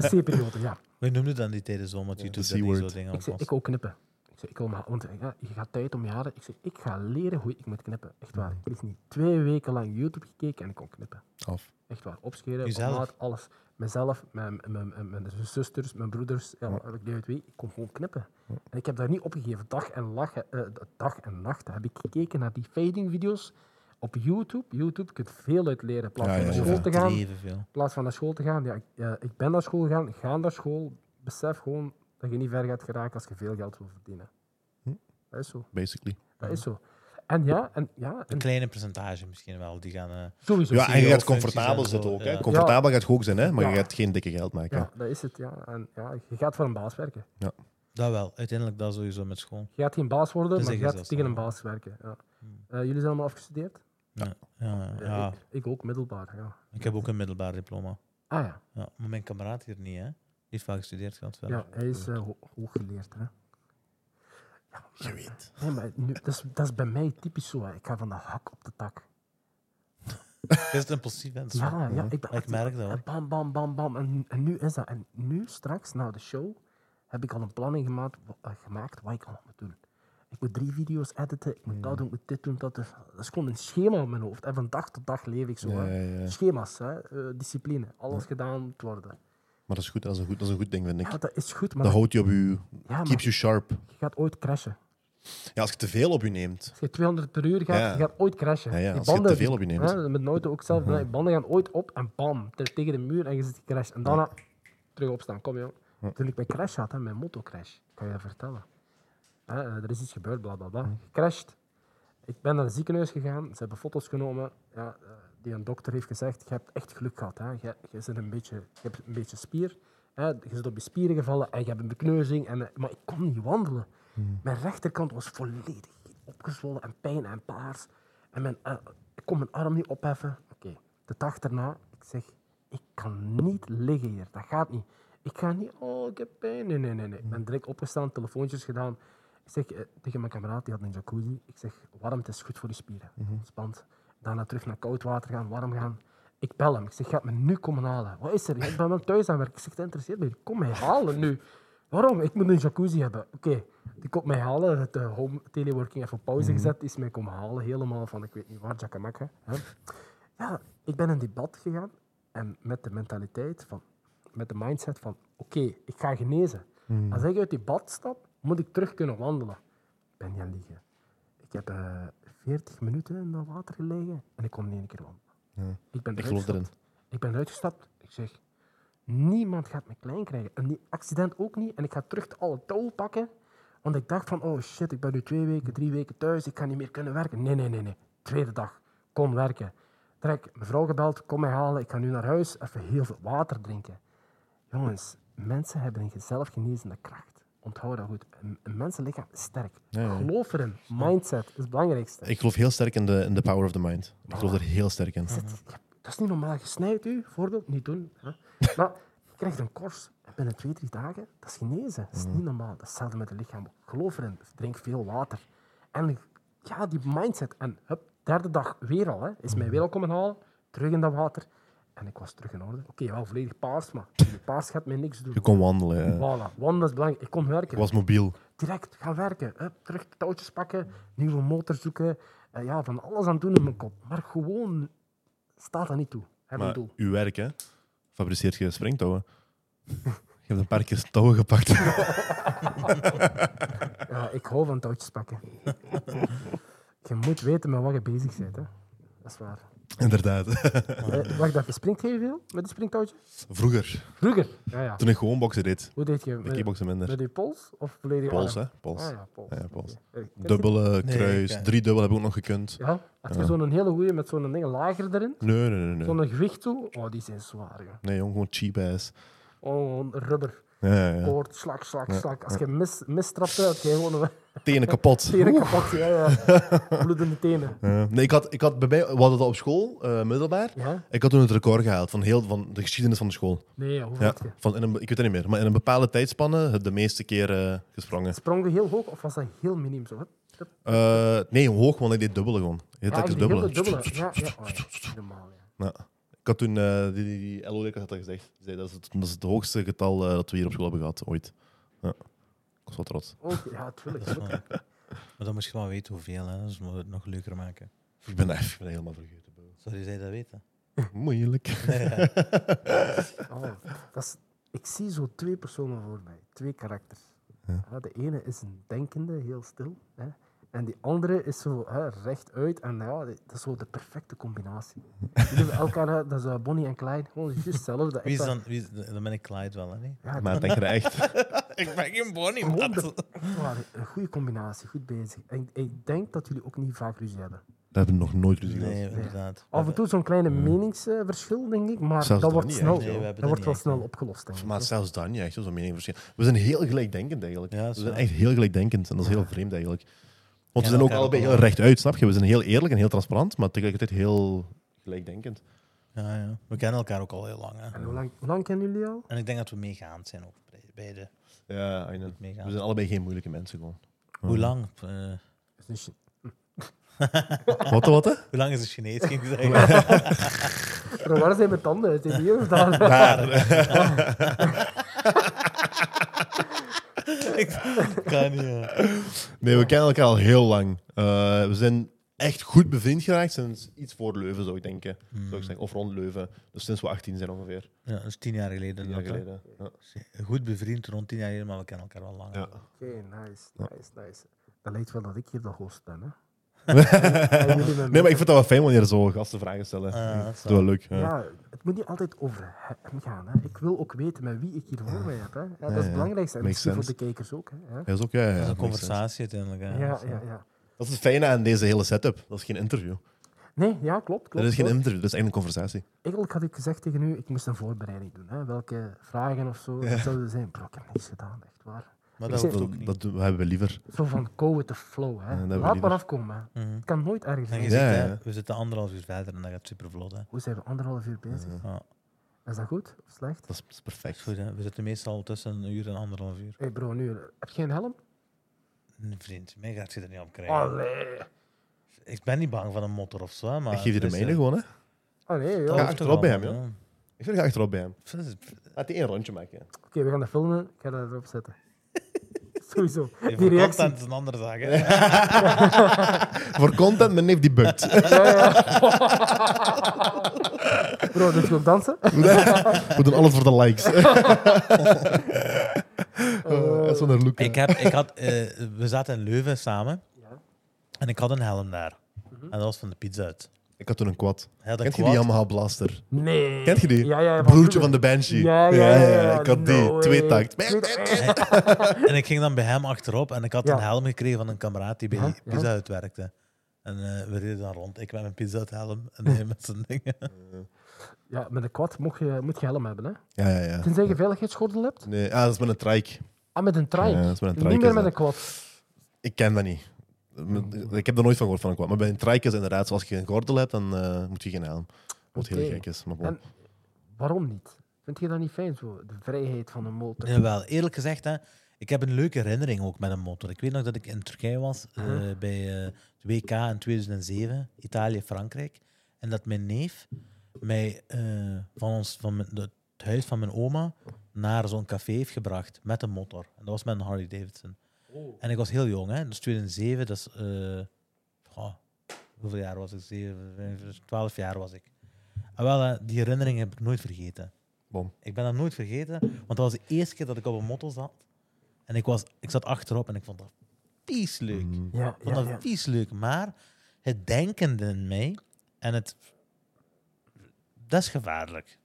De C-periode, ja.
Wij noemden dan die tijdens zo, want
de
YouTube doet dat niet
C-word.
zo dingen
Ik zei, ik
alvast.
wil knippen. Ik zei, ik wil maar, want ja, je gaat tijd om je haren. Ik zei, ik ga leren hoe ik moet knippen. Echt waar. Ik heb niet twee weken lang YouTube gekeken en ik kon knippen.
Af.
Echt waar. Opscheren,
Jezelf?
omlaag, alles. Mezelf, mijn, mijn, mijn, mijn zusters, mijn broeders, ja, ik deed het wie, ik kon gewoon knippen. En ik heb daar niet opgegeven. Dag en, lachen, eh, dag en nacht heb ik gekeken naar die fading video's op YouTube. YouTube kunt veel uit leren. In plaats
Ja,
van naar
ja, ja.
school te gaan,
Overdreven veel.
in plaats van naar school te gaan, ja, ik, eh, ik ben naar school gegaan, ga naar school. Besef gewoon dat je niet ver gaat geraken als je veel geld wil verdienen.
Hm?
Dat is zo.
Basically.
Dat is zo. En ja, en ja,
Een
en
kleine percentage misschien wel. Die gaan, eh,
sowieso.
Ja, en je gaat
CEO-functies
comfortabel
en zo,
zitten ook. Hè.
ja.
Comfortabel gaat je ook zijn, hè. maar je
Ja.
gaat geen dikke geld maken.
Ja, dat is het. Ja. En, ja, je gaat voor een baas werken.
dat wel. Uiteindelijk dat sowieso met school.
Je gaat geen baas worden,
Dat
maar je
zeggen ze
gaat
zelfs
tegen een
allemaal.
baas werken. Ja. Eh, jullie zijn allemaal afgestudeerd?
Ja, ja,
Eh,
ja.
Ik, ik ook, middelbaar. Ja.
Ik heb ook een middelbaar diploma.
Ah ja,
Ja, maar mijn kameraad hier niet, hè? Die heeft wel gestudeerd gehad. verder.
ja hij is eh, ho- hooggeleerd. Hè.
Je weet.
Nee, maar nu, dat, is, dat is bij mij typisch zo. Hè. Ik ga van de hak op de tak.
Is het impulsief, hè? Dat is waar.
Ja, ja, ik ben
Ik
echt-
merk dat,
en
hoor.
Bam, bam, bam, bam. En, en nu is dat. En nu, straks, na de show, heb ik al een planning gemaakt, wa- eh, gemaakt wat ik allemaal moet doen. Ik moet drie video's editen, ik moet dat doen, ik moet dit doen, dat doen. Dat is gewoon een schema in mijn hoofd. En van dag tot dag leef ik zo. hè.
Ja, ja, ja.
Schema's, hè. eh, discipline. Alles gedaan moet worden.
Maar dat is goed, dat is een goed, dat is een goed ding, vind ik.
Ja, dat is goed, maar
Dat houdt je op je...
Ja, maar-
Keeps you sharp.
je gaat ooit crashen.
Ja, als je te veel op je neemt.
Als je 200 per uur gaat,
Ja.
je gaat ooit crashen.
Ja, ja,
Die
als je te veel op je neemt. Mhm.
hè, met een auto ook zelf. Die banden gaan ooit op en bam, te- tegen de muur en je zit gecrashed. En daarna terug opstaan. Kom joh. Toen ik bij crash had, hè, mijn motocrash, kan je dat vertellen. Hè, eh, er is iets gebeurd, bla bla
Mhm.
bla. Gecrashed. Ik ben naar het ziekenhuis gegaan, ze hebben foto's genomen. Ja, eh, die een dokter heeft gezegd, je hebt echt geluk gehad. Hè. Je, je, zit een beetje, je hebt een beetje spier. Hè. Je zit op je spieren gevallen en je hebt een bekneuzing. En, eh, maar ik kon niet wandelen. Mijn rechterkant was volledig opgezwollen en pijn en paars. En mijn, eh, ik kon mijn arm niet opheffen. Oké, de dag daarna, ik zeg, ik kan niet liggen hier. Dat gaat niet. Ik ga niet, oh, ik heb pijn. Nee, nee, nee. nee. Ik ben direct opgestaan, telefoontjes gedaan. Ik zeg eh, tegen mijn kameraad, die had een jacuzzi. Ik zeg, warmte is goed voor je spieren. Spant. Daarna terug naar koud water gaan, warm gaan. Ik bel hem. Ik zeg, gaat me nu komen halen. Wat is er? Ja, Ik ben wel thuis aan werk. Ik zeg, dat interesseert me. niet. Kom mij halen nu. Waarom? Ik moet een jacuzzi hebben. Oké, die komt mij halen. Het eh, home teleworking even op pauze gezet. Is mij komen halen. Helemaal van, ik weet niet waar, Jacamaca. hè. Ja, ik ben in debat gegaan. En met de mentaliteit van, met de mindset van, oké, ik ga genezen.
Hmm.
Als ik uit die bad stap, moet ik terug kunnen wandelen. Ik ben gaan liggen. Ik heb eh 40 minuten in dat water gelegen en ik kon niet één keer wandelen. Ik ben
Ik
eruit
geloof erin.
gestapt. Ik ben uitgestapt. Ik zeg, niemand gaat me klein krijgen. En die accident ook niet. En ik ga terug alle touw pakken. Want ik dacht van, oh shit, ik ben nu twee weken, drie weken thuis. Ik kan niet meer kunnen werken. Nee, nee, nee, nee. Tweede dag. Kom werken. Trek, mevrouw gebeld, kom mij halen. Ik ga nu naar huis. Even heel veel water drinken. Jongens, mensen hebben een zelfgenezende kracht. Onthoud dat goed. Een, een mensenlichaam is sterk.
ja.
Geloof erin. Mindset is het belangrijkste.
Ik geloof heel sterk in de, in de power of the mind. Ik geloof er heel sterk in.
Zit- ja, dat is niet normaal. Je snijdt u, voorbeeld, niet doen. Hè. Maar je krijgt een kors. En binnen twee, drie dagen, dat is genezen. Dat is
Mhm.
niet normaal. Dat is hetzelfde met het lichaam. Geloof erin. Dus Drink veel water. En ja, die mindset. En hup, derde dag weer al. Hè, is
Mhm.
mij weer al komen halen. Terug in dat water. En ik was terug in orde. Oké, wel volledig paars, maar die paars gaat mij niks doen.
Je kon wandelen. eh.
Voilà, wandelen is belangrijk. Ik kon
Ik
werken
was mobiel.
direct gaan werken. Hup, terug de touwtjes pakken, nieuwe motor zoeken. Eh, ja, van alles aan doen in mijn kop. Maar gewoon staat dat niet toe. Heb een
Maar
doel.
uw werk, hè? Fabriceert je springtouwen? Je hebt een paar keer touwen gepakt.
Ja, Eh, ik hou van touwtjes pakken. je moet weten met wat je bezig bent. Hè. Dat is waar.
Inderdaad.
Eh, wacht even, springt jij veel met een springtouwtje?
Vroeger,
Vroeger? Ja, ja.
toen ik gewoon boksen deed,
Hoe deed je?
de
Met,
kickboksen minder.
met je pols of volledig
Pols,
arm?
hè? Pols.
Ah, ja, pols.
Ja, pols.
Oké. Eh, ken je-
Dubbele,
Nee,
kruis,
ik-
drie dubbel heb ik ook nog gekund.
Ja, had je zo'n hele goeie met zo'n ding lager erin?
Nee, nee, nee. nee.
Zo'n gewicht toe? Oh, die zijn zwaar, joh.
Nee, jong, gewoon cheap ass.
Oh, rubber.
Ja, ja, ja.
Poort, slak, slak, slak. Als je mis, mistrapte, had jij gewoon een
Tenen kapot.
tenen kapot. Ja, ja. Bloedende tenen.
Ja. Nee, ik had, ik had bij mij, we hadden dat op school, eh, middelbaar.
Ja?
Ik had toen het record gehaald van, heel, van de geschiedenis van de school.
Nee, hoe
Ja,
had je?
van in een, ik weet het niet meer, maar in een bepaalde tijdspanne de meeste keer eh, gesprongen.
Sprong je heel hoog of was dat heel minim zo? Dat
Eh, nee, hoog, want ik deed dubbele gewoon. Heel tijd is dubbele.
Ah, dubbele. Ja, ja. Oh, ja. Niet Normaal, ja.
Ja. Ik had toen, eh, die, die, die LO had dat gezegd. Die zei, dat, is het, dat is het hoogste getal eh, dat we hier op school hebben gehad, ooit. Ja. Ik was wel trots.
Oké, Oh, ja, tuurlijk. tuurlijk.
Maar dan moet je wel weten hoeveel, hè. Dus we moeten het nog leuker maken.
Ik ben, echt- ik ben helemaal vergeten. bro.
Sorry, zij dat weten.
Moeilijk.
Oh, dat is, ik zie zo twee personen voor mij. Twee karakters. Ja, de ene is een denkende, heel stil. Hè, en die andere is zo hè, rechtuit. En ja, dat is zo de perfecte combinatie. Die hebben elkaar, hè, dat is eh, Bonnie en Clyde. Gewoon juist hetzelfde.
Wie is
Echt, hè.
dan... Wie is, dan ben ik Clyde wel, hè? nee?
Maar denk je dat echt?
Ik ben geen Bonnie,
Gewoon de- echt waar, Een goede combinatie, goed bezig. En ik- ik denk dat jullie ook niet vaak ruzie hebben.
Dat hebben we nog nooit gezien.
Nee, inderdaad.
Af en toe zo'n kleine meningsverschil, denk ik, maar
Zelfs
dat
dat
wordt
niet
snel.
echt,
nee, we hebben
dat
dat
wordt
niet
wel
echt,
snel
nee.
opgelost, denk ik.
Maar zelfs dan niet echt, zo'n meningsverschil. We zijn heel gelijkdenkend eigenlijk.
Ja, dat
we
is
zijn
waar.
echt heel gelijkdenkend en dat is heel vreemd eigenlijk. Want
Ja,
we zijn ook
elkaar
allebei
ook
heel
wel.
rechtuit, snap je? We zijn heel eerlijk en heel transparant, maar tegelijkertijd heel gelijkdenkend.
Ja, ja. We kennen elkaar ook al heel lang, hè.
En hoe lang, hoe lang kennen jullie al?
En ik denk dat we meegaand zijn ook. bij- Beide.
Ja, I know.
Meegaand.
we zijn allebei geen moeilijke mensen gewoon.
Hoe lang? eh,
Dat is niet shit.
Wat, wat, hè?
hoe lang is een Chinees? Ging ik zeggen.
Maar waar zijn mijn tanden? Is die hier of daar?
ik kan niet. ja.
Nee, we kennen elkaar al heel lang. Eh, we zijn echt goed bevriend geraakt sinds iets voor Leuven, zou ik denken.
Hmm.
Zou ik zeggen. Of rond Leuven. Dus sinds we 18 zijn ongeveer.
Ja, dat is tien jaar geleden.
Tien jaar
dat, hè.
geleden. Ja.
Goed bevriend rond tien jaar geleden, maar we kennen elkaar wel lang.
Ja.
Oké, nice, nice, nice. Dat lijkt wel dat ik hier de host ben, hè? En jullie met
Nee, maar
mij.
ik vind dat wel fijn wanneer zo gasten vragen stellen.
Ah, dat
dat
is
is wel leuk. Ja.
Ja, het moet niet altijd over hem gaan. Hè. Ik wil ook weten met wie ik hier voor mij heb. Hè. Ja, dat is het belangrijkste. En
Makes
misschien voor de
sense.
kijkers ook. Hè. Ja,
Dat is ook, ja, ja,
Dat is
makes
een
sense.
conversatie uiteindelijk. hè.
ja,
Dus,
ja. ja.
Dat is het fijne aan deze hele setup. Dat is geen interview.
Nee, ja, klopt. klopt
dat is geen
klopt.
interview, dat is eigenlijk een conversatie.
Eigenlijk had ik gezegd tegen u, ik moest een voorbereiding doen. Hè. Welke vragen of zo dat zouden er zijn? Bro, ik heb niks gedaan, echt waar.
Maar
Ik
dat
zeg-
hoeft ook
Dat,
niet.
dat doen- hebben we liever.
Zo van go with the flow. Hè.
dat hebben we
Laat maar
liever.
afkomen. Hè. Het kan nooit ergens
En je
zijn.
Ja,
zegt,
ja.
hè, we zitten anderhalf uur verder en dat gaat super vlot. Hè.
Hoe zijn we anderhalf uur bezig?
Ja.
Is dat goed of slecht?
Dat is, dat is perfect.
Goed, hè. We zitten meestal tussen een uur en anderhalf uur.
Hé hey bro, nu, heb je geen helm? Ah.
Nee, Vriend, mij gaat je er niet op krijgen.
Allee.
Ik ben niet bang van een motor of zo, hè, maar...
Ik geef je de
het is,
mijne
eh,
gewoon, hè.
Ah nee, joh.
dat
Ja,
hoeft toch
achterop bij
wel,
hem,
hè.
Ik ga achterop bij hem.
Dat is-
Laat die één rondje maken.
Oké, we gaan dat filmen. Ik ga dat erop zetten. Sowieso.
Die
Die reactie.
content is een andere zaak, hè.
Voor content, mijn neef die bukt.
Ja, ja. Bro, doet je ook dansen?
We doen alles voor de likes.
Oh.
Dat is zo'n look. hè.
Ik, heb, ik had, eh, we zaten in Leuven samen.
Ja. Mhm.
En ik had een helm daar. En dat was van de pizza uit.
Ik had toen een quad.
Hij had een
Kent je
quad.
die Yamaha Blaster?
Nee.
Kent je die?
Ja, ja,
Broertje
vroeger.
van de Banshee.
Ja, ja, ja, ja.
Ik had
No
die.
way.
Twee takt.
En ik ging dan bij hem achterop. En ik had
Ja.
een helm gekregen van een kameraad die bij
Ja, ja.
pizza uit werkte. En eh, we reden dan rond. Ik met mijn pizza uit helm. En hij met zijn dingen.
Ja, met een quad moet je, moet je helm hebben, hè.
Ja, ja, ja.
Tenzij je veiligheidsgordel hebt.
Nee, ah, dat is met een trike.
Ah, met een trike.
Ja, dat is met een trike,
Niet meer
is
met
dat.
een quad.
Ik ken dat niet. Met- Ik heb er nooit van gehoord van een quad. Maar bij een trike is inderdaad, zoals je een gordel hebt, dan eh, moet je geen helm. Wat heel
Oké.
gek is. Maar bon.
En- Waarom niet? Vind je dat niet fijn, zo? De vrijheid van een motor.
Jawel, eerlijk gezegd, hè, ik heb een leuke herinnering ook met een motor. Ik weet nog dat ik in Turkije was eh,
Mhm.
bij eh, het WK in 2007, Italië-Frankrijk. En dat mijn neef mij eh, van, ons, van mijn- de- het huis van mijn oma naar zo'n café heeft gebracht met een motor. En dat was met een Harley Davidson. En ik was heel jong, hè? dus 2007, dat is. eh, goh, hoeveel jaar was ik? 7, 5, 12 jaar was ik. En wel, eh, die herinnering heb ik nooit vergeten.
Bom.
Ik ben dat nooit vergeten, want dat was de eerste keer dat ik op een motto zat. En ik, was, ik zat achterop en ik vond dat vies leuk.
Mm.
Ja,
Ik vond
ja,
dat
ja.
vies leuk, maar het denkende in mij en het. Dat is gevaarlijk.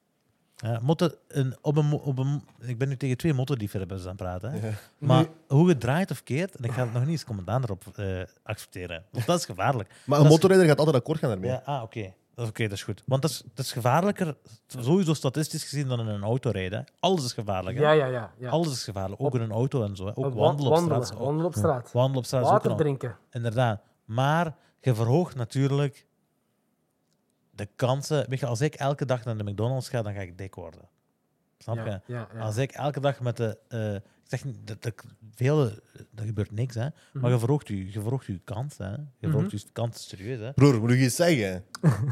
Ja, motten, een, op een, mo- op een, ik ben nu tegen twee mottodiefhebbers aan het praten. hè. Maar hoe het draait of keert, en ik ga het nog niet eens commentaar erop eh, accepteren. Want dat is gevaarlijk.
Maar een
Dat is-
motorrijder gaat altijd akkoord gaan daarmee.
Ja, ah, oké. Dat is- Oké, dat is goed. Want dat is, dat is gevaarlijker, sowieso statistisch gezien, dan in een auto rijden. hè. Alles is gevaarlijk. hè.
Ja, ja, ja. ja.
Alles is gevaarlijk. Ook in een auto en zo. hè. Ook
Wa-
wandelen op straat. is ook-
Wandelen, wandelen op straat.
Wandelen op straat is ook
Water
een au-
drinken.
Inderdaad. Maar je verhoogt natuurlijk de kansen. Weet je, als ik elke dag naar de McDonald's ga, dan ga ik dik worden. Snap je?
Ja, ja, ja.
Als ik elke dag met de. eh, ik zeg niet dat, dat ik veel. Dat gebeurt niks, hè?
Mhm.
Maar je verhoogt je, je, verhoogt je kans, hè? Je verhoogt je kans serieus, hè?
Broer, moet ik je iets zeggen?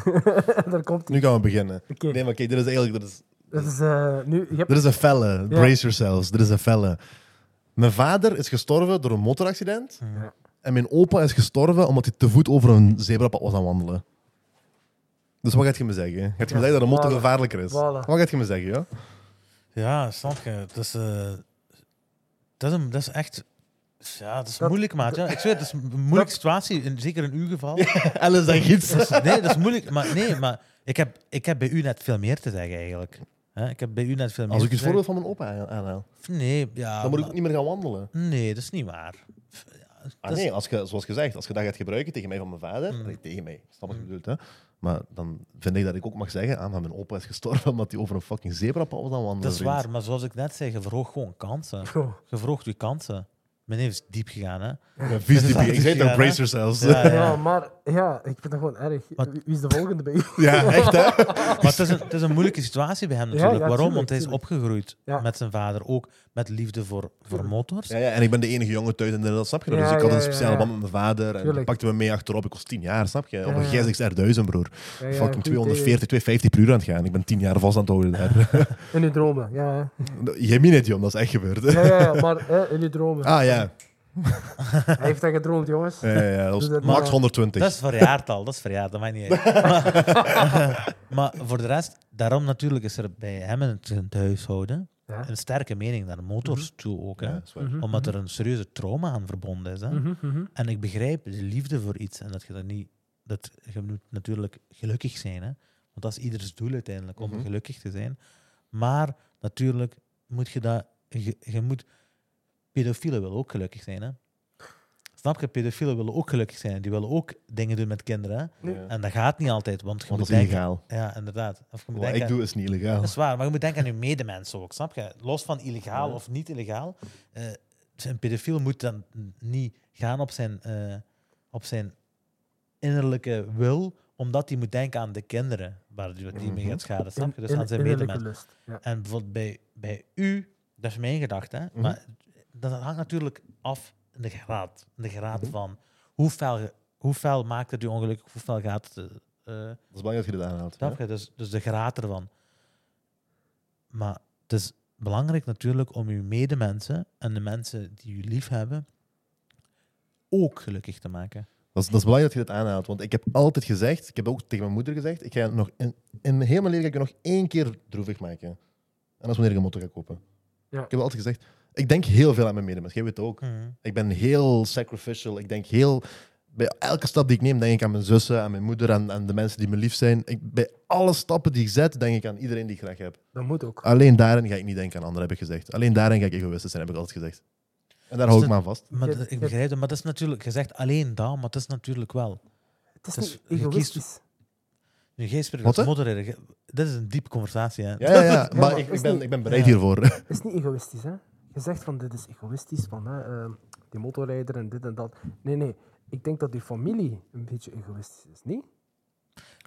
Daar komt hij.
Nu gaan we beginnen.
Oké.
Nee, maar kijk, dit is eigenlijk... Dit is,
Dat is eh, nu... Je hebt...
dit is een felle.
Ja.
Brace yourselves. Dit is een felle. Mijn vader is gestorven door een motoraccident.
Ja.
En mijn opa is gestorven omdat hij te voet over een zebrapad was aan wandelen. Dus wat gaat je me zeggen? Gaat je me zeggen dat een motor
voilà.
gevaarlijker is?
Voilà.
Wat gaat je me zeggen, ja?
Ja, snap je? Het is, eh, dat, is een- dat is echt. Ja, het is
Dat-
moeilijk, maat. Ja. Ik zweer, het is een moeilijke situatie, in, zeker in uw geval.
Alice, dat gids.
Dus, nee, dat is moeilijk. Maar nee, maar ik heb, ik heb bij u net veel meer te zeggen, eigenlijk. Hè, ik heb bij u net veel meer
Als ik
te
het voorbeeld van mijn opa aan- aanhaal,
zeggen. Nee, ja.
dan moet ik ook
maar-
niet meer gaan wandelen.
Nee, dat is niet waar. F- ja,
Ah,
dat is-
nee, als je, zoals gezegd, als je dat gaat gebruiken tegen mij van mijn vader,
Mm.
nee, tegen mij, snap wat je bedoelt, hè? Maar dan vind ik dat ik ook mag zeggen, ah, maar mijn opa is gestorven omdat hij over een fucking zebrapad was aan wandelen.
Dat is
vriend.
waar, maar zoals ik net zei, je verhoogt gewoon kansen.
Bro.
Je verhoogt je kansen. Mijn neef is diep gegaan, hè?
Ik ben vies
Dat is
diep. Ik zei
anders
toch
gegaan,
brace yourselves.
Ja,
Ja,
ja.
Ja, maar ja, ik vind dat gewoon erg.
Wat-
Wie wie is de volgende bij u?
echt hè?
Eh, Maar het is, een, het is een moeilijke situatie bij hem
Ja,
natuurlijk.
ja,
Waarom?
tuurlijk,
Want hij is
tuurlijk.
opgegroeid
Ja.
met zijn vader, ook met liefde voor, voor
Tuurlijk.
motors.
Ja, ja, en ik ben de enige jongen thuis en dat snap je. Dus
Ja,
ik had
ja,
een
ja,
speciale
ja.
band met mijn vader en die
Tuurlijk.
pakte me mee achterop. Ik was 10 jaar, snap je?
Ja,
Op een
ja.
GSX-R1000, broer.
Ja, ja,
Fucking
goed,
240, 250 per uur aan het gaan. Ik ben 10 jaar vast aan het houden daar.
eh, In uw dromen, ja. hè.
Jij meen het, joh, dat is echt gebeurd.
Ja, ja, ja, maar hè, in uw dromen.
Ah ja,
Hij heeft dat gedroomd, jongens.
ja, ja, ja, dat was
Doe dat
max
maar.
120.
Dat is verjaardal, dat is verjaard, dat maakt niet uit. maar, maar voor de rest, daarom natuurlijk is er bij hem in het, in het huishouden
Ja.
een sterke mening naar motors toe ook. Hè?
Ja, dat is waar.
Mhm.
Omdat er een serieuze trauma aan verbonden is. Hè?
Mhm, mhm.
En ik begrijp de liefde voor iets en dat je dat niet. Dat, je moet natuurlijk gelukkig zijn, hè? want dat is ieders doel uiteindelijk om
Mhm.
gelukkig te zijn. Maar natuurlijk moet je dat. Je, je moet. Pedofielen willen ook gelukkig zijn. Hè? Snap je? Pedofielen willen ook gelukkig zijn. Die willen ook dingen doen met kinderen. hè.
Nee.
Ja.
En dat gaat niet altijd, want je
Want
moet
dat is
denken.
illegaal.
Ja, inderdaad. Of je moet
Wat
denken-
ik doe is niet illegaal.
dat is waar, maar je moet denken aan je medemensen ook, snap je? Los van illegaal of niet illegaal. eh, een pedofiel moet dan niet gaan op zijn, eh, op zijn innerlijke wil, omdat hij moet denken aan de kinderen waar die, die mee gaat schaden, snap je? Dus
Mhm. In-
aan zijn
in- innerlijke
medemensen.
lust, ja.
En bijvoorbeeld bij, bij u, dat is mijn gedachte,
Mhm.
hè?
Mhm.
maar dat hangt natuurlijk af in de graad, in de graad van hoe fel, je- hoe fel maakt het je ongelukkig? Hoe fel gaat het? eh, eh,
is belangrijk dat je dit aanhaalt.
snap
ja.
je? Dus, dus de graad ervan. Maar het is belangrijk natuurlijk om je medemensen en de mensen die je lief hebben ook gelukkig te maken.
Dat is, dat is belangrijk dat je dit aanhaalt. Want ik heb altijd gezegd, ik heb ook tegen mijn moeder gezegd, ik ga nog in, in heel mijn leven ga ik je nog één keer droevig maken. En dat is wanneer ik een motor ga kopen.
Ja.
Ik heb altijd gezegd, ik denk heel veel aan mijn medemens. Jij weet het ook. Ik ben heel sacrificial. Ik denk heel... Bij elke stap die ik neem, denk ik aan mijn zussen, aan mijn moeder, aan, aan de mensen die me lief zijn. Ik, bij alle stappen die ik zet, denk ik aan iedereen die ik graag heb.
Dat moet ook.
Alleen daarin ga ik niet denken aan anderen, heb ik gezegd. Alleen daarin ga ik egoïstisch zijn, heb ik altijd gezegd. En daar hou
Dus
ik me aan vast.
Maar
Ja,
dat- ik
ja.
begrijp het, maar dat is natuurlijk, je zegt alleen dat, maar het is natuurlijk wel.
Het is
het is-
niet
Dus je kiest-
egoïstisch.
Nu, jij spreekt
Wat,
als
hè?
modereren. Ge- Dit is een diepe conversatie. Hè?
Ja, ja, ja.
maar
Maar ik,
is
ik, ben,
niet-
ik ben bereid
Ja.
hiervoor.
Het is niet egoïstisch, hè? Je zegt van dit is egoïstisch, van hè, eh, die motorrijder en dit en dat. Nee, nee. Ik denk dat die familie een beetje egoïstisch is, niet?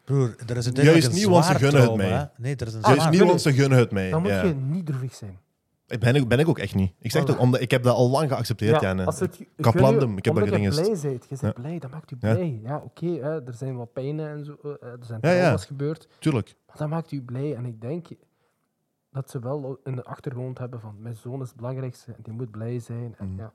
Broer, er is een
Juist niet, want ze gunnen het
trauma,
mij.
hè. Nee, er is een
Ah,
Juist
zwaar...
niet, want ze gunnen het mij.
Dan moet
Ja.
je niet droevig zijn.
Ik Ben, ik, ben ik ook echt niet. Ik zeg
Voilà.
het ook, omdat ik heb dat al lang geaccepteerd, Janne.
als het, ik
kaplandum, ik heb dat
Omdat je
gedingest.
blij bent, je bent
Ja.
blij, dat maakt u
Ja.
blij. Ja, oké, hè, er zijn wat pijnen en zo, eh, er zijn
Ja, ja.
trauma's gebeurd,
Tuurlijk.
maar dat maakt u blij. En ik denk dat ze wel in de achtergrond hebben van, mijn zoon is het belangrijkste, en die moet blij zijn. En,
Mhm.
ja.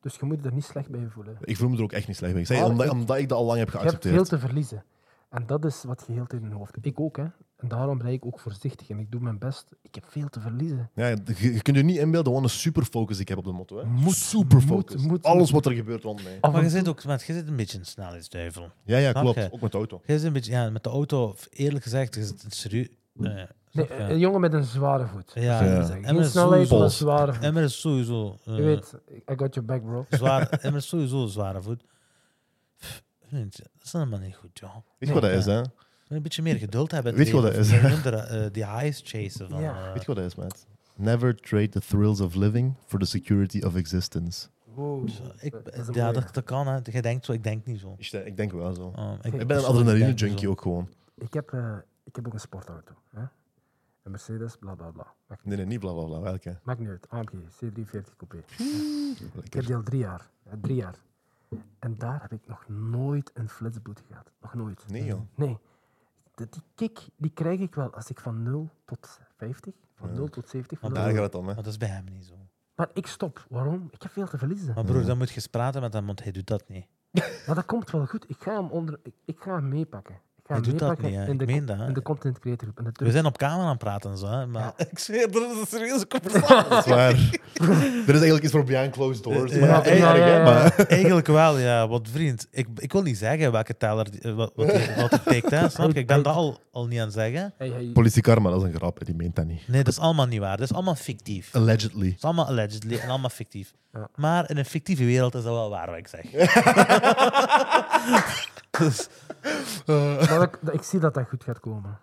Dus je moet je er niet slecht bij voelen.
Ik voel me er ook echt niet slecht bij. Ik zeg,
Maar
omdat,
ik-
omdat ik dat al lang heb
Ah, Je hebt veel
geaccepteerd.
te verliezen. En dat is wat je heel de tijd in je hoofd hebt. Ik ook, hè. En daarom ben ik ook voorzichtig en ik doe mijn best. Ik heb veel te verliezen.
Ja, je, je kunt je niet inbeelden wat een superfocus ik heb op de motto. Hè.
Moet,
superfocus.
moet, moet.
Alles wat er gebeurt rond mij.
Af
Maar je
en
zit
toe-
ook met, je zit een beetje een snelheidsduivel.
Ja, ja,
Snap
klopt.
je?
Ook met de auto.
Je zit een beetje, ja, met de auto, eerlijk gezegd, je zit een serieus... eh,
Nee,
snap je?
een jongen met een zware voet.
ja,
Ja.
zeggen.
Emmer
Geen
is
snelheid, maar een
Pols.
zware voet.
Emmer is sowieso... eh,
Je weet, I got your back, bro.
zwaar, Emmer is sowieso een zware voet. Pff, vriend, dat is helemaal niet goed, joh.
Weet je wat dat is, hè?
Een beetje meer geduld hebben. in
Weet
het
je wat
leven.
dat is?
Minder eh, die highs chasen van...
Ja.
eh,
Weet je wat dat is, maat? Never trade the thrills of living for the security of existence.
Wow.
Zo, ik,
Dat is een
ja,
mooie.
dat, dat kan, hè. Je denkt zo, ik denk niet zo.
Ik, denk- ik denk wel zo.
Oh,
Ik ben een
persoonlijk
adrenaline
denk
junkie
zo.
ook gewoon.
Ik heb, eh, ik heb ook een sportauto. Hè? Een Mercedes, bla bla bla. Maakt niet,
Nee, nee, niet bla bla bla. Welke?
maakt niet uit. AMG C340 Coupé. Ik heb
Lekker.
die al drie jaar. hè, drie jaar. En daar heb ik nog nooit een flitsboete gehad. Nog nooit.
Nee, joh.
Nee. De- die kick die krijg ik wel als ik van 0 tot 50, van
Ja.
0 tot 70. Van
Want
0
Daar gaat het dan, hè?
Maar dat is bij hem niet zo.
Maar ik stop. Waarom? Ik heb veel te verliezen.
Maar broer, dan moet je eens praten met hem, want hij doet dat niet.
Maar dat komt wel goed. Ik ga hem, onder, ik, ik ga hem meepakken. Ik ga
Hij
hem
doet dat
meepakken
niet, hè.
in, de,
Ik
co-
meen dat, hè.
in de content creator groep. In de
We zijn op camera aan het praten en zo, hè, maar... Ik zweer, dat is een serieuze
Dat is
conversatie.
waar. er is eigenlijk iets voor behind closed doors.
Ja,
Maar dat is
ja,
erg,
ja,
hè,
ja.
maar-
Eigenlijk wel, ja. Want vriend, ik, ik wil niet zeggen welke teller, die- eh, wat, wat, die- wat hij tikt, hè. Snap je? Ik ben dat al, al niet aan het zeggen.
Hey, hey.
Politie Karma, dat is een grap. hè, Die meent dat niet.
Nee, dat is allemaal niet waar. Dat is allemaal fictief. Dat
Allegedly.
is allemaal allegedly en allemaal fictief.
Ja.
Maar in een fictieve wereld is dat wel waar, wat ik zeg. Dus,
Maar ik, dat- ik zie dat dat goed gaat komen.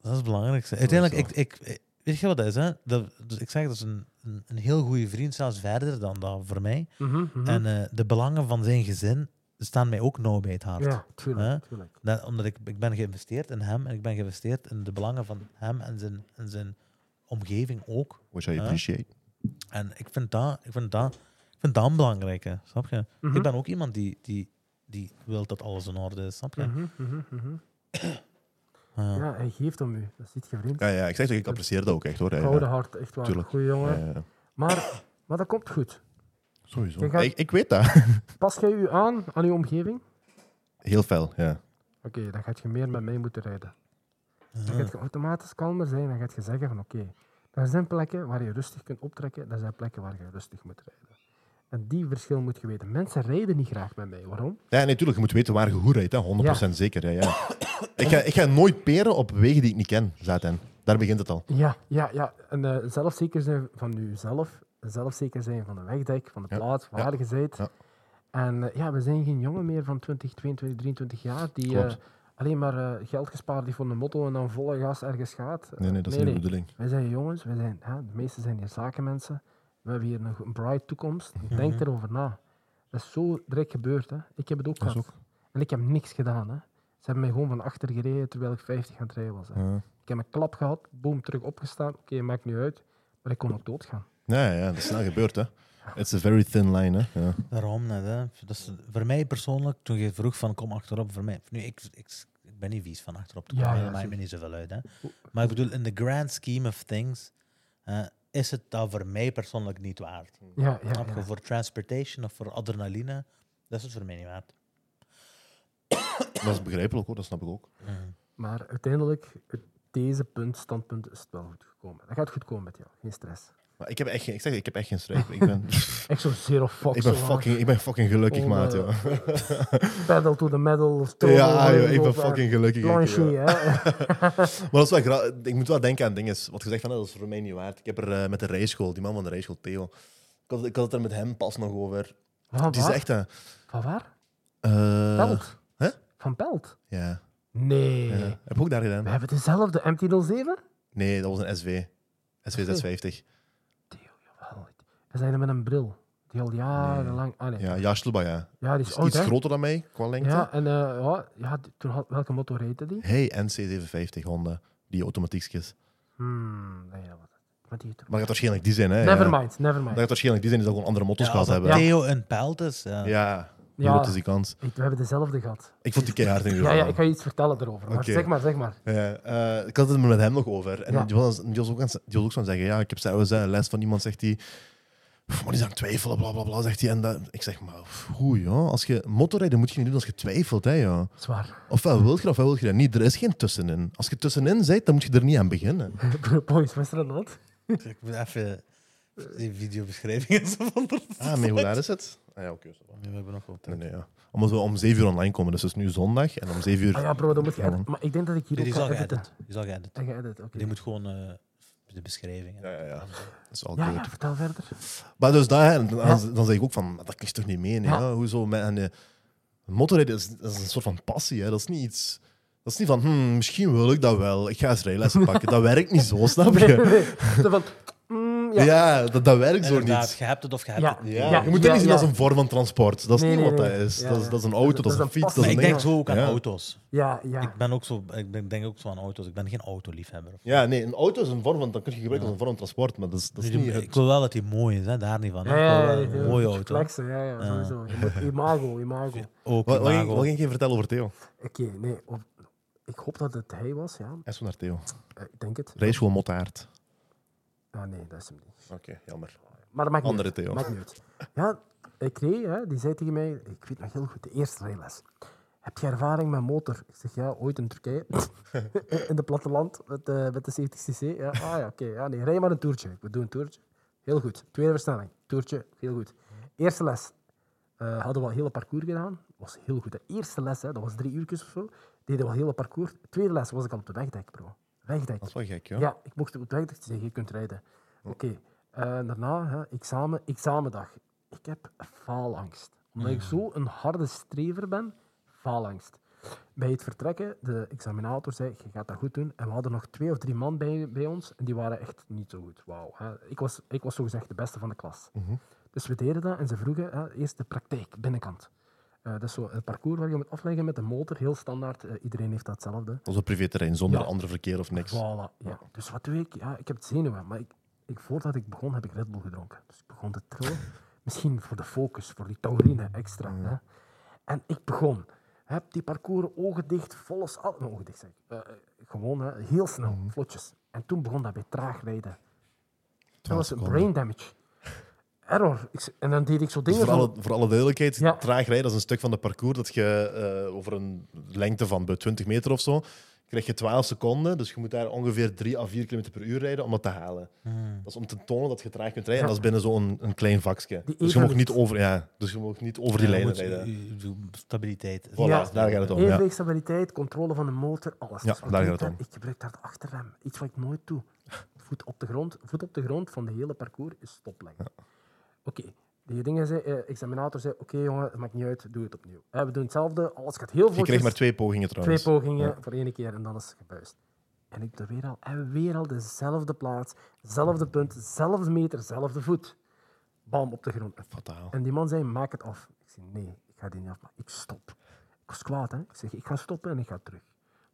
Dat is het belangrijkste. Uiteindelijk, ik, ik, ik- weet je wat dat is? Hè? Dat, dus ik zeg, dat is een, een, een heel goede vriend, zelfs verder dan dat voor mij.
Mhm, mhm.
En eh, de belangen van zijn gezin staan mij ook nauw bij het hart.
ja, tuurlijk.
Hè?
tuurlijk.
Dat- omdat ik, ik ben geïnvesteerd in hem en ik ben geïnvesteerd in de belangen van hem en zijn, en zijn omgeving ook.
Which I
Ja.
appreciate.
En ik vind dat, ik vind dat, ik vind dat een belangrijke, snap je?
Mhm.
Ik ben ook iemand die, die, die wil dat alles in orde is, snap je?
Mhm, mhm, mhm.
Ja.
Ja, hij geeft om u. Dat ziet je vreemd.
Ja, ja, ik zeg toch, ik apprecieer dat ook echt, hoor. hè.
Koude hart, echt waar.
Tuurlijk.
Goeie jongen.
Ja, ja.
Maar, maar dat komt goed.
Sowieso.
Kijk, gaat-
Ik, ik weet dat.
Pas jij u aan aan uw omgeving?
Heel fel, ja.
Oké, dan gaat je meer met mij moeten rijden. Dan
Ja.
gaat je automatisch kalmer zijn. Dan gaat je zeggen van oké, er zijn plekken waar je rustig kunt optrekken. Er zijn plekken waar je rustig moet rijden. En die verschil moet je weten. Mensen rijden niet graag met mij. Waarom?
Ja, natuurlijk, je moet weten waar je hoe rijdt, hè. 100% zeker. Ja, ja. ik, ga, ik ga nooit peren op wegen die ik niet ken, zaten. Daar begint het al.
Ja, ja, ja. En eh, zelfzeker zijn van jezelf, zelfzeker zijn van de wegdek, van de
Ja,
plaats waar je bent.
ja.
En eh, ja, we zijn geen jongen meer van 20, 22, 23 jaar die
Klopt.
eh, alleen maar eh, geld gespaard heeft voor de motto en dan volle gas ergens gaat.
Nee, nee, dat is
Nee, nee.
niet de bedoeling.
Wij zijn jongens, wij zijn, hè, de meesten zijn hier zakenmensen. We hebben hier nog een bright toekomst.
Mhm.
Denk erover na. Dat is zo direct gebeurd. Hè. Ik heb het ook
Dat is
gehad. En ik heb niks gedaan. Hè. Ze hebben mij gewoon van achter gereden terwijl ik 50 aan het rijden was. Hè.
Ja.
Ik heb een klap gehad, boom, terug opgestaan. Oké, maakt niet uit. Maar ik kon ook doodgaan.
Ja, ja, dat is snel gebeurd, hè. It's a very thin line, hè. Ja.
Daarom net, hè. Dus voor mij persoonlijk, toen je vroeg van kom achterop, voor mij... Nu, ik, ik, ik ben niet vies van achterop te
Ja,
komen,
ja,
dat maakt me
zeker.
niet zoveel uit. Hè. Maar ik bedoel, in the grand scheme of things, eh, is het dat voor mij persoonlijk niet waard.
Mm.
Ja, ja,
Snap je?
ja.
Voor transportation of voor adrenaline, dat is het voor mij niet waard.
Dat is begrijpelijk, hoor. Dat snap ik ook.
Maar uiteindelijk, uit deze punt, standpunt, is het wel goed gekomen. Dat gaat goed komen met jou, geen stress.
Maar ik heb echt geen, ik zeg, het, ik heb echt geen strijd. Ik ben,
Echt zo'n zero fucks.
ik ben,
zo ah, van,
fucking, ik ben fucking gelukkig,
Oh,
maat,
eh,
joh.
Pedal to the metal. throttle,
Ja, joh, ik
over,
ben fucking gelukkig. ik,
Planche, hè.
joh. Maar dat is wel gra- Ik moet wel denken aan dingen. Wat gezegd van, dat is voor mij niet waard. Ik heb er eh, met de rijschool, die man van de rijschool, Theo. Ik had, ik had het er met hem pas nog over.
Van
Die
waar?
zegt dat.
Van waar?
eh,
Pelt.
hè?
Van Pelt?
Ja,
Nee.
ja. Heb ik ook daar
We
gedaan?
hebben dezelfde MT-07?
Nee, dat was een SW. SW 650.
Theo, jawel. We zijn er met een bril. Die al jarenlang... Ah, nee.
Ja, Jasluba, ja.
Ja, die
Is
is oud,
iets
hè?
groter dan mij, qua lengte.
Ja, en eh, ja, ja, d- toen had, welke motor heette die?
Hey, NC750 Honda. Die automatiekjes.
Hmm, nee, dat was het. Maar die
Maar dat gaat waarschijnlijk die zijn, hè? ja.
Nevermind,
Dat
nevermind.
gaat waarschijnlijk die zijn die dat gewoon andere motors
Ja,
gehad
als
hebben.
dat Theo een pelt is, ja.
Ja, hoe
Ja.
groot is die kans?
Ik- We hebben dezelfde gehad.
Ik vond die keihard in ieder
Ja, ja,
geval.
ik ga je iets vertellen erover. Maar
Oké.
Zeg maar, zeg maar.
Ja, eh, ik had het er met hem nog over. En
Ja.
die, was, die, was ook aan, die was ook zo aan het zeggen, ja, ik heb zelfs een les van iemand, zegt hij, "Pff, maar die is aan het twijfelen, bla, bla, bla, zegt hij. En dat, ik zeg, maar pff, hoe, joh? Als je motorrijden moet je niet doen als je twijfelt, hè, joh.
Zwaar.
Ofwel wil je dat, ofwel wil je dat niet. Er is geen tussenin. Als je tussenin zit, dan moet je er niet aan beginnen.
Boys, was er aan de hand?
Ik moet even die videobeschrijving enzovoort.
Ah, maar hoe laat is het? Ah, ja, oké. zo.
We hebben nog op.
nee, nee, ja. Omdat we om 7 uur online komen, dus het is nu zondag. En om 7 uur...
Ah ja, bro, dan moet je
Ja, man.
editen. Maar ik denk dat ik hier
Die
ook
is al
ga editen.
geëdit. Die is al geëdit.
En geëdit, oké.
Die moet gewoon eh, de beschrijving.
Ja, ja, ja. Dat is al
Ja,
goed.
ja, vertel verder.
Maar dus daar, en dan,
Ja.
dan zeg ik ook van, maar dat kun je toch niet menen?
Ja.
Ja. Hoezo? Met, en, eh, motorrijden is, dat is een soort van passie. Hè? Dat is niet iets... Dat is niet van, hmm, misschien wil ik dat wel. Ik ga eens rijlessen pakken. Dat werkt niet zo, snap
Nee,
je?
nee. Zo van, mm,
Ja,
ja.
dat, dat werkt zo
Inderdaad,
niet.
je hebt het of je hebt
Ja.
het niet.
Ja,
Ja,
je
ja,
moet het niet zien
ja.
als een vorm van transport. Dat is
Nee,
niet
nee,
wat
nee.
dat is.
Ja,
dat, is
ja.
dat is een auto, dat is een fiets, dat
passie.
is
Maar
een
ik
ding.
denk zo ook aan
Ja.
auto's.
Ja, ja.
Ik ben ook zo, ik denk, denk ook zo aan auto's. Ik ben geen autoliefhebber. of-
Ja, nee, een auto is een vorm van... Dat kun je gebruiken als een vorm van transport, maar dat is, dat is
Dus
niet...
ik-
het-
ik wil wel dat die mooi is, hè? daar niet van. hè.
Ja, ja,
Ik wil wel
ja,
een
ja.
mooie auto.
Flexen, ja, ja, sowieso. Je moet- Imago, imago.
Ook
Wat, wat, ging,
imago.
wat ging je vertellen over Theo?
Oké, nee. op- ik hoop dat het hij was, ja.
Echt zo naar Theo.
Eh, Ik denk het.
Race gewoon motaard.
Ah, nee, dat is hem niet.
Oké, jammer.
Maar dat maakt niet
Andere
uit.
Theo.
Maakt niet uit. Ja, ik reed, hè, die zei tegen mij, ik weet nog heel goed, de eerste rijles. Heb je ervaring met motor? Ik zeg, ja, ooit in Turkije. in de platteland, met, eh, met de 70cc. Ja, ah ja, oké. ja, nee, rij maar een toertje. We doen een toertje. Heel goed. Tweede versnelling. Toertje, heel goed. Eerste les. eh, hadden we al heel het parcours gedaan. was heel goed. De eerste les, hè, dat was drie uurtjes of zo, deden we al heel het parcours. Tweede les was ik al op de wegdek, bro. Wegdek.
Dat is wel gek, joh.
Ja, ik mocht op de wegdag zeggen, je kunt rijden. Oké, eh, daarna, hè, examen, examendag. Ik heb faalangst. Omdat ik zo een harde strever ben, faalangst. Bij het vertrekken, de examinator zei, je gaat dat goed doen. En we hadden nog twee of drie man bij, bij ons en die waren echt niet zo goed. Wauw. hè. Ik was, ik was zogezegd de beste van de klas. Dus we deden dat en ze vroegen hè, eerst de praktijk, binnenkant. Eh, dat is zo een parcours waar je moet afleggen met de motor, heel standaard. Eh, iedereen heeft dat hetzelfde.
Dat is een privéterrein, zonder
Ja.
ander verkeer of niks.
Voilà, ja. Dus wat doe ik? Ja, ik heb het zenuwen, maar ik, ik, voordat ik begon heb ik Red Bull gedronken. Dus ik begon te trillen. Misschien voor de focus, voor die taurine extra. Hè? En ik begon. Heb die parcours ogen dicht, volle al ogen dicht zeg. ik. Eh, eh, gewoon hè, heel snel, vlotjes. En toen begon dat weer traag rijden. Dat was een brain damage. Error. Ik, z- en dan deed ik zo
Dus
dingen
voor,
van...
alle, voor alle duidelijkheid,
Ja.
traag rijden dat is een stuk van de parcours dat je eh, over een lengte van bij 20 meter of zo, krijg je 12 seconden. Dus je moet daar ongeveer 3 à 4 km per uur rijden om dat te halen.
Hmm.
Dat is om te tonen dat je traag kunt rijden.
Ja.
En dat is binnen zo'n een klein vakje.
Die
Dus je, mag
evenwicht.
niet over, ja, dus je mag niet over die
Ja,
lijnen
moet-
rijden.
u- u- Stabiliteit.
Voilà, daar gaat het om. Ja.
Evenwicht, stabiliteit, controle van de motor, alles.
Ja,
Dus wat
daar
doe
gaat
ik
het
dan? Ik gebruik daar de achterrem. Iets wat ik nooit doe. Voet op de grond, voet op de grond van de hele parcours is stopleggen. Oké, die dingen zei, eh, examinator zei, oké jongen, het maakt niet uit, doe het opnieuw. Eh, we doen hetzelfde, alles gaat heel
Je
vlotjes.
krijgt maar twee pogingen
Twee
trouwens.
pogingen voor één keer en dan is het gebuist. En ik doe weer al, en weer al dezelfde plaats, zelfde punt, zelfde meter, zelfde voet. Bam, op de grond.
Fataal.
En die man zei, maak het af. Ik zei, nee, ik ga die niet afmaken. Ik stop. Ik was kwaad, hè. Ik zeg, ik ga stoppen en ik ga terug.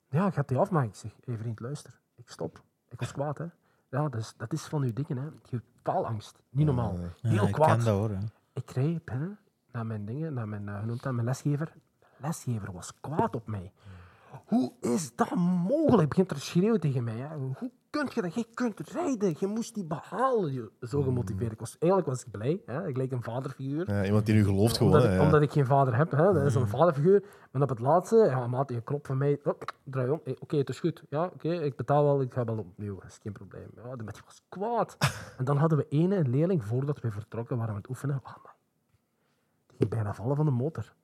Ja, ik ga die afmaken. Ik zeg, hé vriend, luister. Ik stop. Ik was kwaad, hè. Ja, dus, dat is van uw dingen, hè. Je hebt faalangst. Niet normaal.
Ja,
Ja,
Heel
ik
kwaad.
ken dat hoor. hè.
Ik reep hè, naar mijn dingen, naar mijn, eh, hoe noemt dat, mijn lesgever. Mijn lesgever was kwaad op mij. Hoe is dat mogelijk? Hij begint te schreeuwen tegen mij. Hè. Hoe kun je dat? Je kunt rijden. Je moest die behalen. joh.
Mm.
Zo gemotiveerd. Ik was, eigenlijk was ik blij. Hè. Ik leek een vaderfiguur.
Ja, iemand die nu gelooft gewoon.
Omdat,
hè,
ik,
ja. Mm.
omdat ik geen vader heb. Hè. Dat is een vaderfiguur. Maar op het laatste, ja, maat, je klopt van mij. Oh, draai om. Eh, Oké, het is goed. Ja, oké, ik betaal wel. Ik ga wel opnieuw. Dat is geen probleem. Ja, de mens was kwaad. en dan hadden we ene leerling, voordat we vertrokken waren we aan het oefenen. Ah, man. Die ging bijna vallen van de motor.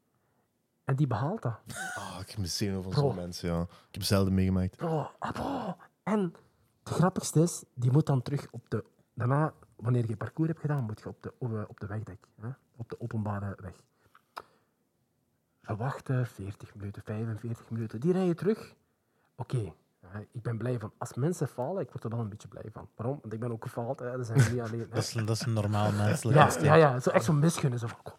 En die behaalt dat.
Ah, ik heb me zenuw van
Bro.
zo'n mensen, ja. Ik heb zelden meegemaakt.
Bro, ah, bro. En het grappigste is, die moet dan terug op de... Daarna, wanneer je parcours hebt gedaan, moet je op de, op, eh, op de wegdek. Hè? Op de openbare weg. We wachten 40 minuten, 45 minuten. Die rijden terug. Oké, hè, ik ben blij van. Als mensen falen, ik word er dan een beetje blij van. Waarom? Want ik ben ook gefaald. Hè? Dat zijn jullie alleen. hè.
Dat is, dat is een normaal menselijk
Ja,
instinct.
ja, ja, zo echt zo'n misgunnen. Zo van, "Kom,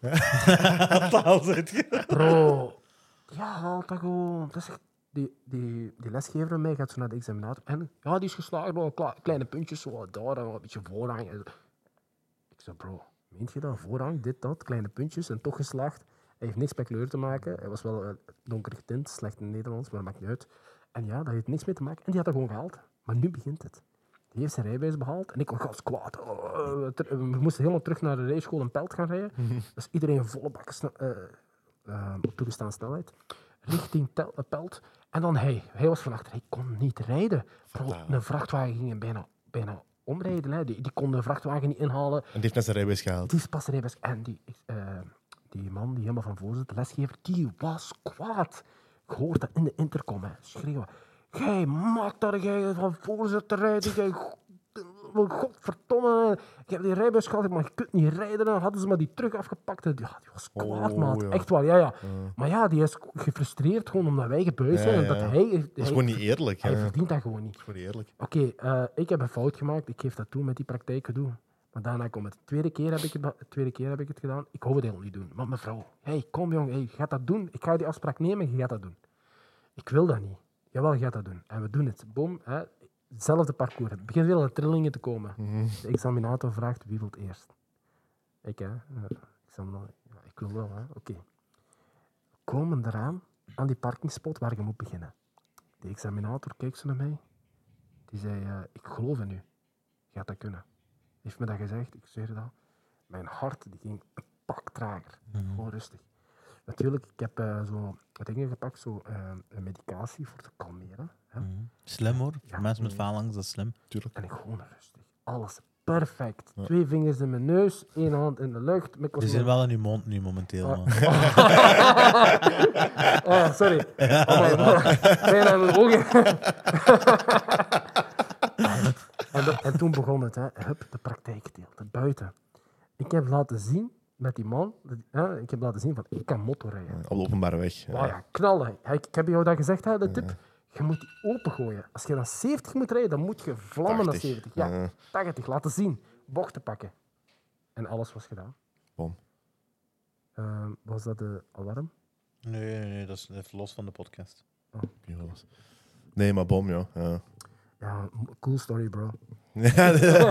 Taal zit je.
Bro, ja, haalt dat gewoon. Dat is echt- die, die, die lesgever van mij gaat zo naar de examinator. En ja, die is geslaagd, bro. Kla- kleine puntjes, zo wat daar, en wat een beetje voorrang. en zo. Ik zei, bro, meent je dat? Voorrang, dit, dat, kleine puntjes en toch geslaagd. Hij heeft niks met kleur te maken. Hij was wel eh, donker getint, slecht in het Nederlands, maar dat maakt niet uit. En ja, dat heeft niks mee te maken. En die had dat gewoon gehaald. Maar nu begint het. Die heeft zijn rijbewijs behaald en ik was gans kwaad. Oh, eh, ter- we moesten helemaal terug naar de rijschool in Pelt gaan rijden. Dus iedereen volle bak sne- eh, eh, op toegestaan snelheid, richting Tel- eh, Pelt. En dan hij, hij was van achter, hij kon niet rijden. Bro,
Fataal.
een vrachtwagen ging hem bijna, bijna omrijden. Hè. Die, die kon de vrachtwagen niet inhalen.
En die heeft net zijn rijbewijs gehaald.
Het is pas rijbewijs. En die, eh, die man die helemaal van voor zit, de lesgever, die was kwaad. Ik hoorde dat in de intercom, hè, schreeuwen. Jij maakt dat jij van voor zit te rijden. Jij, godverdomme. Ik heb die rijbewijs gehad, maar je kunt niet rijden. Dan hadden ze maar die terug afgepakt. Ja, die was kwaad,
Oh,
maat.
ja.
Echt waar, ja, ja. Maar ja, die is gefrustreerd gewoon omdat wij gebuist
Ja,
zijn. en dat
ja.
hij,
Dat
hij,
is gewoon niet eerlijk. Hè.
hij
Dat is
verdient dat gewoon niet.
gewoon niet eerlijk.
Oké, eh, ik heb een fout gemaakt. Ik geef dat toe met die praktijkgedoe. Maar daarna komt het. Tweede keer heb ik het, ba- tweede keer heb ik het gedaan. Ik wou het helemaal niet doen. Maar mevrouw, hey, kom jong, hey, je gaat dat doen. Ik ga die afspraak nemen, je gaat dat doen. Ik wil dat niet. Jawel, je gaat dat doen. En we doen het. Boom. Hè. Hetzelfde parcours. Het begint weer aan de trillingen te komen.
Mhm.
De examinator vraagt wie wil het eerst. Ik, hè. Eh, examinator. Ja, ik wil wel, hè. Oké. We komen eraan, aan die parkingspot waar je moet beginnen. De examinator kijkt zo naar mij. Die zei, eh, ik geloof in u. Gaat dat kunnen? Heeft me dat gezegd, ik zweer dat. Mijn hart die ging een pak trager. Gewoon rustig. Natuurlijk, ik heb eh, zo wat dingen gepakt, zo eh, een medicatie voor te kalmeren. Hè?
Mhm. Slim hoor. Voor
Ja. Mm.
mensen met faalangst, dat is slim.
Tuurlijk.
En ik gewoon rustig. Alles perfect. Twee vingers in mijn neus, één hand in de lucht. Mijn
Die zijn wel in je mond nu momenteel. man.
Oh, sorry. Oh my god. Bijna in mijn ogen. en, dat- en toen begon het, hè. Hup, de praktijkdeel, de buiten. Ik heb laten zien met die man, dat- hè, ik heb laten zien van, ik kan motorrijden.
Op de openbare weg.
Wauw, ja, knallen. Hij- Ik heb jou dat gezegd, hè, de tip. Je moet die opengooien. Als je dan 70 moet rijden, dan moet je vlammen naar
80,
70. Ja,
ja.
80, laten zien. Bochten pakken. En alles was gedaan.
Bom.
Ehm, was dat de alarm?
Nee, nee, nee, dat is even los van de podcast.
Nee, maar bom, joh. Ja.
Ja, cool story, bro.
Maar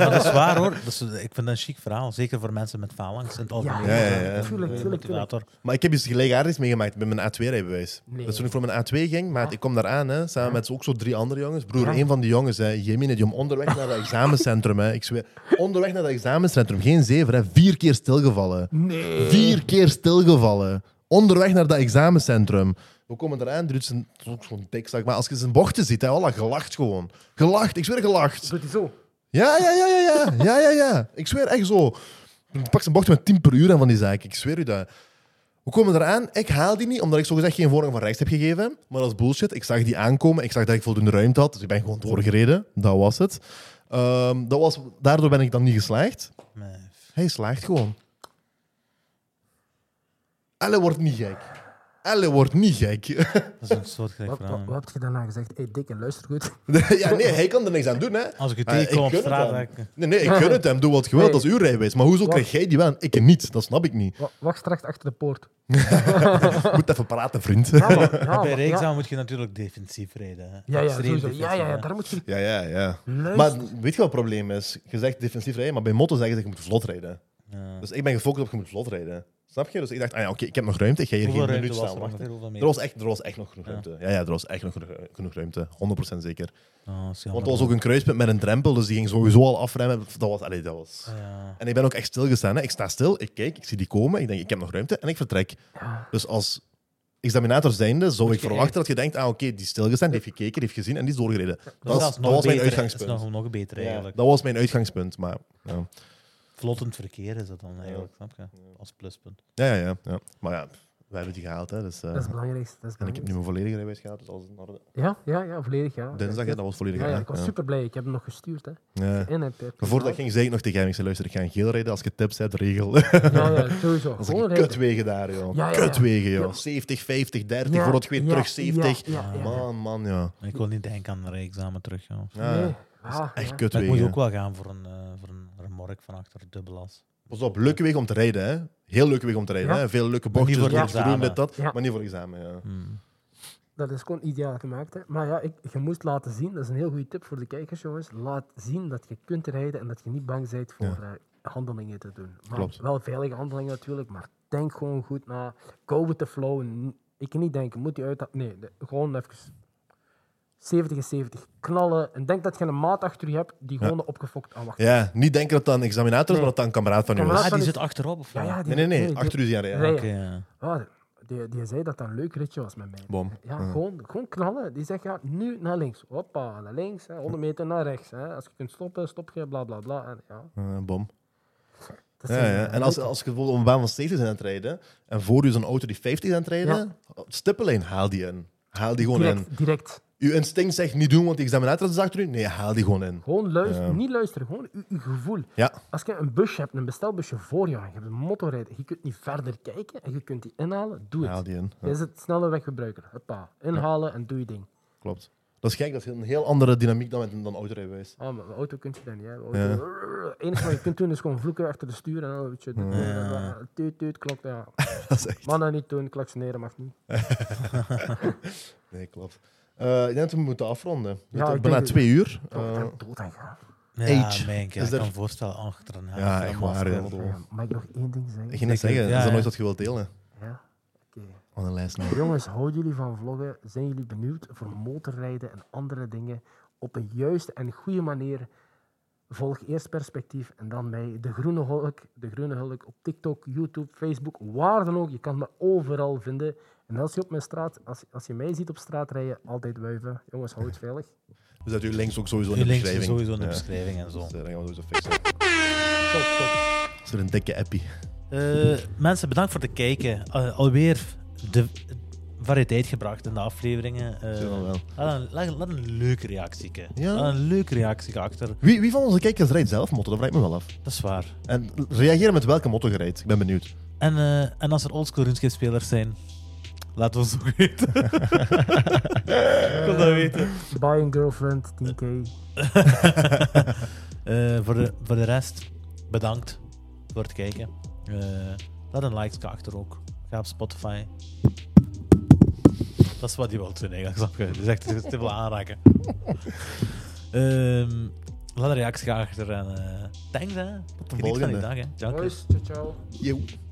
dat is waar hoor. Dat is, ik vind dat een chic verhaal. Zeker voor mensen met faalangst in het algemeen.
Ja, ja, ja.
Tuurlijk,
Eh,
tuurlijk, tuurlijk.
motivator.
Maar ik heb iets gelijkaardigs meegemaakt met mijn A2-rijbewijs.
Nee.
Dat is toen ik voor mijn A2 ging, maar ik kom daar aan, hè, samen met ook zo drie andere jongens. Broer,
Ja.
een van die jongens, hè, Jemine, die om onderweg naar het examencentrum, hè, ik zweer, onderweg naar het examencentrum, geen zeven, hè, vier keer stilgevallen.
Nee.
Vier keer stilgevallen. Onderweg naar dat examencentrum. We komen eraan, er is een- het is ook zo'n dikzak. Maar als je zijn bochten ziet, hè, wallah, gelacht gewoon. Gelacht, ik zweer gelacht.
Doet hij zo?
Ja, ja, ja, ja, ja, ja, ja, ja. Ik zweer echt zo. Ik pak zijn bocht met 10 per uur aan van die zaak. Ik zweer u dat. We komen eraan. Ik haal die niet, omdat ik zogezegd geen voorrang van rechts heb gegeven. Maar dat is bullshit. Ik zag die aankomen. Ik zag dat ik voldoende ruimte had. Dus ik ben gewoon doorgereden. Dat was het. Ehm, dat was, daardoor ben ik dan niet geslaagd.
Nee.
Hij slaagt gewoon. Elle wordt niet gek. Elle wordt niet gek.
Dat is een soort gek
Wat, wat,
verhaal.
wat heb je daarna gezegd? hey, dikke, luister goed.
ja, nee, hij kan er niks aan doen, hè.
Als Ah, ik je
Eh,
tegenkom op
ik gun het
straat,
hem.
dan-
Nee, nee, ik gun het hem. Doe wat je wilt,
Nee.
dat is uw rijbewijs. Maar hoezo
Wat?
krijg jij die wel en ik niet? Dat snap ik niet.
Wa- Wacht straks achter de poort.
Moet even praten, vriend.
Ah.
Ja, man, ja, man,
bij Rijksaan
ja.
moet je natuurlijk defensief rijden. hè.
Ja, ja,
Extreem
sowieso. ja,
defensief,
ja, ja,
hè.
daar moet je...
Ja, ja, ja. Maar
Luister.
weet je wat het probleem is? Je zegt defensief rijden, maar bij motto zeggen ze je moet vlot rijden.
Ja.
Dus ik ben gefocust op je moet vlot rijden. Snap je? Dus ik dacht, ah ja, oké, ik heb nog ruimte. Ik ga hier
Hoeveel
geen
ruimte
minuut
was
staan
er?
wachten.
Wacht, hoeveel
Er
meter?
was, echt, er was echt nog genoeg
Ja.
ruimte. Ja, ja, er was echt nog genoeg- genoeg ruimte. 100% zeker.
Ah, dat is jammer,
Want er was ook een kruispunt met een drempel, dus die ging sowieso al afremmen. Dat was, allee, dat was...
Ja.
En ik ben ook echt stilgestaan. Hè. Ik sta stil, ik kijk, ik zie die komen, ik denk, ik heb nog ruimte en ik vertrek.
Ja.
Dus als examinator zijnde zou ik
je
verwachten dat je denkt, ah oké, die is stilgestaan, die heeft gekeken, die heeft gezien en die is doorgereden. Dat,
Dat,
is-
is
dat was mijn
Dat is
uitgangspunt.
nog, nog beter
Ja,
eigenlijk.
dat was mijn uitgangspunt, maar... Ja,
Vlottend verkeer is dat dan eigenlijk, snap je? Als pluspunt.
ja, ja. ja, ja. Maar ja, we hebben die gehaald, hè. Dus, eh,
Dat is het belangrijkste. Dat is het
en ik heb nu mijn volledige rijbewijs gehaald, dus alles in orde.
belangrijkste. Ja, ja, ja, volledig, ja.
Dinsdag, hè, dat was volledig
Ja, ja, ik
gehaald,
was
ja.
super blij. Ik heb hem nog gestuurd, hè.
Ja.
In het eh,
Maar voordat ik ging, zei ik nog tegen hem, ik zei, luister, ik ga in geel rijden als je tips hebt, regel.
Ja, ja, sowieso.
Dat
Gewoon
zijn
rijden.
kutwegen daar, joh.
Ja, ja, ja.
Kutwegen, joh.
Ja.
70, 50, 30,
Ja,
voordat je weer
ja,
terug 70.
ja, ja, ja.
Man, man, ja.
Ik wil niet denken aan een rijexamen terug. Ja.
ja.
Nee. Ah,
Echt
ja.
Maar ik moet
kutwegen.
ook wel gaan voor een, eh, voor een remork van achter dubbelas.
Pas op, leuke weg om te rijden, hè. Heel leuke weg om te rijden,
Ja.
hè. Veel leuke
Maar niet
bochtjes,
voor
niks te doen,
examen.
dit, dat.
Ja.
Maar niet voor examen, ja.
Hmm.
Dat is gewoon ideaal gemaakt. Hè. Maar ja, ik, je moest laten zien, dat is een heel goede tip voor de kijkers, jongens. Laat zien dat je kunt rijden en dat je niet bang bent voor eh, handelingen te doen. Maar
Klopt.
Wel veilige handelingen natuurlijk, maar denk gewoon goed na. Go with the flow. N- Ik kan niet denken, moet die uit... Nee, de- gewoon even 70 is 70 knallen. En denk dat je een maat achter je hebt die gewoon opgefokt Oh, aanwacht.
Ja, niet denken dat dat een examinator is,
Nee.
maar dat dat een kameraad van u
Kameraad.
is.
Ah,
van
die
die-
zit achterop of
Ja, ja,
wat?
die-
Nee, nee, nee.
die-
Achter u is hij aan het rijden.
Nee.
Oké, ja.
Ah, die, die zei dat dat een leuk ritje was met mij.
Bom.
Ja,
Ja.
gewoon, gewoon knallen. Die zegt ja, nu naar links. Hoppa, naar links. Hè, 100 meter naar rechts. Hè. Als je kunt stoppen, stop je, bla bla bla. En, ja,
Eh, bom.
dat
Ja,
zijn,
ja.
eh,
En als,
leuk.
als je bijvoorbeeld op een baan van 70 bent aan het rijden, en voor u is een auto die 50 is aan het rijden, stippelijn, haal die in. Haal die gewoon in.
direct, direct.
Uw instinct zegt niet doen, want die examinator is achter u. Nee, haal die gewoon in.
Gewoon luisteren. Niet luisteren, gewoon je, je gevoel.
Ja,
Als je een busje hebt, een bestelbusje voor je, je hebt een motorrijder, je kunt niet verder kijken en je kunt die inhalen, doe het.
haal die in.
Dat is het snelle weggebruiker. Hoppa, inhalen en doe je ding.
Klopt. Dat is gek, dat is een heel andere dynamiek dan met een dan autorijbewijs.
Ah, maar een auto kun je dat niet. hè. Een Auto, Het enige wat je kunt doen is gewoon vloeken achter de stuur en dan weet je, dit, eh, tuut, tuut, klopt. Ja.
Dat is echt...
Mannen niet doen, klaksoneren mag niet.
Nee, klopt. Eh, ik denk dat we moeten afronden.
Ja,
Ja,
ik
ik ben na
denk-
twee uur.
Ik
Eh,
ben dood aan gaan.
Ja,
Age.
mijn kijk,
Is
ik
er-
kan me voorstellen achter een helft
ja,
een
echt waar.
masker.
Ja.
Ja, mag ik nog één ding zeggen?
Ik ging net
Zeker.
zeggen,
Ja,
is er
ja.
nooit wat je wilt delen?
Ja? Oké.
Van een lijst
Jongens, houden jullie van vloggen? Zijn jullie benieuwd voor motorrijden en andere dingen? Op een juiste en goede manier. Volg eerst perspectief en dan mij. De Groene Hulk, de Groene Hulk op TikTok, YouTube, Facebook, waar dan ook. Je kan me overal vinden. En als je, op mijn straat, als, als je mij ziet op straat rijden, altijd wuiven. Jongens, houd het veilig.
Dus dat u links ook sowieso in
Uw
de
links is
beschrijving.
sowieso in de
Ja.
beschrijving en zo.
Dus, eh, dat gaan we sowieso fixen.
Top, top.
Is er een dikke appie?
Eh, mensen, bedankt voor het kijken. Eh, alweer de variëteit gebracht in de afleveringen. Eh,
Zo dan wel.
laat, een, laat, laat een leuke reactie.
Ja.
Laat een leuke reactie achter.
Wie, wie van onze kijkers rijdt zelf motto? Dat vraag ik me wel af.
Dat is waar.
En reageer met welke motto je rijdt. Ik ben benieuwd.
En, eh, en als er oldschool RuneScape-spelers zijn, laat ons ook weten. Ik wil dat weten.
Buy a Ehm, girlfriend, 10k.
Eh, voor, de, voor de rest, bedankt voor het kijken. Eh, laat een like achter ook. Ga op Spotify. Dat is wat je wilt doen eigenlijk, snap je? Dat is echt het is te veel aanraken. Ehm, laat een reactie achter en eh, thanks hè. Tot
volgende.
Dag, hè. Dank je.
Boys, ciao, ciao.
Yo.